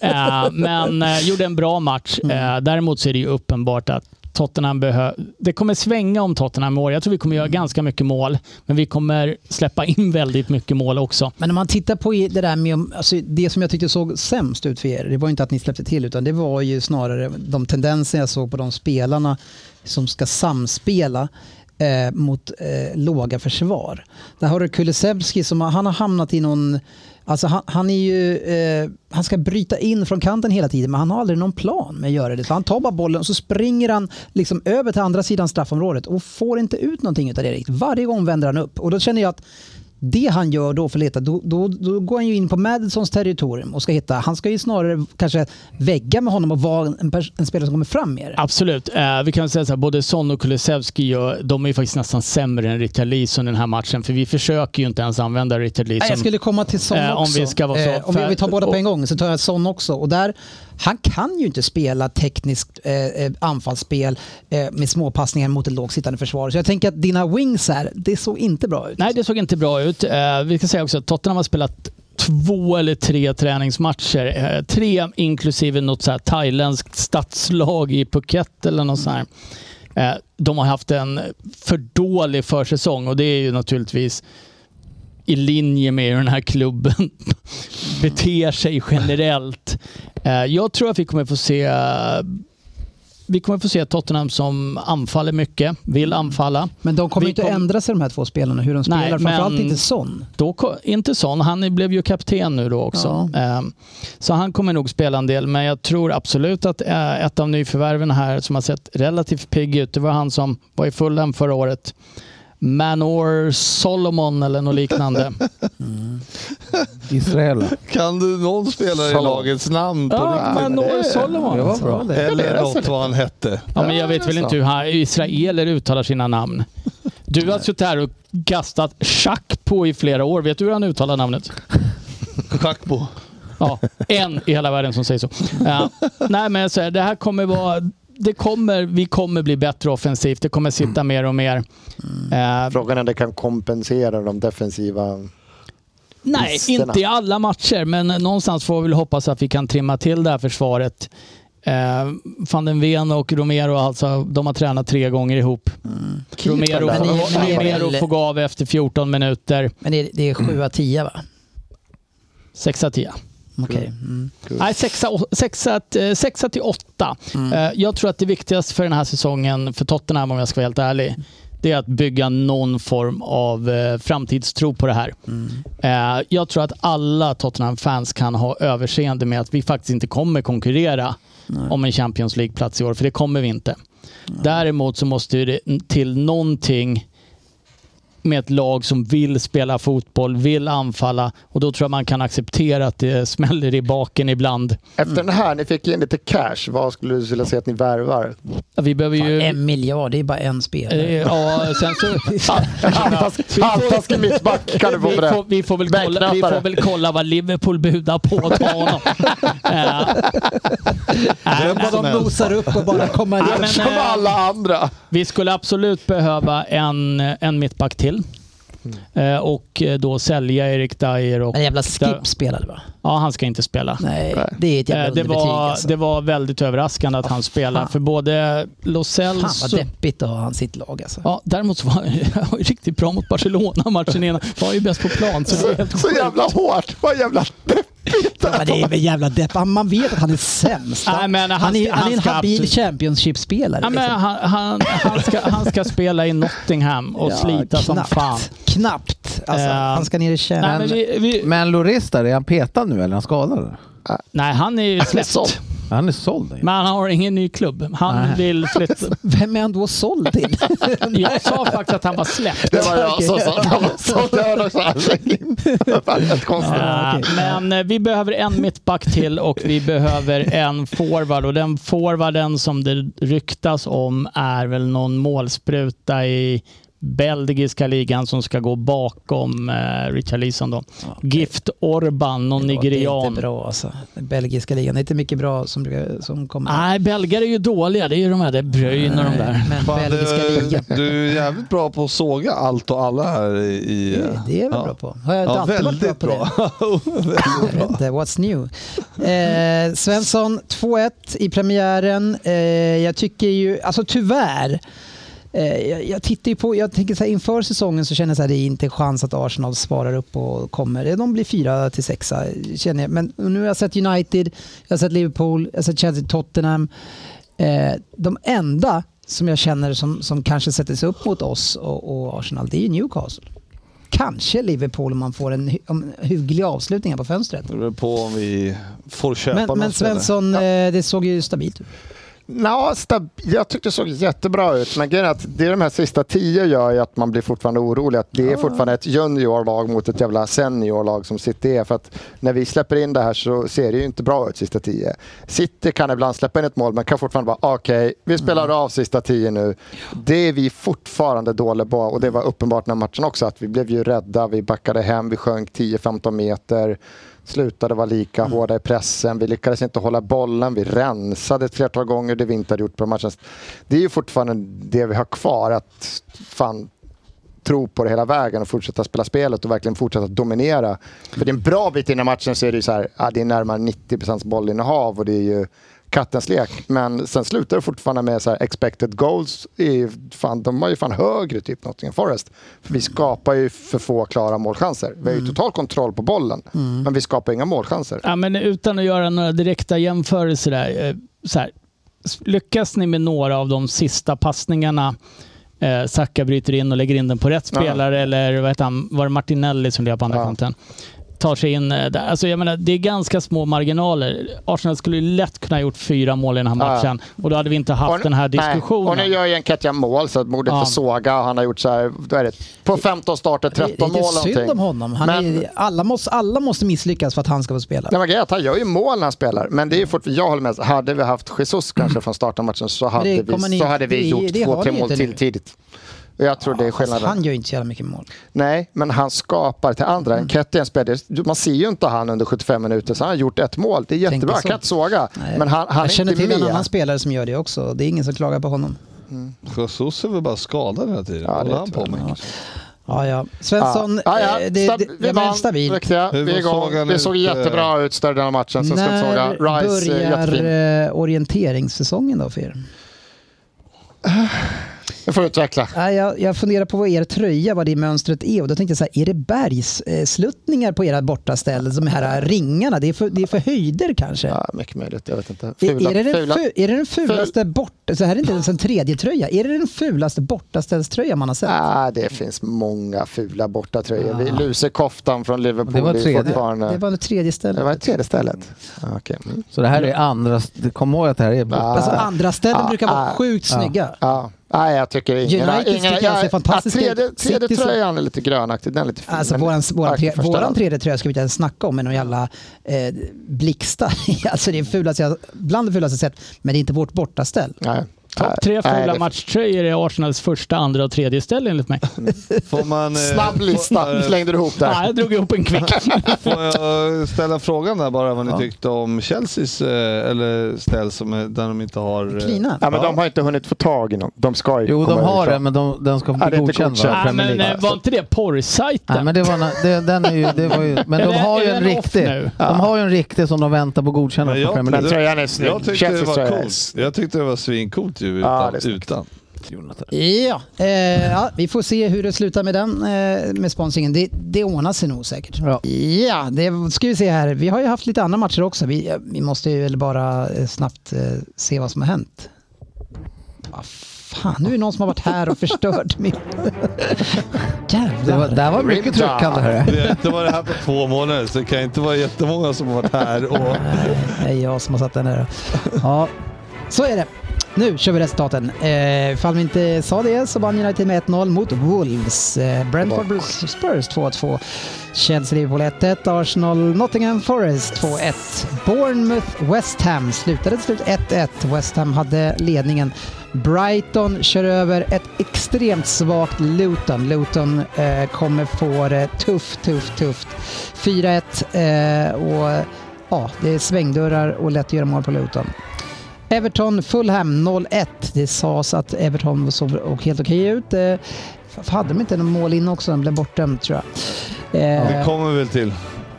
eh, men eh, gjorde en bra match. Mm. Eh, däremot så är det ju uppenbart att Tottenham behöver... Det kommer svänga om Tottenham i år. Jag tror vi Mm. kommer göra ganska mycket mål, men vi kommer släppa in väldigt mycket mål också. Men om man tittar på det där med, alltså det som jag tyckte såg sämst ut för er, det var ju inte att ni släppte till utan det var ju snarare de tendenser jag såg på de spelarna som ska samspela eh, mot eh, låga försvar. Där har du Kulusevski som har, han har hamnat i någon, alltså han, han är ju, eh, han ska bryta in från kanten hela tiden men han har aldrig någon plan med att göra det. Så han tar bara bollen och så springer han liksom över till andra sidan straffområdet och får inte ut någonting av det riktigt. Varje gång vänder han upp och då känner jag att det han gör då för att leta, då, då, då går han ju in på Madisons territorium och ska hitta. Han ska ju snarare kanske vägga med honom och vara en, pers- en spelare som kommer fram mer. Absolut. Eh, vi kan säga så här, både Son och Kulusevski gör, de är ju faktiskt nästan sämre än Richard Leeson i den här matchen, för vi försöker ju inte ens använda Richard Nej, Leeson. jag skulle komma till Son Eh, om också. vi ska vara så. Eh, om vi För- vill ta båda på och- en gång så tar jag Son också. Och där, han kan ju inte spela tekniskt eh, eh, anfallsspel eh, med småpassningar mot ett lågsittande försvar. Så jag tänker att dina wings här, det såg inte bra ut. Nej, det såg inte bra ut. Eh, vi ska säga också att Tottenham har spelat två eller tre träningsmatcher. Eh, tre inklusive något så här thailändskt stadslag i Phuket eller något sånt här. Eh, de har haft en för dålig försäsong och det är ju naturligtvis i linje med hur den här klubben [LAUGHS] beter sig generellt. Eh, jag tror att vi kommer få se vi kommer få se Tottenham som anfaller mycket, vill anfalla. Men de kommer Vi ju inte kom- ändra sig de här två spelarna, hur de spelar. Nej, Framförallt men- inte Son. då, ko- inte sån. Han blev ju kapten nu då också. Ehm, Så han kommer nog spela en del, men jag tror absolut att eh, ett av nyförvärven här som har sett relativt pigg ut, det var han som var i Fulham förra året. Manor Solomon eller något liknande. Israel. Kan du någon spelare i Salom. lagets namn? På ja, riktigt? Manor Det Solomon. var bra. Eller något vad han hette. Äh, Ja, men jag vet väl inte hur han- israeler uttalar sina namn. Du har suttit här och gastat schack på i flera år. Vet du hur han uttalar namnet? Schackbo. Ja, en i hela världen som säger så. Ja. Nej, men så här, det här kommer vara... det kommer, vi kommer bli bättre offensivt. Det kommer sitta mer och mer. Eh, Frågan är om det kan kompensera de defensiva... Nej, Bristerna. inte i alla matcher, men någonstans får vi väl hoppas att vi kan trimma till det här försvaret. Eh, Van den Ven och Romero, alltså, de har tränat tre gånger ihop. Romero, Men i och med- Romero får gå av efter 14 minuter. Men det är, det är 7 av 10 va? 6 10. Okej. Mm. Nej, 6 till 8. Jag tror att det viktigaste för den här säsongen för Tottenham, om jag ska vara helt ärlig, det är att bygga någon form av eh, framtidstro på det här. Eh, Jag tror att alla Tottenham-fans kan ha överseende med att vi faktiskt inte kommer konkurrera om en Champions League-plats i år, för det kommer vi inte. Däremot så måste det till någonting med ett lag som vill spela fotboll, vill anfalla och då tror jag man kan acceptera att det smäller i baken ibland. Efter den här, ni fick in lite cash. Vad skulle du vilja se att ni värvar? Vi behöver ju... En miljard, det är bara en eh, spelare. Ja, sen [LAUGHS] så... Halvtaskig mittback kan du få vi, på det. får, vi, får väl kolla, vi får Bänknappare. väl kolla vad Liverpool [LAUGHS] budar på och ta honom. Eh, Vem Vad som de helst. nosar upp och bara kommer Nej, ner. men- Som alla andra. Vi skulle absolut behöva en, en mittback till. Mm. Eh, och eh, då sälja Erik Dyer och... En jävla skip spelade va? Ja, han ska inte spela. Nej, det är ett jävla Eh, det, underbetyg var, alltså. det var väldigt överraskande att han spelade. fan. För både Lo Fan vad Celso... deppigt att ha han sitt lag alltså. Ja, däremot så var han [LAUGHS] var ju riktigt bra mot Barcelona matchen innan. Var ju bäst på plan. Så det var helt Så jävla hårt. Vad jävla Ja, Men det är väl jävla depp. Man vet att han är sämst. Nej, men han Han är, ska- han han är en ska habil absolut- Championship-spelare. Ja, men liksom. han, han, han, ska, han ska spela i Nottingham och Ja, slita som knappt. fan. Knappt. Alltså, Eh, han ska ner i Nej, kärnan. men vi, vi, Men Loris där, är han petad nu eller är han skadad? nej, han är ju Alltså, såld. släppt. Han är såld. Men han har ingen ny klubb. Han Nej. vill [LAUGHS] flytta. Vem är han då såld till? Jag sa faktiskt att han var släppt. Det var jag som sa det. Det var också Helt konstigt. Eh, Men eh, vi behöver en mittback till och vi behöver en forward. Och den forwarden som det ryktas om är väl någon målspruta i belgiska ligan som ska gå bakom eh, Richarlison då. Gift Orban, någon Det är inte nigerian. bra alltså. Den belgiska ligan, det är inte mycket bra som, som kommer. Nej, belgare är ju dåliga. Det är ju de här De Bruyne och de där. Men Fan, belgiska du, ligan. du är jävligt bra på att såga allt och alla här i... i Det- Det är jag väl ja. bra på. Har jag inte Ja, alltid varit bra väldigt på bra. [LAUGHS] det? Jag vet inte, what's new? Eh, Svensson 2-1 i premiären. Eh, jag tycker ju, alltså tyvärr, eh, jag, jag tittar ju på, jag tänker så här inför säsongen så känner jag så här det är inte chans att Arsenal svarar upp och kommer. De blir fyra till sexa känner jag. Men nu har jag sett United, jag har sett Liverpool, jag har sett Chelsea, Tottenham. Eh, de enda som jag känner som, som kanske sätter sig upp mot oss och, och Arsenal, det är ju Newcastle. Kanske Liverpool om man får en, hy- om- hygglig avslutning här på fönstret. Det beror på om vi får köpa Men, någon men spelare. Svensson, eh, det såg ju stabilt ut. Nå, stab- jag tyckte det såg jättebra ut, men grejen är att det de här sista tio gör ju att man blir fortfarande orolig. Att det är fortfarande ett juniorlag mot ett jävla seniorlag som City är. För att när vi släpper in det här så ser det ju inte bra ut sista tio. City kan ibland släppa in ett mål, men kan fortfarande vara okej, vi spelar av sista tio nu. Det är vi fortfarande dåliga på och det var uppenbart när matchen också. att Vi blev ju rädda, vi backade hem, vi sjönk 10-15 meter slutade vara lika hårda i pressen. Vi lyckades inte hålla bollen. Vi rensade ett flertal gånger det vi inte hade gjort på matchen. Det är ju fortfarande det vi har kvar. Att fan tro på det hela vägen och fortsätta spela spelet och verkligen fortsätta dominera. För det är en bra bit innan matchen så är det ju så här, ja, det är närmare 90 bollinnehav och det är ju kattens lek. Men sen slutar det fortfarande med så här expected goals. Är ju fan, de har ju fan högre typ Nottingham Forest. För vi skapar ju för få klara målchanser. Vi Mm. har ju total kontroll på bollen, men vi skapar inga målchanser. Ja, men utan att göra några direkta jämförelser där. eh, Så här, s- lyckas ni med några av de sista passningarna eh, Saka bryter in och lägger in den på rätt Ja. spelare eller vad heter han? var det Martinelli som blev på andra Ja. kanten? Tar sig in eh, där. Alltså jag menar, det är ganska små marginaler. Arsenal skulle ju lätt kunna ha gjort fyra mål i den här Ja. matchen och då hade vi inte haft Och- den här nej, Och diskussionen. nu gör ju Enketia mål, så att mordet Ja. får såga. Och han har gjort så här, vad är det, på 15 starter, Det, 13 det är mål. lite synd någonting. om honom. Han Men- är, alla, måste, alla måste misslyckas för att han ska få spela. Nej, men grejen är att han gör ju mål när han spelar, men det är ju fortfarande, jag håller med, hade vi haft Jesus kanske från starten av matchen så hade vi, kommer ni- så hade vi Mm. det- gjort det har två, tre ni mål inte nu. till tidigt. Och jag tror det är Fast skillnaden. Alltså, han gör ju inte så jävla mycket mål. Nej, men han skapar till andra. Mm. Enketti är en spelare, du- man ser ju inte han under 75 minuter, så han har gjort ett mål. Det är jättebra, Tänkte så. kan inte såga. Nej. Men han, han jag är känner inte till med. en annan spelare som gör det också. Det är ingen som klagar på honom. Jesus är väl bara skadad hela tiden? Ja, det Håller han tror på med? Ja, ja. Svensson, Ja. Ah. Ja, ja. eh, det, Stab- det, vi det var vann. stabilt. Riktiga. Hur Vi är såg igång. han Det såg ut, eh? jättebra ut större delen av matchen. Sen ska jag såga. När Rice är jättefin. börjar eh, orienteringssäsongen då för er? Jag får utveckla. Nej, Jag, jag funderar på vad er tröja, vad det mönstret är och då tänkte jag så här, är det bergssluttningar på era bortaställen? De här eh, ringarna, det är för, det är för höjder kanske? Ja, mycket möjligt, jag vet inte. är, är, det den fula. fu, är det den fulaste bort... Så här är inte ens en tredje tröja. Är det den fulaste bortaställströja man har sett? Ah, det finns många fula bortatröjor. Ah. Vi- Lusekoftan från Liverpool Det var är ju tredje. fortfarande... Det var det tredje det stället. var tredje stället. Ah, okay. mm. Så det här är andra... st- Kom ihåg att det här är... borta. Alltså andra ställen brukar vara ah, sjukt snygga. Ja. Nej, jag tycker ingen... United ingen tycker jag ser ja, fantastiska tredje, ut. tredje City så- tröjan är lite grönaktig, den är lite fin. Alltså men- våran, våran, tre, Verkligen första våran hand. tredje tröja ska vi inte ens snacka om med någon jävla eh, blixtar. [LAUGHS] alltså det är fulaste jag, bland det fulaste jag sett, men det är inte vårt bortaställ. Nej. Nej, Topp tre nej, det fula är- matchtröjor är Arsenals första, andra och tredje ställe enligt mig. Får man, eh, Snabb får- [LAUGHS] lista, eh, slängde du ihop Nej, där. jag drog ihop en kvick. [LAUGHS] Får jag ställa frågan där bara vad ni tyckte om Chelseas eh, eller ställ som är, där de inte har... eh, Klina. Ja, men de har inte hunnit få tag i någon. De ska ju Jo, de komma har ut. det, men de, den ska Ja, det är bli inte godkänd godkänt. va? Ja, Nej, Premier men League. eh, var inte det porrsajten? Nej, men det var, na- det, den är ju, det var ju, men de Eller har ju är en den off riktig. nu? De har ju en riktig som de väntar på godkännande Men jag- från Premier Men League. tröjan är snygg. Jag tyckte det Chelseas tröja var är coolt. Jag tyckte det var svincoolt ju utan. Ja, det är snyggt. utan. Jonathan. Ja, eh, ja, vi får se hur det slutar med den eh, med sponsringen. Det, det ordnar sig nog säkert. Ja. Ja, det ska vi se här. Vi har ju haft lite andra matcher också. Vi, eh, vi måste ju väl bara eh, snabbt eh, se vad som har hänt. Vad fan, nu är det någon som har varit här och förstört min... Det var, Jävlar. där var mycket Rimda. tryckande hörru. Vi har inte varit här på två månader så det kan inte vara jättemånga som har varit här. Och, [LAUGHS] Det är jag som har satt den där. Ja, så är det. Nu kör vi resultaten. Eh, ifall vi inte sa det så vann United med 1-0 mot Wolves. Eh, Brentford Spurs 2-2. Chelsea Liverpool 1-1. Arsenal Nottingham Forest 2-1. Bournemouth West Ham slutade till slut 1-1. West Ham hade ledningen. Brighton kör över ett extremt svagt Luton. Luton eh, kommer få det tufft, tufft, tufft. 4-1 eh, och ja, det är svängdörrar och lätt att göra mål på Luton. Everton Fulham 0-1. Det sades att Everton såg helt okej ut. Eh, f- Hade de inte någon mål in också? De blev bortdömd tror jag. det Eh, kommer vi väl till.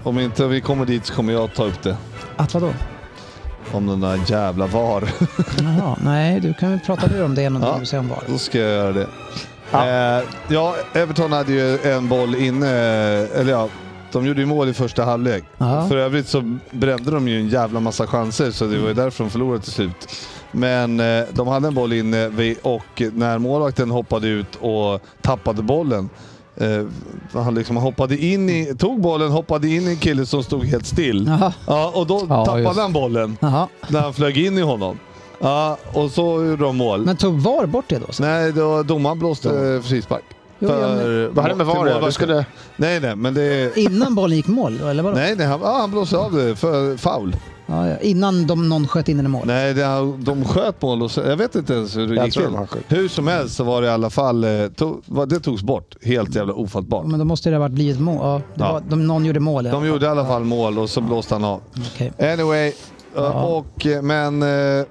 Om inte vi kommer dit så kommer jag ta upp det. Eh, att vadå? Om den där jävla VAR. Jaha, nej, du kan väl prata nu om det. Någonting Ja. du säger om VAR. Då ska jag göra det. Ja. Eh, ja, Everton hade ju en boll inne. eh, Eller ja, de gjorde ju mål i första halvlek. Ja. För övrigt så brände de ju en jävla massa chanser, så det var ju därför de förlorade till slut. Men eh, de hade en boll inne vid- och när målvakten hoppade ut och tappade bollen. Eh, han liksom hoppade in i, tog bollen, hoppade in i en kille som stod helt still. Jaha. Ja, och då Ja, tappade just. han bollen Jaha. när han flög in i honom. Ja, och så gjorde de mål. Men tog VAR bort Typ det då? Så? Nej, då domaren blåste eh, frispark. Jo, ja, men- Vad hade det med VAR till att göra? målvakten. Du skulle... Nej, nej, men det... Innan bollen gick mål då, eller vadå? Nej, nej han, ah, han blåste av det för foul. Ja, ja. Innan de, någon sköt in den i mål? Nej, det, han- de sköt mål och så, Jag vet inte ens hur det Jag gick tror till. de har skjutit. Hur som helst så var det i alla fall... eh, To, vad- det togs bort. Helt jävla ofattbart. Men då måste det ha varit blivit mål. Ja, det Ja. Var, de, någon gjorde mål. De Ja. gjorde i alla fall mål och så blåste han av. Okej. Anyway, eh, och, eh, men... eh,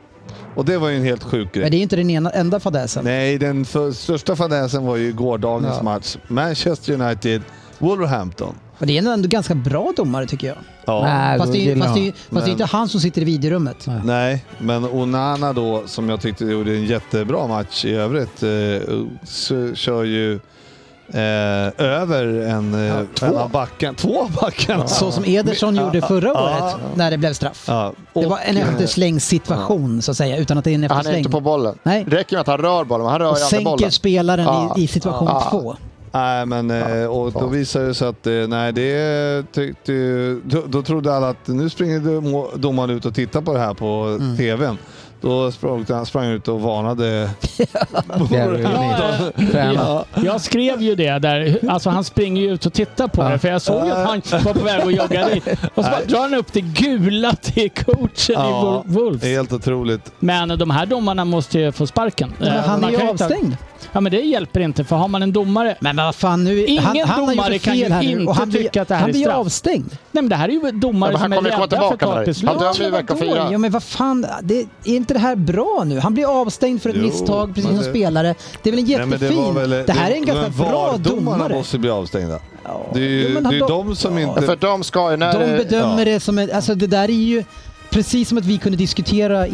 Och det var ju en helt sjuk grej. Men det är ju inte den ena, enda fadäsen. Nej, den för, största fadäsen var ju gårdagens Ja. match. Manchester United, Wolverhampton. Och det är ändå ganska bra domare tycker jag. Ja. Nej, Fast då det är ju gillar fast det är ju- jag. fast det är ju inte han som sitter i videorummet. Nej, men Onana då, som jag tyckte gjorde en jättebra match i övrigt, eh, så kör ju eh, över en, eh, två. en av backen. Två av backarna! Så som Ederson gjorde förra ja, året när det blev straff. Ja, och, Det var en efterslängssituation så att säga, utan att det är en Han är eftersläng. inte på bollen. Nej. Det räcker med att han rör bollen, men han rör och ju aldrig sänker bollen. spelaren Ja. i, i situation Ja. två. nej, men, eh, och då fan. visade det sig att eh, nej, det tyckte ju, då, då trodde alla att nu springer dom- domaren ut och tittar på det här på TVn. Då sprang han sprang ut och varnade. Gary O'Neill. Tränare. Ja. Jag skrev ju det där. Alltså han springer ju ut och tittar på det, för jag såg ju att han var på väg att jogga dit. Och så bara drar han upp det gula till coachen Ja. i Wolves. Helt otroligt. Men de här domarna måste ju få sparken. Men Eh, han man är ju kan inte- avstängd. Ja, men det hjälper inte, för har man en domare... Men vad fan, nu, Ingen han, han har domare gjort kan fel ju här nu, inte och han blir- tycka att det här Han är blir straff. avstängd. Nej, men det här är ju domare Ja, men han som är kommer ju komma rädda för tillbaka med det. takbeslut. Han dömer ju men vecka då- fyra. Ja, men vad fan, det, är inte det här bra nu? Han blir avstängd för ett Jo, misstag, precis men som det- spelare. Det är väl en Nej, men jättefin... var det, väl- här är en ganska men bra VAR-domarna domare. måste bli avstängda. Ja. Det är ju Jo, men han- det är ju de- de som Ja, inte... För de ska ju... När, De bedömer ja. det som en, alltså det där är ju precis som att vi kunde diskutera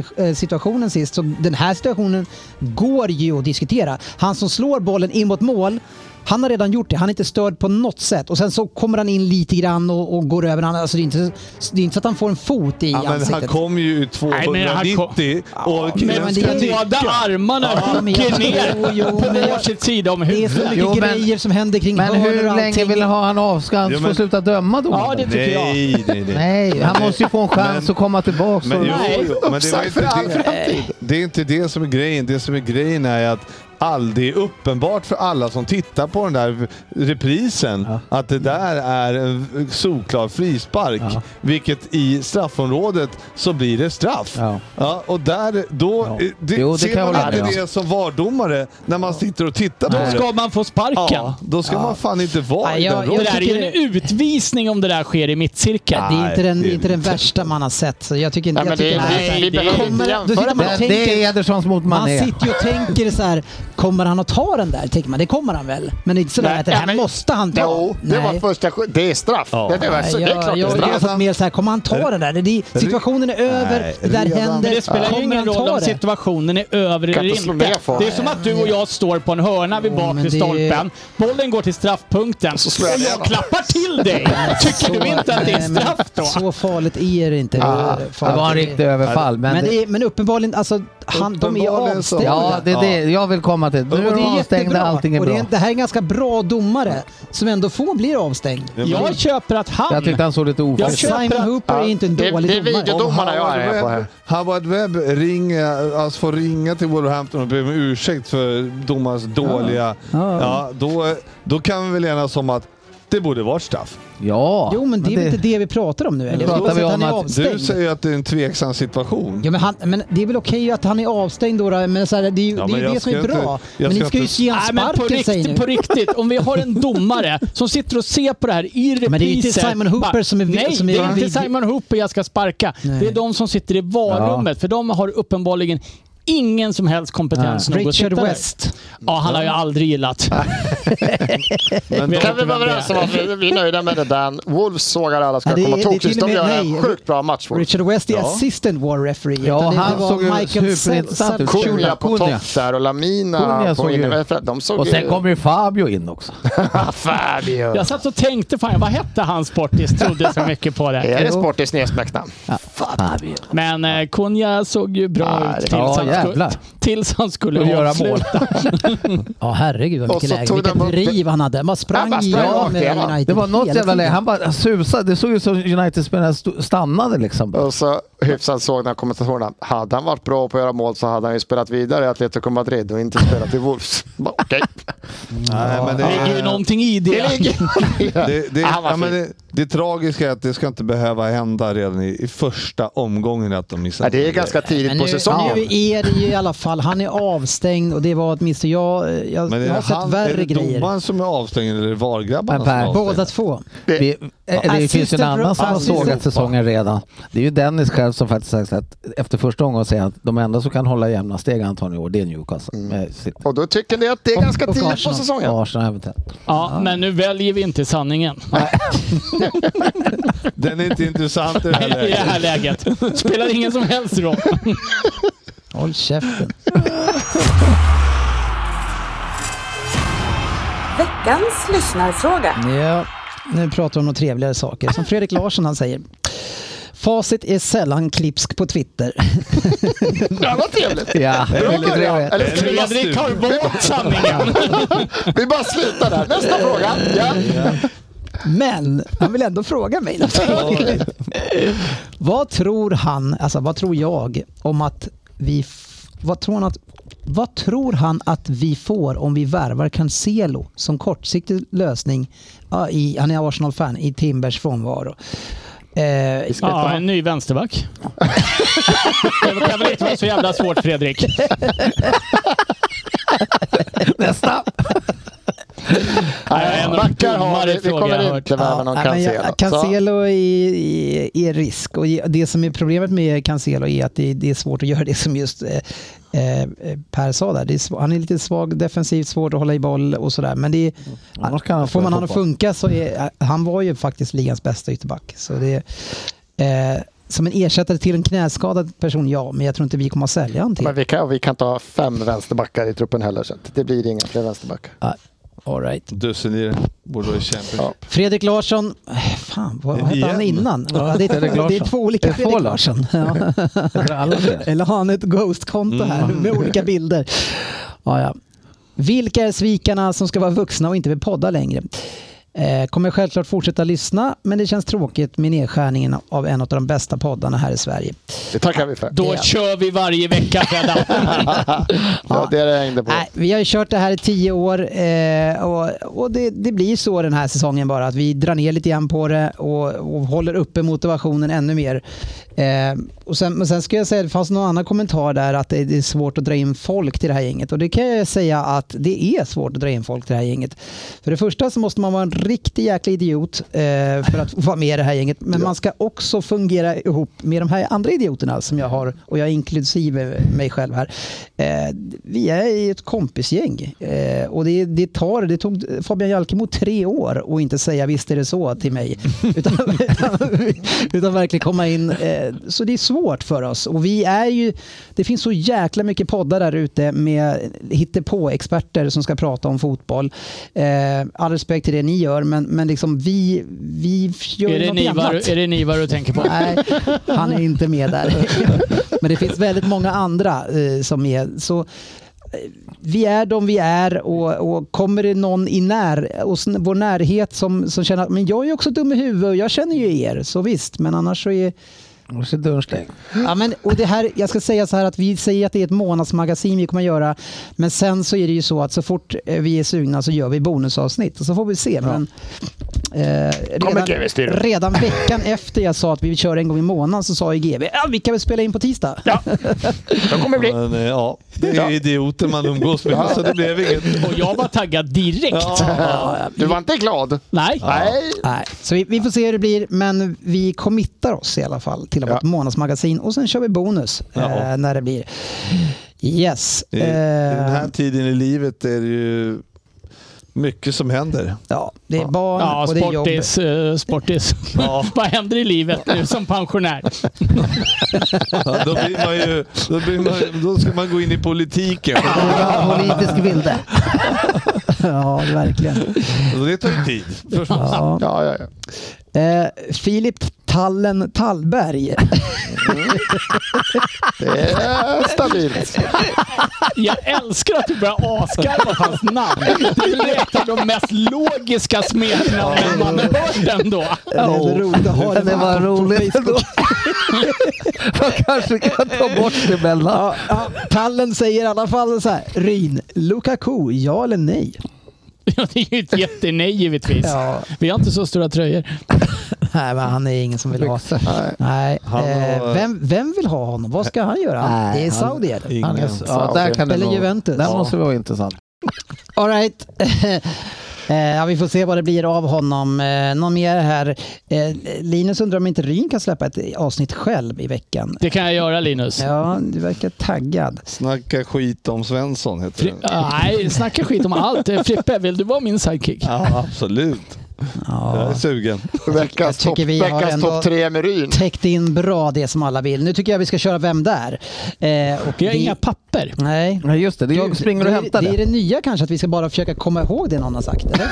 Ederson-situationen sist, så den här situationen går ju att diskutera. Han som slår bollen in mot mål, han har redan gjort det. Han är inte störd på något sätt. Och sen så kommer han in lite grann och, och går över. Han- Alltså det, är inte, det är inte så att han får en fot i Ja, men han ansiktet. kom ju ut Nej, men han 290 och men killen det ska är- dit. Båda armarna Ja, men jag- hugger Jo, ner jo, men på jag- varsin sida om Det är så huvudet. mycket Jo, men- grejer som händer kring Men hörnor och hur länge allting. vill han ha han av? Ska han Jo, få men- sluta döma domaren? Ja, det tycker jag. Nej, nej, nej. Nej, han måste ju få en chans att komma tillbaka. Men, jo, och... Nej. jo, men det, var inte, det, det är inte det som är grejen. Det som är grejen är att all, det är uppenbart för alla som tittar på den där reprisen att det där är en solklar frispark. Ja. Vilket i straffområdet så blir det straff. Ja. Ja, och där, då eh, Ja. det, Jo, det ser kan jag man hålla inte med om. det som vardomare när man sitter och tittar på Då det. ska man få sparken. ja, då ska man fan inte vara Nej, i jag- den jag Det rollen. där är ju en utvisning om det där sker i mittcirkeln. Det är inte den, det Nej, det är är inte den inte. värsta man har sett. Så jag tycker inte... Nej, men jag det, tycker är- inte- Nej, vi, vi det är- behöver inte Kommer- då sitter jämföra man med Det, det är Edersons mot Man Mané. sitter ju och tänker så här, kommer han att ta den där? Tänker man, det kommer han väl? Men inte sådär Nej, att det ja, här men- måste han ta. Jo, det Nej. var första... sk- Det är straff. Ja. Det, det, var, Nej, så, det är klart jag, det är jag, jag har straff. fått mer så här, kommer han ta den där? Det, är- situationen är över, Nej, det där redan- händer. Men det spelar ju kommer ingen han roll ta om det? situationen är över Kan eller inte slå ner inte. folk. Det är som att du och jag står på en hörna vid Jo, men bakre det- stolpen. Bollen går till straffpunkten slår jag och jag igenom. klappar till dig. Tycker du inte att det är nej, men straff då? Så farligt är det inte. Ah, Det är Alltså, Det farligt. var en riktig överfall. Men, Men, det är, men uppenbarligen, alltså, han, de är ju Uppenbarligen så. avstängda. ja, det är det jag vill komma till. Nu Och är det de är avstängda, jättebra. allting är och det, är, bra. det här är en ganska bra domare som ändå får bli avstängd. Jag köper att Jag han... tyckte han såg lite Jag oförsiktig köper Simon att- Hooper är inte en Det- dålig det är domare. video- domarna jag är på här. Webb, Howard Webb ringer, alltså får ringa till Wolverhampton och be om ursäkt för domarens dåliga... Ja. då, då kan vi väl enas om att det borde vara straff. Ja. Jo, men det är väl inte det vi pratar om nu? Eller? pratar Oavsett, vi om han är att du avstängd. Du säger att det är en tveksam situation. Ja, men, han, men det är väl okej att han är avstängd då, då, men så här, det är ju Ja, det, är men ju jag det som är ska bra. inte- jag men ni ska ska ju inte- ge han Nej, men på sparken säger riktigt, på ni. riktigt. Om vi har en domare som sitter och ser på det här i repriser. men det är ju inte Simon Hooper bara, som är- Nej, som är- det är inte vid- Simon Hooper jag ska sparka. Nej. Det är de som sitter i varummet. För de har uppenbarligen ingen som helst kompetens nog att Richard sitta där. West. Ja, han har jag aldrig gillat. Men Vet Kan vi inte vara vem det överens är. om att vi, vi är nöjda med det Dan? Wolves sågar alla ska Ja, det är- komma det är tokigt. till och De med- gör nej. en sjukt bra match. Wolves. Richard West är Ja. assistant war referee. Ja, Utan det han var såg ju Michael superintressant Sel- ut. Sel- Cunha på Cunha. topp där och Lamina Cunha på såg ju- inne. De såg Och ju- sen kommer ju Fabio in också. [LAUGHS] Fabio. Jag satt och tänkte, fan, vad hette han sportis? Trodde så mycket på [LAUGHS] det. Är det Sportis nedsmäcknamn? Fabio. Men eh, Konya såg ju bra ut tills, Ja, han skulle, jävlar. tills han skulle Och göra avsluta. mål. Ja, herregud vad Och så vilket läge. tog Vilket de upp- driv han hade. Man Han sprang bara i sprang rakt av med igenom. United Det var något hela jävla tiden. läge. Han bara susade. Det såg ut som United-spelaren sto- stannade liksom. Och så hyfsat såg när kommentatorerna, hade han varit bra på att göra mål så hade han ju spelat vidare i Atletico Madrid och inte spelat i Wolves. [LAUGHS] Bara, [LAUGHS] Okej. Nej, men Det ligger ju någonting i det. Det ligger- Det, det, Ah, vad ja, men fint. det, det tragiska är att det ska inte behöva hända redan i, i första omgången att de missar. Ja, det är ganska Men tidigt nu, på säsongen. nu är det ju i alla fall, han är avstängd och det var åtminstone jag, jag, Men är jag har det, sett han, är värre det grejer. domaren som är avstängd eller är det Men VAR-grabbarna som Per, är avstängda? Båda två. Vi, eh, det finns ju en Assistant annan som har assistant. sågat säsongen redan. Det är ju Dennis själv som faktiskt sagt att efter första omgången säger han att de enda som kan hålla jämna steg antagligen i år, det är Newcastle. Mm. Med sitt Och då tycker ni att det är ganska och tidigt på Arsenal. säsongen. Arsenal eventuellt. [LAUGHS] Ja, men nu väljer vi inte sanningen Den är inte [LAUGHS] intressant i det [LAUGHS] här i det läget. här läget. Spelar ingen som helst roll. Håll käften. Veckans lyssnarfråga. Ja, nu pratar vi om några trevligare saker. Som Fredrik Larsson han säger. Facit är sällan klipsk på Twitter. Ja, vad [LAUGHS] trevligt. Ja, Bra mycket början. trevligt. Eller ska vi, bara, Fredrik har bort sanningen. vi bara slutar där. Nästa fråga. Ja. Men han vill ändå fråga mig någonting. vad tror han, alltså vad tror jag om att vi, f- vad tror han att vad tror han att vi får om vi värvar Cancelo som kortsiktig lösning? ja, I, han är Arsenal-fan i Timbers frånvaro. Eh, [LAUGHS] Ja, en ny vänsterback. Det kan väl inte vara så jävla svårt Fredrik? Nästa! är Nej, en av de backar har dummare vi. Vi frågor jag har kommer hört. inte värva någon nej, men jag- Cancelo. Så, Cancelo är, är, är risk och det som är problemet med Cancelo är att det, det är svårt att göra det som just eh, eh, Per sa där. Det är, sv- han är lite svag defensivt, svårt att hålla i boll och sådär. Men det, Mm. Annars kan han får man spela han att fotboll. funka så är, han var ju faktiskt ligans bästa ytterback. Så det, eh, som en ersättare till en knäskadad person, ja, men jag tror inte vi kommer att sälja han till. men vi kan, vi kan inte ha fem vänsterbackar i truppen heller. Så att det blir inga fler vänsterbackar. All right. Dussinir borde vara i Champions Ja. Fredrik Larsson, eh, fan vad hette han Igen? innan? Ja, det, är Fredrik två, det är Larsson. två olika Är det två Fredrik Larsson. Ja. Jag tror alla ser. [LAUGHS] Eller har han ett Ghost-konto här med olika bilder? Ja, ja. Vilka är svikarna som ska vara vuxna och inte vill podda längre? Eh, kommer självklart fortsätta lyssna, men det känns tråkigt med nedskärningen av en av de bästa poddarna här i Sverige. Det tackar vi för. Då Ja. kör vi varje vecka Freddan. Ja, det är det jag hängde på. Nej, vi har ju kört det här i tio år eh, och, och det, det blir så den här säsongen bara att vi drar ner lite grann på det och, och håller uppe motivationen ännu mer. Eh, och sen, men sen skulle jag säga, det fanns någon annan kommentar där att det, det är svårt att dra in folk till det här gänget och det kan jag säga att det är svårt att dra in folk till det här gänget. För det första så måste man vara en riktig jäkla idiot eh, för att vara med i det här gänget men man ska också fungera ihop med de här andra idioterna som jag har och jag är inklusive mig själv här. Eh, vi är i ett kompisgäng eh, och det, det, tar, det tog Fabian Jalkemo tre år att inte säga visst är det så till [LAUGHS] mig. Utan, [LAUGHS] utan, utan verkligen komma in. Eh, så det är svårt för oss. Och vi är ju, det finns så jäkla mycket poddar där ute med hittepå-experter som ska prata om fotboll. Eh, all respekt till det ni gör men, men liksom vi, vi gör Är det något Nivar, annat. är det Nivar du tänker på? Nej, han är inte med där. Men det finns väldigt många andra eh, som är så. eh, Vi är de vi är och, och kommer det någon i när, och sn- vår närhet som, som känner att men jag är ju också dum i huvudet och jag känner ju er, så visst, men annars så är... Och så dörren stängd. Ja, men, och det här, jag ska säga så här att vi säger att det är ett månadsmagasin vi kommer att göra, men sen så är det ju så att så fort eh, vi är sugna så gör vi bonusavsnitt och så får vi se. Men, eh, redan, redan veckan efter jag sa att vi kör en gång i månaden så sa ju GB ja, vi kan väl spela in på tisdag. Men, eh, ja, det är ju idioter man umgås med, så det blev inget. Och jag var taggad direkt. Du var inte glad? Nej. Nej. Nej, så vi, vi får se hur det blir, men vi committar oss i alla fall till att vara Ja. ett månadsmagasin och sen kör vi bonus eh, Ja. när det blir. Yes. I, I den eh, här tiden i livet är det ju mycket som händer. ja, det är barn Ja, och det är jobb. sportis. eh, sportis. [LAUGHS] Vad händer i livet nu som pensionär? Ja, då, blir man ju, då, blir man, då ska man gå in i politiken. Alltså, Ja, politisk vilde. [LAUGHS] ja, verkligen. Och det tar ju tid. förstås. Ja. Ja, ja, ja. Eh, Filip Tallen Tallberg. Det [LAUGHS] är stabilt. Jag älskar att du börjar asgarva åt hans namn. Det är väl ett av de mest logiska smeknamnen man har hört ändå. Det är väl roligt att ha Det var på- på roligt Facebook. [LAUGHS] Man kanske kan ta bort det mellan. Ja, ja, Tallen säger i alla fall så här. Ryn, Lukaku, ja eller nej? Ja, Det är ju ett jättenej givetvis. Ja, Vi har inte så stora tröjor. nej, men han är ingen som vill ha. Nej. Han Eh, har- vem, vem vill ha honom? Vad ska han göra? Han- Nej, Det är han- Saudi eller? Han är, Ingen. ja, där kan det Eller nog- Juventus. Där måste det vara intressant. All right. [LAUGHS] Eh, Ja, vi får se vad det blir av honom. Eh, Någon mer här? Eh, Linus undrar om inte Ryn kan släppa ett avsnitt själv i veckan. Det kan jag göra Linus. Ja, du verkar taggad. Snacka skit om Svensson heter Fri- den. Nej, snacka skit om allt. Eh, Frippe, vill du vara min sidekick? Ja, absolut. Jag är sugen. Veckans Jag topp tycker vi har veckans ändå- topp tre med Ryn. Täckte in bra det som alla vill. Nu tycker jag vi ska köra Vem där? Eh, och Vi har det- inga papper. Nej. Nej just det, det är jag som springer det, och är- hämtar det. är det. det nya kanske, att vi ska bara försöka komma ihåg det någon har sagt. Eller?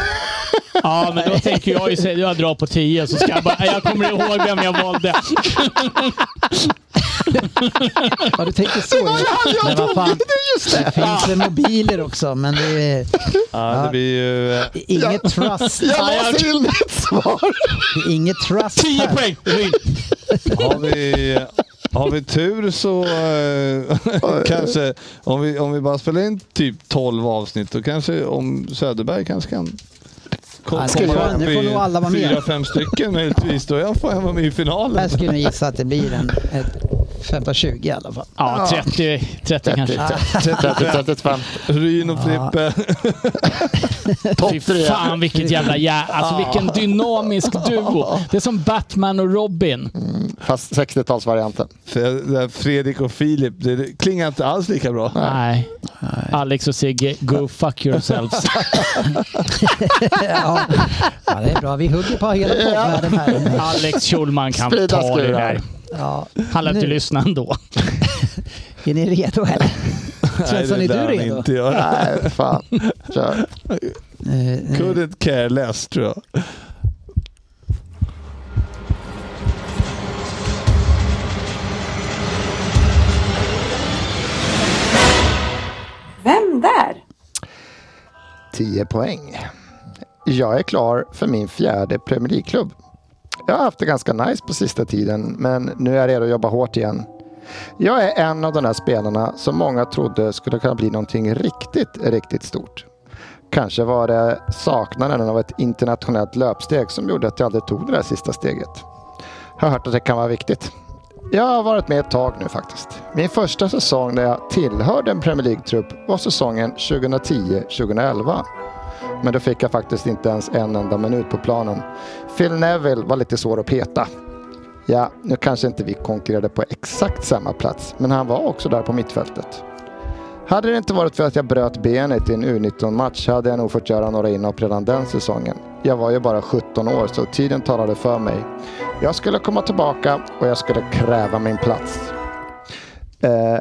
Ja, men då tänker jag ju säga jag drar på 10 så ska jag bara, jag kommer ihåg vem jag valde. Ja, du tänker så. Det var jag tog! Fan, det finns det mobiler också, men det är Ja, det blir ju... eh, inget trust. Jag Ja, jag- låser in mitt svar. Det är inget trust 10 här. poäng! Ryn. Har vi, har vi tur så eh, kanske, om vi, om vi bara spelar in typ 12 avsnitt, då kanske om Söderberg kanske kan kom- Ja, ska vi göra- nu får nog alla vara med. fyra, fem stycken möjligtvis. Då jag får jag vara med i Jag finalen. skulle nog gissa att det blir en, ett 15-20 i alla fall. Ja, 30, 30 kanske. Typ, 30-35. Ryn och Frippe. Topp Fy tre. fan vilket jävla jä... Alltså vilken [LAUGHS] dynamisk duo. Det är som Batman och Robin. [LAUGHS] Fast 60-talsvarianten. För- där Fredrik och Filip, det- det klingar inte alls lika bra. Nej. Alex och Sigge, go fuck [LAUGHS] yourselves. Ja. ja, det är bra. Vi hugger på hela poddvärlden här. Alex Schulman kan Sprida ta det skurar. där. Ja. Han lär inte Nu. lyssna ändå. Är ni redo [LAUGHS] eller? Svensson, det är du lär han redo? Inte göra. Nej, fan. Kör. Eh, eh, Couldn't care less tror jag. Vem där? 10 poäng. Jag är klar för min fjärde Premier League-klubb. Jag har haft det ganska nice på sista tiden, men nu är jag redo att jobba hårt igen. Jag är en av de där spelarna som många trodde skulle kunna bli någonting riktigt, riktigt stort. Kanske var det saknaden av ett internationellt löpsteg som gjorde att jag aldrig tog det där sista steget. Jag har hört att det kan vara viktigt. Jag har varit med ett tag nu faktiskt. Min första säsong där jag tillhörde en Premier League-trupp var säsongen 2010-2011. Men då fick jag faktiskt inte ens en enda minut på planen. Phil Neville var lite svår att peta. Ja, nu kanske inte vi konkurrerade på exakt samma plats, men han var också där på mittfältet. Hade det inte varit för att jag bröt benet i en U19-match hade jag nog fått göra några inhopp redan den säsongen. Jag var ju bara 17 år så tiden talade för mig. Jag skulle komma tillbaka och jag skulle kräva min plats. Eh,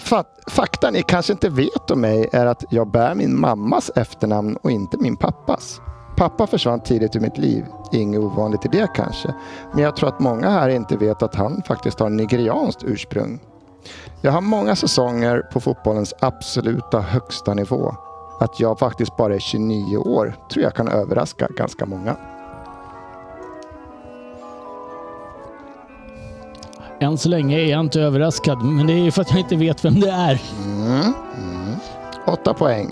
fat, fakta ni kanske inte vet om mig är att jag bär min mammas efternamn och inte min pappas. Pappa försvann tidigt ur mitt liv. Inget ovanligt i det kanske. Men jag tror att många här inte vet att han faktiskt har nigerianskt ursprung. Jag har många säsonger på fotbollens absoluta högsta nivå. Att jag faktiskt bara är 29 år tror jag kan överraska ganska många. Än så länge är jag inte överraskad, men det är ju för att jag inte vet vem det är. Mm, Åtta poäng.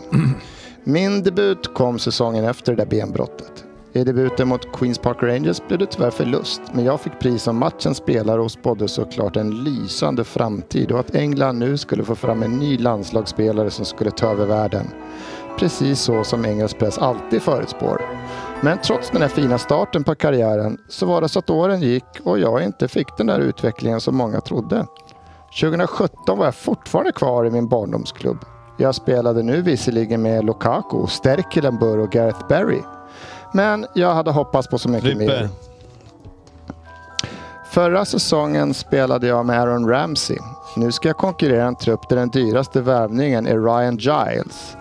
Min debut kom säsongen efter det där benbrottet. I debuten mot Queens Park Rangers blev det tyvärr förlust, men jag fick pris som matchens spelare och spådde såklart en lysande framtid och att England nu skulle få fram en ny landslagsspelare som skulle ta över världen. Precis så som engelsk press alltid förutspår. Men trots den här fina starten på karriären så var det så att åren gick och jag inte fick den där utvecklingen som många trodde. 2017 var jag fortfarande kvar i min barndomsklubb. Jag spelade nu visserligen med Lukaku, Sterkelenburg och Gareth Barry. Men jag hade hoppats på så mycket mer. Frippe. Förra säsongen spelade jag med Aaron Ramsey. Nu ska jag konkurrera i en trupp där den dyraste värvningen är Ryan Giles.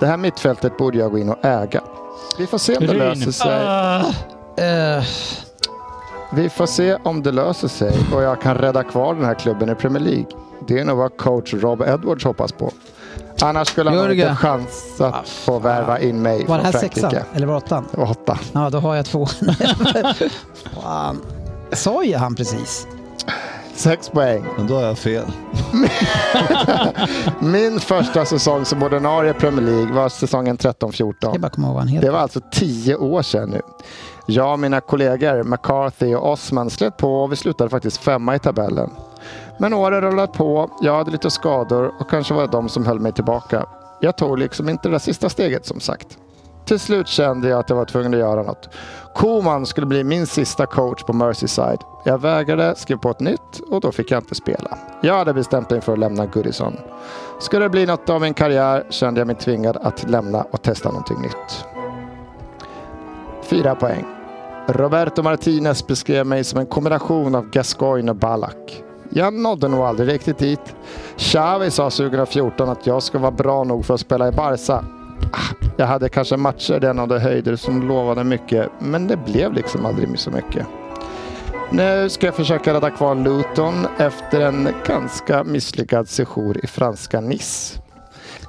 Det här mittfältet borde jag gå in och äga. Vi får se om det Ryn. löser sig. Ah. Ah! eh, Vi får se om det löser sig och jag kan rädda kvar den här klubben i Premier League. Det är nog vad coach Rob Edwards hoppas på. Annars skulle han ha Jörgen. inte chans att få värva in mig var det från här sexan? Frankrike. Eller var det åttan? Det var åtta. Ja, då har jag två. [LAUGHS] Fan. Sa ju han precis. Sex poäng. Men då har jag fel. Min första säsong som ordinarie i Premier League var säsongen Jag 13-14. bara komma ihåg vad han Det heter. var alltså tio år sedan nu. Jag och mina kollegor McCarthy och Osman slet på och vi slutade faktiskt femma i tabellen. Men åren rullade på, jag hade lite skador och kanske var det de som höll mig tillbaka. Jag tog liksom inte det där sista steget som sagt. Till slut kände jag att jag var tvungen att göra något. Koman skulle bli min sista coach på Merseyside. Jag vägrade, skrev på ett nytt och då fick jag inte spela. Jag hade bestämt mig för att lämna Goodison. Skulle det bli något av min karriär kände jag mig tvingad att lämna och testa någonting nytt. Fyra poäng. Roberto Martinez beskrev mig som en kombination av Gascoigne och Ballack. Jag nådde nog aldrig riktigt dit. Xavi sa 2014 att jag ska vara bra nog för att spela i Barca. Ah, Jag hade kanske matcher den av de höjder som lovade mycket, men det blev liksom aldrig så mycket. Nu ska jag försöka rädda kvar Luton efter en ganska misslyckad sejour i franska Nice.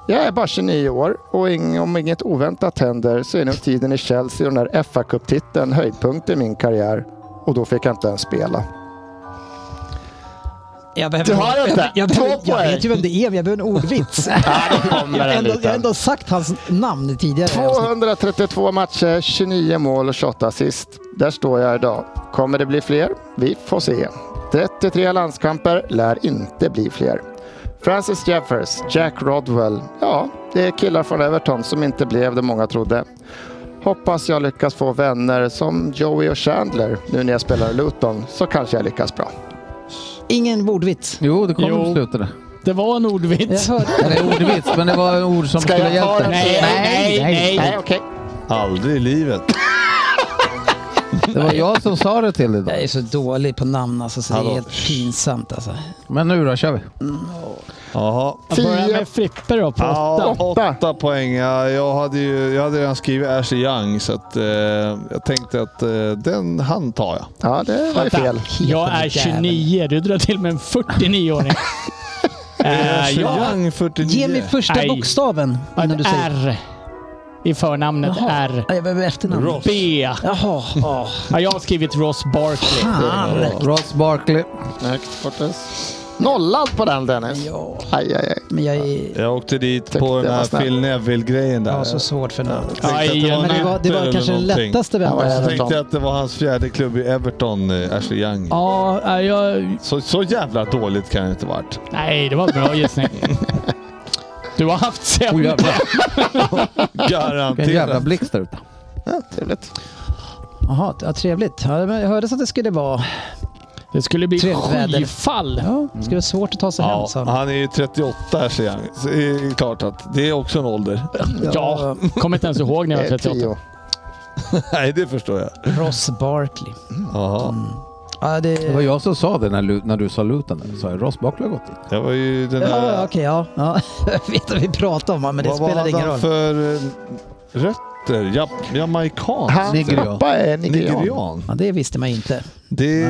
Jag är bara 29 år och ing- om inget oväntat händer så är nog tiden i Chelsea och den där fa Cup-titeln höjdpunkten i min karriär. Och då fick jag inte ens spela. Jag behöver, Du har jag, inte. jag, jag, Två behöver, jag poäng. vet ju vem det är, men jag behöver en [LAUGHS] ordvits. Kommer jag, har en ändå, jag har liten. ändå sagt hans namn tidigare. 232 matcher, 29 mål och 28 assist. Där står jag idag. Kommer det bli fler? Vi får se. 33 landskamper lär inte bli fler. Francis Jeffers, Jack Rodwell. Ja, det är killar från Everton som inte blev det många trodde. Hoppas jag lyckas få vänner som Joey och Chandler nu när jag spelar i Luton, så kanske jag lyckas bra. Ingen bordvits. Jo, det kommer Jo. på slutet. Det var en ordvits. Jag hörde. Eller ordvits, men det var ord som Ska skulle jag ta hjälpa. den? Nej, nej, nej. Nej, okej. Aldrig i livet. Det var jag som sa det till dig då. Jag är så dålig på namn alltså, så det Hallå. är helt pinsamt alltså. Men nu då, kör vi. Jaha. Jag börjar Tio. med Frippe då på Ja, åtta. åtta. poäng. Ja, jag, hade ju, jag hade redan skrivit Ashley Young, så att, eh, jag tänkte att eh, den, han tar jag. Ja, det var ju fel. Jag är 29, du drar till med en [LAUGHS] Eh, 49-åring. Eh, Äh, Ashley jag Young 49. Ge mig första Nej. bokstaven innan du ett säger. R i förnamnet. Jaha. R. Nej, Jag behöver efternamn. Ross. B. Jaha. Oh, Ja, jag har skrivit Ross Barkley. Ah. fan. Ross Barkley. Högt, Fortes. Nollad på den Dennis. Ja, Aj, aj, aj. men jag är... Jag åkte dit Tyckte på den jag var här snäll. Phil Neville-grejen Jag där. har så svårt för namn. Jag tänkte att Aj, en Men det var, det ytter var eller kanske den någonting. lättaste Ja, vändan. vad Jag Everton. tänkte att det var hans fjärde klubb i Everton, eh, Ashley Young. Ja, äh, jag... Så, så jävla dåligt kan det inte varit. Nej, det var bra gissning. Du har haft Oh, sämre. jävlar. Vilken jävla Garanterat. blixt där ute. Ja, trevligt. Jaha, ja, trevligt. Ja, men Jag hörde att det skulle vara... Det skulle bli Trevligt väder. skyfall. Ja, det skulle vara svårt att ta sig hem. Mm. Ja, sa han. han är ju 38 Ashley Young. Så det är klart att det är också en ålder. [LAUGHS] Ja, kommer inte ens ihåg när jag Det var är 38. tio. Nej, det förstår jag. Ross Barkley. Jaha. Ja, det... Det var jag som sa det när, Lu- när du sa Luton. där. Sa jag Ross Barkley har gått dit. Jag var ju den Ja, där... ja, okej, ja. ja. [LAUGHS] Jag vet vad vi pratar om, men det Vad- spelar ingen Vad roll. hade han för eh, rötter? Ja, jamaican? Hans Nigerian. pappa är nigerian. Nigerian? Ja, det visste man ju inte. Det,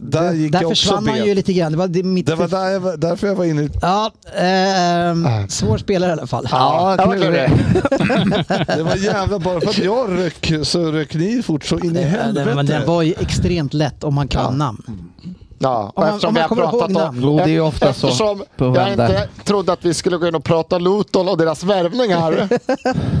där gick Där jag också försvann man bet. ju lite grann. Det var det mitt... Det var där jag, var- därför jag var inne i... Ja, ehm, svår spelare i alla fall. Ja, det var klurig. klurig. Det var jävla bara för att jag rök så rök ni fort så in i helvete. Men den var ju extremt lätt om man kan namn. Ja, Om och man- om eftersom vi man har kommer ihåg pratat namn. om... Jo, det är ju ofta så Eftersom på jag vända. inte trodde att vi skulle gå in och prata Luton och deras värvningar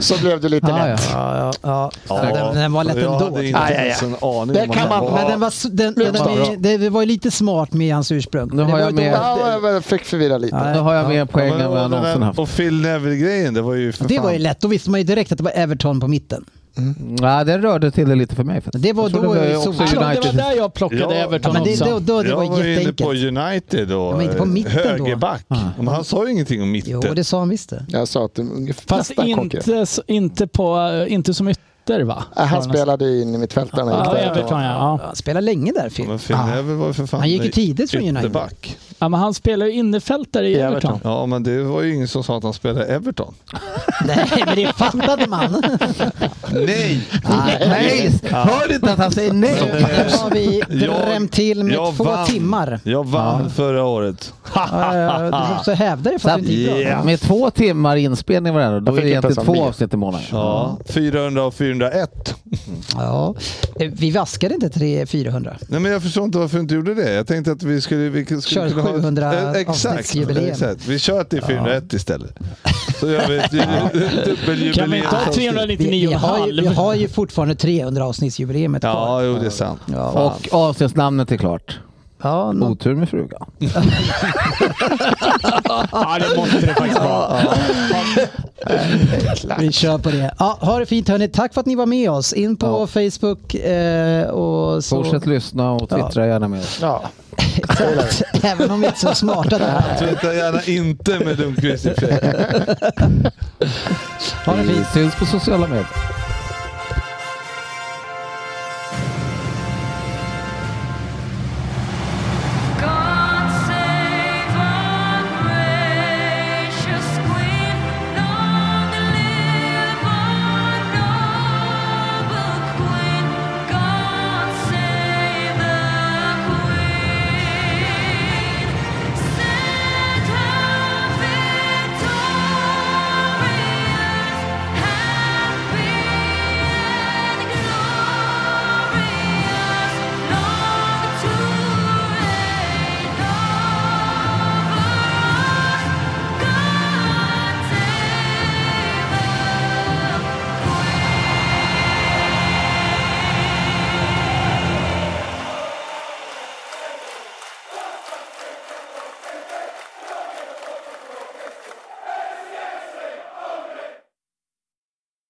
[LAUGHS] så blev det lite Ah, ja. lätt. Ja, ja, ja. Ja. Den, den var lätt jag ändå. hade inte Aj, aj, aj. ens en aning Det om att kan den man- var- Men den var, s- den, den, den, bra. det det var ju lite smart med hans ursprung. Nu har det var jag ju med- dåligt. Ja, jag fick förvirra lite. Nu har jag mer poäng än Ja, vad jag men den någonsin där- haft. Och Phil Neville-grejen, det var ju för Det fan... var ju lätt. Då visste man ju direkt att det var Everton på mitten. Nej, den rörde till det lite för mig. faktiskt. Det var Jag tror då det jag var såg- också Ja, det var United. där jag plockade Ja, Ja, Everton men det, också. då, då, det jag var var ju inne jätteenkelt. på United och Ja, men inte på eh, mitten då. högerback. Men han sa ju ingenting om mitten. Jo, det sa han visst det. Jag sa att det var ungefär Fast nästan konkurrent. inte, s- inte, på, eh, inte som ytter va? Äh, Han spelade ju in i mitt fält när han gick Ja, där. Everton ja. Ja, ja. Han spelade länge där, Phil. Men Phil Neville var ju för fan Ah. Han gick ju tidigt från United. ytterback. ja men han spelar ju innerfältare i I Everton. Everton. Ja, men det var ju ingen som sa att han spelade Everton. Nej, men det fattade man. Nej! Nej, hör du inte att han säger nej? Nu har vi Jag- drämt till med jag två vann. timmar. Jag vann förra året. Ja, ja, ja, Du måste hävda det för att det inte gick bra. Med två timmar inspelning varandra, då Jag är fick det inte egentligen ens två vara med. avsnitt i månaden. Ja. 400 och 401. Ja, Eh, vi vaskade inte 300-400. Nej, men jag förstår inte varför du inte gjorde det. Jag tänkte att vi skulle... Vi skulle Kör kunna ha- 700 Eh, exakt, avsnittsjubileum. exakt. Vi kör till 401 istället. Så gör vi ett dubbeljubileum. Kan vi inte ha Vi, vi, 399 och har ju, vi halv? har ju fortfarande 300 avsnittsjubileumet kvar. Ja, jo det är sant. Ja, Och avsnittsnamnet är klart. ja, nå- Otur med frugan. Ja, det måste det faktiskt vara. vi kör på det. Ja, ha det fint hörni. Tack för att ni var med oss. In på Ja. Facebook eh, och så. Fortsätt lyssna och twittra gärna med oss. Ja. Exakt. [LAUGHS] Även om vi inte är så smarta där. Tvätta gärna inte med Lundqvist i och för sig. Ha det fint. Vi syns på sociala medier.